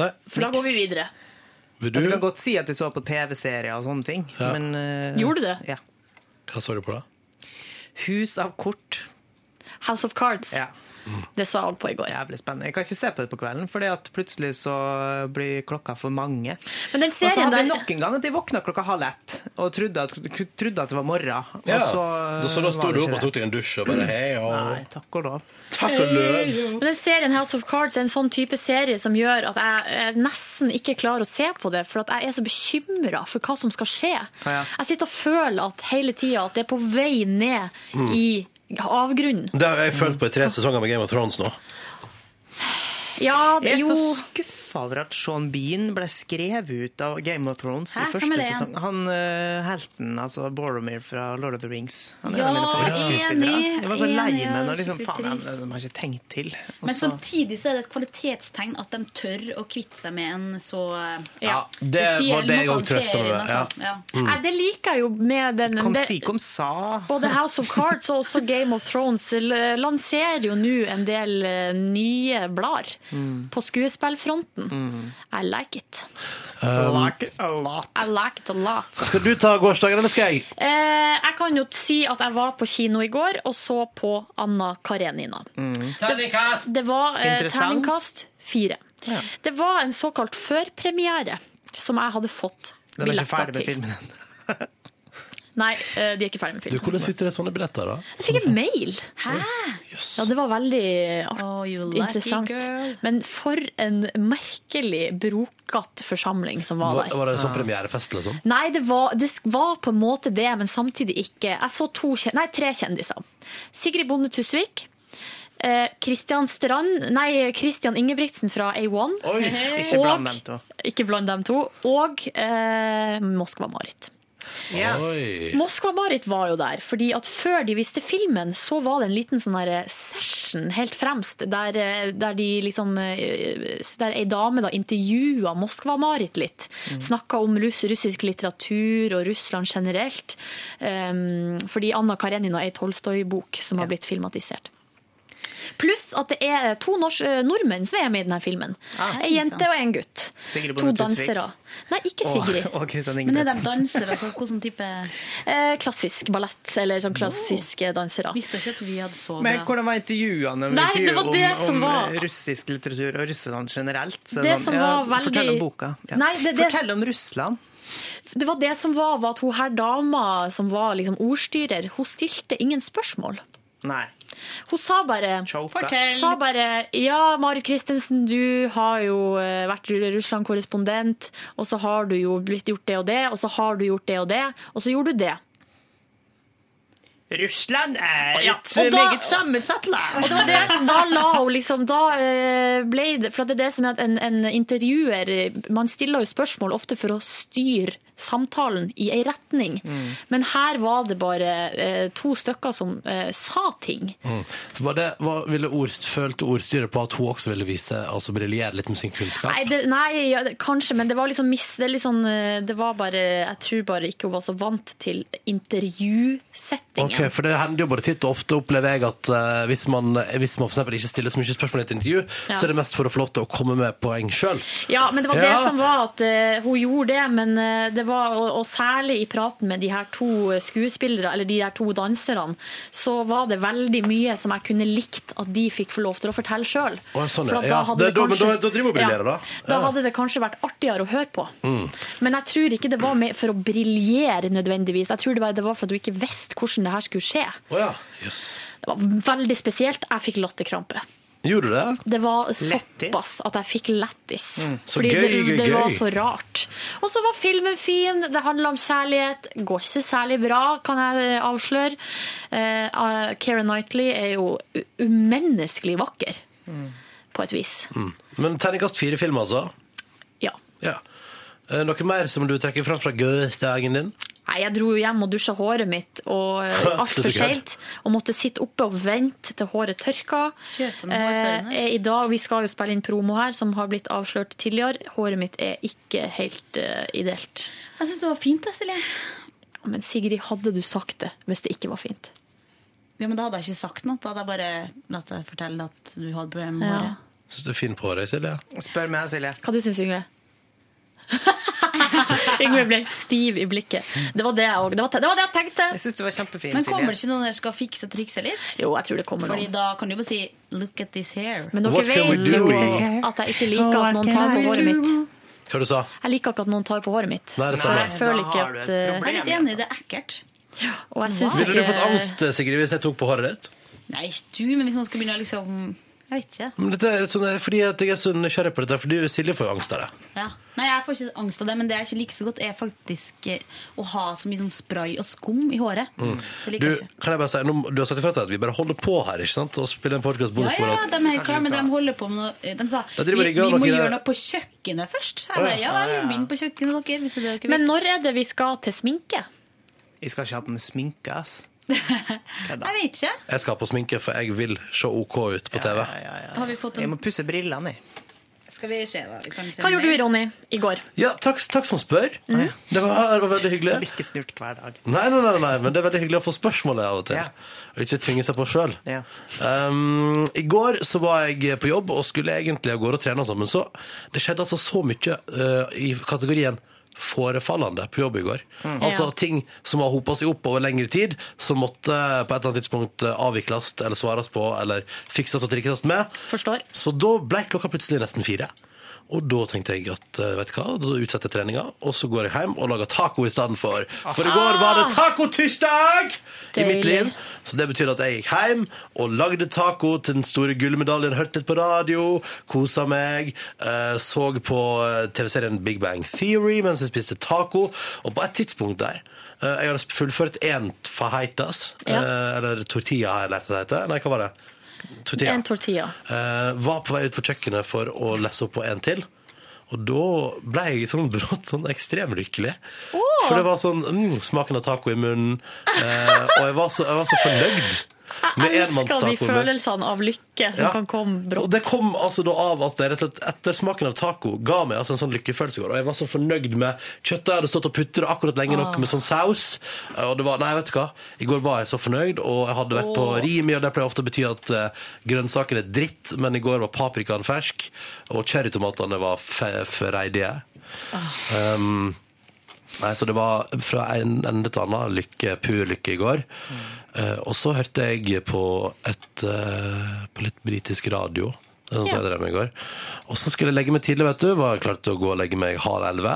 Speaker 2: nei.
Speaker 4: For da går vi videre.
Speaker 2: Vil
Speaker 3: Jeg
Speaker 2: du?
Speaker 3: kan godt si at jeg så på TV-serier og sånne ting,
Speaker 2: Ja.
Speaker 3: men eh,
Speaker 4: Gjorde du det?
Speaker 3: Ja.
Speaker 2: Hva så du på da?
Speaker 3: Hus av kort.
Speaker 4: House of Cards.
Speaker 3: Ja.
Speaker 4: Det sa alt på i går.
Speaker 3: Jævlig spennende. Jeg kan ikke se på det på kvelden, for plutselig så blir klokka for mange.
Speaker 4: Men den
Speaker 3: og så
Speaker 4: serien
Speaker 3: hadde
Speaker 4: der
Speaker 3: jeg nok en gang at jeg våkna klokka halv ett og trodde at, trodde at det var morgen.
Speaker 2: Ja.
Speaker 3: Og så,
Speaker 2: Da- så da sto
Speaker 3: var
Speaker 2: du
Speaker 3: det ikke
Speaker 2: opp og tok deg en dusj og bare, hei, og-
Speaker 3: Nei, takk og lov.
Speaker 2: Takk og løv!
Speaker 4: Men den serien House of Cards er en sånn type serie som gjør at jeg eh, nesten ikke klarer å se på det, for at jeg er så bekymra for hva som skal skje.
Speaker 2: Ja.
Speaker 4: Jeg sitter og føler at hele tida at det er på vei ned
Speaker 2: Mm.
Speaker 4: i avgrunnen.
Speaker 2: Det har jeg følt på i tre sesonger med Game of Thrones nå.
Speaker 4: Ja, det,
Speaker 3: Jeg er
Speaker 4: jo
Speaker 3: så skuffa over at Sean Bean ble skrevet ut av Game of Thrones
Speaker 4: Hæ?
Speaker 3: i
Speaker 4: Hva
Speaker 3: første
Speaker 4: med det igjen?
Speaker 3: sesong. Han eh, helten, altså Boromir fra Lord of the Rings. Han er
Speaker 20: Ja,
Speaker 3: en av mine
Speaker 20: enig,
Speaker 3: favorittskuespillere. Jeg var så
Speaker 20: enig,
Speaker 3: lei
Speaker 20: ja,
Speaker 3: meg
Speaker 20: det
Speaker 3: når
Speaker 20: er
Speaker 3: liksom, faen,
Speaker 20: skikkelig
Speaker 3: han, de har ikke tenkt til. Og
Speaker 20: Men
Speaker 3: så-
Speaker 20: samtidig så er det et kvalitetstegn at de tør å kvitte seg med en så eh,
Speaker 2: Ja, det
Speaker 20: sier
Speaker 2: var det jeg
Speaker 20: noe om
Speaker 2: også trøstet meg
Speaker 20: serien,
Speaker 2: med, ja.
Speaker 20: altså. Ja.
Speaker 2: Mm.
Speaker 4: Nei, det liker jeg jo med den
Speaker 3: Kom
Speaker 4: det-
Speaker 3: si, kom sa.
Speaker 4: Både House of Cards og også Game of Thrones l- lanserer jo nå en del eh, nye blader
Speaker 2: Mm.
Speaker 4: på skuespillfronten. I like it.
Speaker 2: Um,
Speaker 3: a lot.
Speaker 4: I like it a lot.
Speaker 2: skal du ta gårsdagen, eller skal jeg?
Speaker 4: Eh, jeg kan jo si at jeg var på kino i går og så på Anna Karenina.
Speaker 2: Terningkast!
Speaker 4: Det var eh,
Speaker 2: Interessant.
Speaker 4: terningkast fire. Det var en såkalt førpremiere som jeg hadde fått
Speaker 3: De er ikke
Speaker 4: billetter
Speaker 3: ferdig med
Speaker 4: til.
Speaker 3: filmen ennå.
Speaker 4: Nei, eh, de er ikke ferdig med
Speaker 2: Du,
Speaker 4: filmen.
Speaker 2: Hvordan sitter det sånne billetter, da?
Speaker 4: Jeg fikk en mail. Hæ? Ja, det var veldig art,
Speaker 20: Oh, lucky
Speaker 4: interessant.
Speaker 20: girl.
Speaker 4: Men for en merkelig brokete forsamling som var
Speaker 2: Var,
Speaker 4: der.
Speaker 2: var det sånn premierefest, liksom?
Speaker 4: Nei, det var, det sk- var på en måte det, men samtidig ikke. Jeg så to, kjen- nei, tre kjendiser. Sigrid Bonde Tusvik. Kristian Strand Nei, Kristian Ingebrigtsen fra A1.
Speaker 3: Ikke bland dem to.
Speaker 4: Ikke bland dem to. Og eh, Moskva-Marit.
Speaker 2: Oi.
Speaker 4: Moskva-Marit var jo der, fordi at før de viste filmen, så var det en liten sånn her session helt fremst, der, eh, der de liksom eh, Der ei dame da intervjua Moskva-Marit litt.
Speaker 3: Mm.
Speaker 4: Snakka om russ, russisk litteratur og Russland generelt. Um, fordi Anna Karenina er ei Tolstoy-bok som har blitt filmatisert. Pluss at det er to nors- eh, nordmenn som er med i denne filmen. ei jente og en gutt.
Speaker 3: Ah, Sigrid
Speaker 4: To
Speaker 3: Bonde Tusvik.
Speaker 4: dansere. Nei, ikke
Speaker 3: Og-
Speaker 4: Sigrid.
Speaker 3: Og Kristian
Speaker 20: Men er de
Speaker 3: Ingebrigtsen.
Speaker 20: dansere? Altså, hvordan type
Speaker 4: Eh, klassisk ballett, eller sånn klassiske dansere.
Speaker 20: Visste ikke at vi hadde så
Speaker 3: Men
Speaker 20: bra.
Speaker 3: hvordan var intervjuene om,
Speaker 4: Nei,
Speaker 3: intervju
Speaker 4: det var det
Speaker 3: om,
Speaker 4: som
Speaker 3: om eh,
Speaker 4: var-
Speaker 3: russisk litteratur og Russland generelt? Så
Speaker 4: Det
Speaker 3: sånn,
Speaker 4: som
Speaker 3: ja,
Speaker 4: var veldig-
Speaker 3: Fortell om boka. Ja.
Speaker 4: Nei, det- det-
Speaker 3: Fortell om Russland.
Speaker 4: Det var det som var, var at hun her dama som var liksom ordstyrer, hun stilte ingen spørsmål.
Speaker 3: Nei.
Speaker 4: Hun sa bare
Speaker 3: Fortell.
Speaker 4: Sa bare Ja, Marit Christensen, du har jo eh, vært Russland-korrespondent, og så har du jo blitt gjort det og det, og så har du gjort det og det, og så gjorde du det.
Speaker 3: Russland er
Speaker 4: Ja,
Speaker 3: et
Speaker 4: og da-
Speaker 3: meget sammensatt land.
Speaker 4: Og det var det, da la hun liksom Da eh, ble det For at det er det som er at en, en intervjuer Man stiller jo spørsmål ofte for å styre samtalen i ei retning. Men her var det bare eh, to stykker som eh, sa ting.
Speaker 2: Mm. For Var det, var, ville ord, følte ordstyret på at hun også ville vise altså briljere litt med sin kunnskap?
Speaker 4: Nei, det, nei ja, det, kanskje, men det var liksom mis... Det, er litt sånn, eh, det var bare Jeg tror bare ikke hun var så vant til intervjusettingen.
Speaker 2: Ok, for det hender jo både titt og ofte opplever jeg at eh, hvis man, hvis man for eksempel ikke stiller så mye spørsmål i et intervju,
Speaker 4: Ja.
Speaker 2: så er det mest for å få lov til å komme med poeng sjøl.
Speaker 4: Ja, men det var det
Speaker 2: Ja.
Speaker 4: som var at eh, hun gjorde det, men eh, det var, og, og særlig i praten med de her to eh, skuespillere, eller de her to danserne, så var det veldig mye som jeg kunne likt at de fikk få lov til å fortelle sjøl.
Speaker 2: Å, sånn, ja. Ja, det- da- men da- da driver hun og briljerer, da.
Speaker 4: Da
Speaker 2: Ja.
Speaker 4: hadde det kanskje vært artigere å høre på.
Speaker 2: Mm.
Speaker 4: Men jeg tror ikke det var med for å briljere nødvendigvis. Jeg tror det var, det var for at du ikke visste hvordan det her skulle skje.
Speaker 2: Å ja. Jøss.
Speaker 4: Det var veldig spesielt. Jeg fikk latterkrampe.
Speaker 2: Gjorde du det?
Speaker 4: Det var
Speaker 2: Lettis.
Speaker 4: såpass at jeg fikk lettis.
Speaker 2: Mm. Så
Speaker 4: Fordi
Speaker 2: gøy,
Speaker 4: det,
Speaker 2: gøy,
Speaker 4: det var
Speaker 2: gøy.
Speaker 4: så rart. Og så var filmen fin, det handla om kjærlighet. Går ikke særlig bra, kan jeg eh, avsløre. Eh, eh, Keira Knightley er jo u- umenneskelig vakker, på et vis.
Speaker 2: Mm. Men terningkast fire film, altså?
Speaker 4: Ja.
Speaker 2: ja. Eh, Noe mer som du trekker fram fra gøy-dagen din?
Speaker 4: Nei, jeg dro jo hjem og dusja håret mitt
Speaker 2: *laughs*
Speaker 4: og eh,
Speaker 2: Slutt
Speaker 4: altfor
Speaker 2: å kødde.
Speaker 4: seint. Og måtte sitte oppe og vente til håret tørka.
Speaker 20: noen hårføner.
Speaker 4: Eh, I dag, Vi skal jo spille inn promo her, som har blitt avslørt tidligere. Håret mitt er ikke helt eh, ideelt.
Speaker 20: Jeg syns det var fint, da, Silje.
Speaker 4: Ja, Men Sigrid, hadde du sagt det hvis det ikke var fint?
Speaker 20: Ja, men da hadde jeg ikke sagt noe. Da hadde jeg bare latt deg fortelle at du hadde problemer med
Speaker 4: Ja.
Speaker 20: håret.
Speaker 2: Syns du er fin på håret, Silje?
Speaker 3: Spør meg, Silje.
Speaker 4: Hva du syns du, Yngve? *laughs* Yngve ble helt stiv i blikket. Det var det jeg òg. Det, var te- det var det jeg tenkte.
Speaker 3: Jeg syns du var kjempefin,
Speaker 20: Men kommer det
Speaker 3: Silje.
Speaker 20: ikke noen der skal fikse og trikse litt?
Speaker 4: Jo, jeg tror det kommer
Speaker 20: Fordi
Speaker 4: noen.
Speaker 20: da kan du bare si 'look at this hair'.
Speaker 4: Men dere
Speaker 2: What can we
Speaker 4: vet
Speaker 2: do?
Speaker 4: jo at jeg ikke liker at noen tar på håret mitt.
Speaker 2: Hva du sa
Speaker 4: Jeg liker ikke at noen tar på håret mitt.
Speaker 2: Nei, det
Speaker 4: Så
Speaker 2: stemmer.
Speaker 4: jeg føler ikke
Speaker 3: Nei, da har
Speaker 4: at
Speaker 3: du et
Speaker 4: eh,
Speaker 20: Jeg er litt enig, det er ekkelt.
Speaker 4: Og jeg syns
Speaker 2: Ville du fått
Speaker 4: ikke
Speaker 2: angst, eh, Sigrid, hvis jeg tok på håret ditt?
Speaker 20: Nei, ikke du, men hvis noen skal begynne å liksom Jeg vet ikke.
Speaker 2: Men dette er litt sånn, fordi at jeg er så nysgjerrig på dette, fordi Silje får jo angst av det.
Speaker 20: Ja. Nei, jeg får ikke angst av det, men det jeg ikke liker så godt, er faktisk eh, å ha så mye sånn spray og skum i håret. Det
Speaker 2: Du,
Speaker 20: liker jeg ikke.
Speaker 2: kan jeg bare si, nå, du har sagt ifra til at vi bare holder på her, ikke sant? Og spiller en podcast
Speaker 20: Ja,
Speaker 2: bonus
Speaker 20: ja, de er helt klare, men de holder på med noe eh, De sa
Speaker 2: Da
Speaker 20: vi,
Speaker 2: driver de
Speaker 20: vi
Speaker 2: gang
Speaker 20: må
Speaker 2: dere-
Speaker 20: gjøre noe på kjøkkenet først. Så jeg
Speaker 2: Å,
Speaker 20: bare,
Speaker 3: ja.
Speaker 20: ja vel, begynn på kjøkkenet, dere. Hvis det er det dere vil.
Speaker 4: Men når er det vi skal til sminke?
Speaker 3: Jeg skal ikke ha på meg sminke, ass.
Speaker 20: jeg vet ikke.
Speaker 2: Jeg skal ha på sminke, for jeg vil se OK ut på TV. Ja,
Speaker 20: Har vi fått
Speaker 3: Jeg
Speaker 20: en
Speaker 3: må pusse brillene, jeg.
Speaker 20: Skal vi se, da. Vi kan se
Speaker 4: Hva gjorde du,
Speaker 20: mer.
Speaker 4: Ronny, i går?
Speaker 2: takk, takk som spør. Det, var, det var veldig hyggelig.
Speaker 3: Ikke snurt hver dag.
Speaker 2: Nei, nei, nei, nei, men det er veldig hyggelig å få spørsmålet av og til. Og ikke tvinge seg på sjøl. Um, I går så var jeg på jobb og skulle egentlig av gårde og trene, og sånn, men så det skjedde altså så mye uh, i kategorien forefallende på jobb i går.
Speaker 17: Mm.
Speaker 2: Altså
Speaker 17: Ja.
Speaker 2: ting som har hopa seg opp over lengre tid, som måtte uh, på et eller annet tidspunkt uh, avvikles eller svares på eller fikses og trikses med.
Speaker 4: Forstår.
Speaker 2: Så da ble klokka plutselig nesten fire. Og da tenkte jeg at eh, vet du hva, da utsetter jeg treninga, og så går jeg hjem og lager taco i stedet for. For i går var det
Speaker 4: Ah.
Speaker 2: tacotirsdag i mitt liv. Så det betyr at jeg gikk hjem og lagde taco til den store gullmedaljen, hørte litt på radio, kosa meg, eh, så på eh, TV-serien Big Bang Theory mens jeg spiste taco, og på et tidspunkt der eh, Jeg hadde fullført én fajitas,
Speaker 4: Ja.
Speaker 2: eh, eller tortilla har jeg lært at det heter. Nei, hva var det? Tortilla.
Speaker 4: En tortilla.
Speaker 2: Eh, var på vei ut på kjøkkenet for å lesse opp på en til. Og da ble jeg sånn brått sånn ekstremt lykkelig. For det var sånn mm, smaken av taco i munnen. eh, og jeg var så, jeg var så fornøyd. Med
Speaker 4: Jeg elsker de
Speaker 2: enmannstaco i munnen.
Speaker 4: følelsene av lykke som
Speaker 2: Ja.
Speaker 4: kan komme brått.
Speaker 2: Og det kom altså da av at jeg rett og slett etter smaken av taco ga meg altså en sånn lykkefølelse i går. Og jeg var så fornøyd med kjøttet. Jeg hadde stått og putret akkurat lenge nok
Speaker 4: Ah.
Speaker 2: med sånn saus. Og det var Nei, vet du hva. I går var jeg så fornøyd, og jeg hadde vært på
Speaker 4: Åh.
Speaker 2: Rimi, og det pleier ofte å bety at eh, grønnsaker er dritt, men i går var paprikaen fersk, og cherrytomatene var fe- freidige. Um, Nei, så det var fra en ende til annen lykke, pur lykke i går. Eh, og så hørte jeg på, et, eh, på litt britisk radio, det er sånn som jeg drev med i går. Og så skulle jeg legge meg tidlig, vet du. Var klar til å gå og legge meg halv elleve.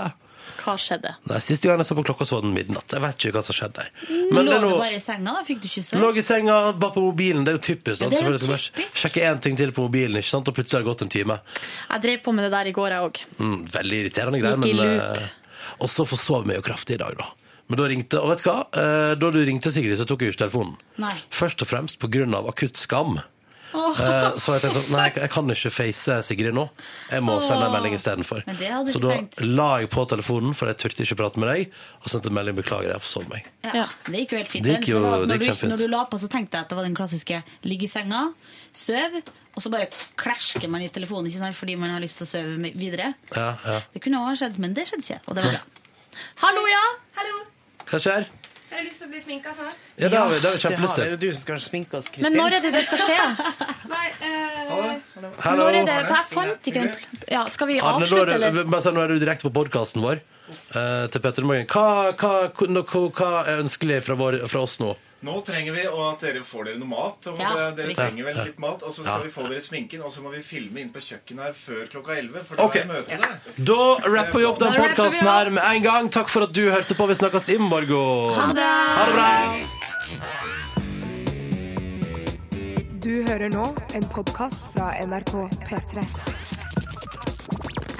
Speaker 4: Hva skjedde?
Speaker 2: Nei, Siste gang jeg så på klokka, så var den midnatt. Jeg vet ikke hva som skjedde der.
Speaker 20: Men
Speaker 2: det
Speaker 20: Lå
Speaker 2: er
Speaker 20: du
Speaker 2: nå-
Speaker 20: bare i senga, da? Fikk du ikke
Speaker 2: Lå
Speaker 20: sove?
Speaker 2: i senga, var på mobilen. Det er jo typisk. Da.
Speaker 4: Ja, det er jo
Speaker 2: Selvfølgelig skal man Sjekke én ting til på mobilen, ikke sant? og plutselig har det gått en time.
Speaker 4: Jeg drev på med det der i går, jeg òg.
Speaker 2: Mm, veldig irriterende greier.
Speaker 4: Gikk i
Speaker 2: men,
Speaker 4: loop.
Speaker 2: eh, Og så forsov jeg meg jo kraftig i dag, da. Men da ringte, og vet du hva? Eh, Da du ringte, Sigrid, så tok jeg ikke telefonen.
Speaker 20: Nei.
Speaker 2: Først og fremst på grunn av akutt skam.
Speaker 20: Åh,
Speaker 2: Eh, Så jeg tenkte sånn, nei, jeg- jeg kan ikke face Sigrid nå. Jeg må sende en
Speaker 20: Åh.
Speaker 2: melding istedenfor.
Speaker 20: Men det hadde
Speaker 2: Så
Speaker 20: du
Speaker 2: da
Speaker 20: tenkt.
Speaker 2: la jeg på telefonen, for jeg turte ikke prate med deg, og sendte en melding 'beklager, jeg forsov meg'.
Speaker 20: Ja, det gikk jo helt fint.
Speaker 2: Det gikk jo-
Speaker 20: var-
Speaker 2: det
Speaker 20: når,
Speaker 2: gikk
Speaker 20: du,
Speaker 2: kjempefint.
Speaker 20: når du la på, så tenkte jeg at det var den klassiske ligg i senga, søv, og så bare klæsjer man i telefonen ikke sant? fordi man har lyst til å sove med- videre.
Speaker 2: Ja, ja.
Speaker 20: Det kunne også ha skjedd, men det skjedde ikke. Og det var bra.
Speaker 4: Hallo, ja!
Speaker 2: Hva skjer?
Speaker 17: Jeg har lyst til å bli sminka snart.
Speaker 2: Ja, det har vi, det har vi
Speaker 3: Ja, det
Speaker 2: kjempelyst
Speaker 3: har vi.
Speaker 2: til.
Speaker 3: Det er du som skal sminke oss,
Speaker 4: Men
Speaker 3: Kristin.
Speaker 4: når er det det skal skje?
Speaker 17: Nei, eh,
Speaker 2: Hallo.
Speaker 4: Når er det? For jeg fant ikke den pl- ja, Skal vi
Speaker 2: Arne, nå er,
Speaker 4: avslutte,
Speaker 2: du,
Speaker 4: eller?
Speaker 2: bare si, nå er du direkte på podkasten vår eh, til Petter i Morgen. Hva, hva, hva, hva er ønskelig fra, vår, fra oss nå?
Speaker 23: Nå trenger vi å- at dere får dere noe mat. Og
Speaker 20: Ja,
Speaker 23: det- dere
Speaker 20: riktig.
Speaker 23: trenger vel litt mat, Og så skal
Speaker 2: Ja.
Speaker 23: vi få dere sminken, og så må vi filme inn på kjøkkenet her før klokka 11. For da
Speaker 2: Ok.
Speaker 23: er det møte der.
Speaker 2: Da rapper vi opp den
Speaker 23: Da rapper vi
Speaker 2: podkasten
Speaker 23: opp.
Speaker 2: her med en gang. Takk for at du hørte på. Vi snakkes i morgen.
Speaker 1: Ha det bra.
Speaker 2: Ha det bra.
Speaker 1: Du hører nå en podkast fra NRK P3.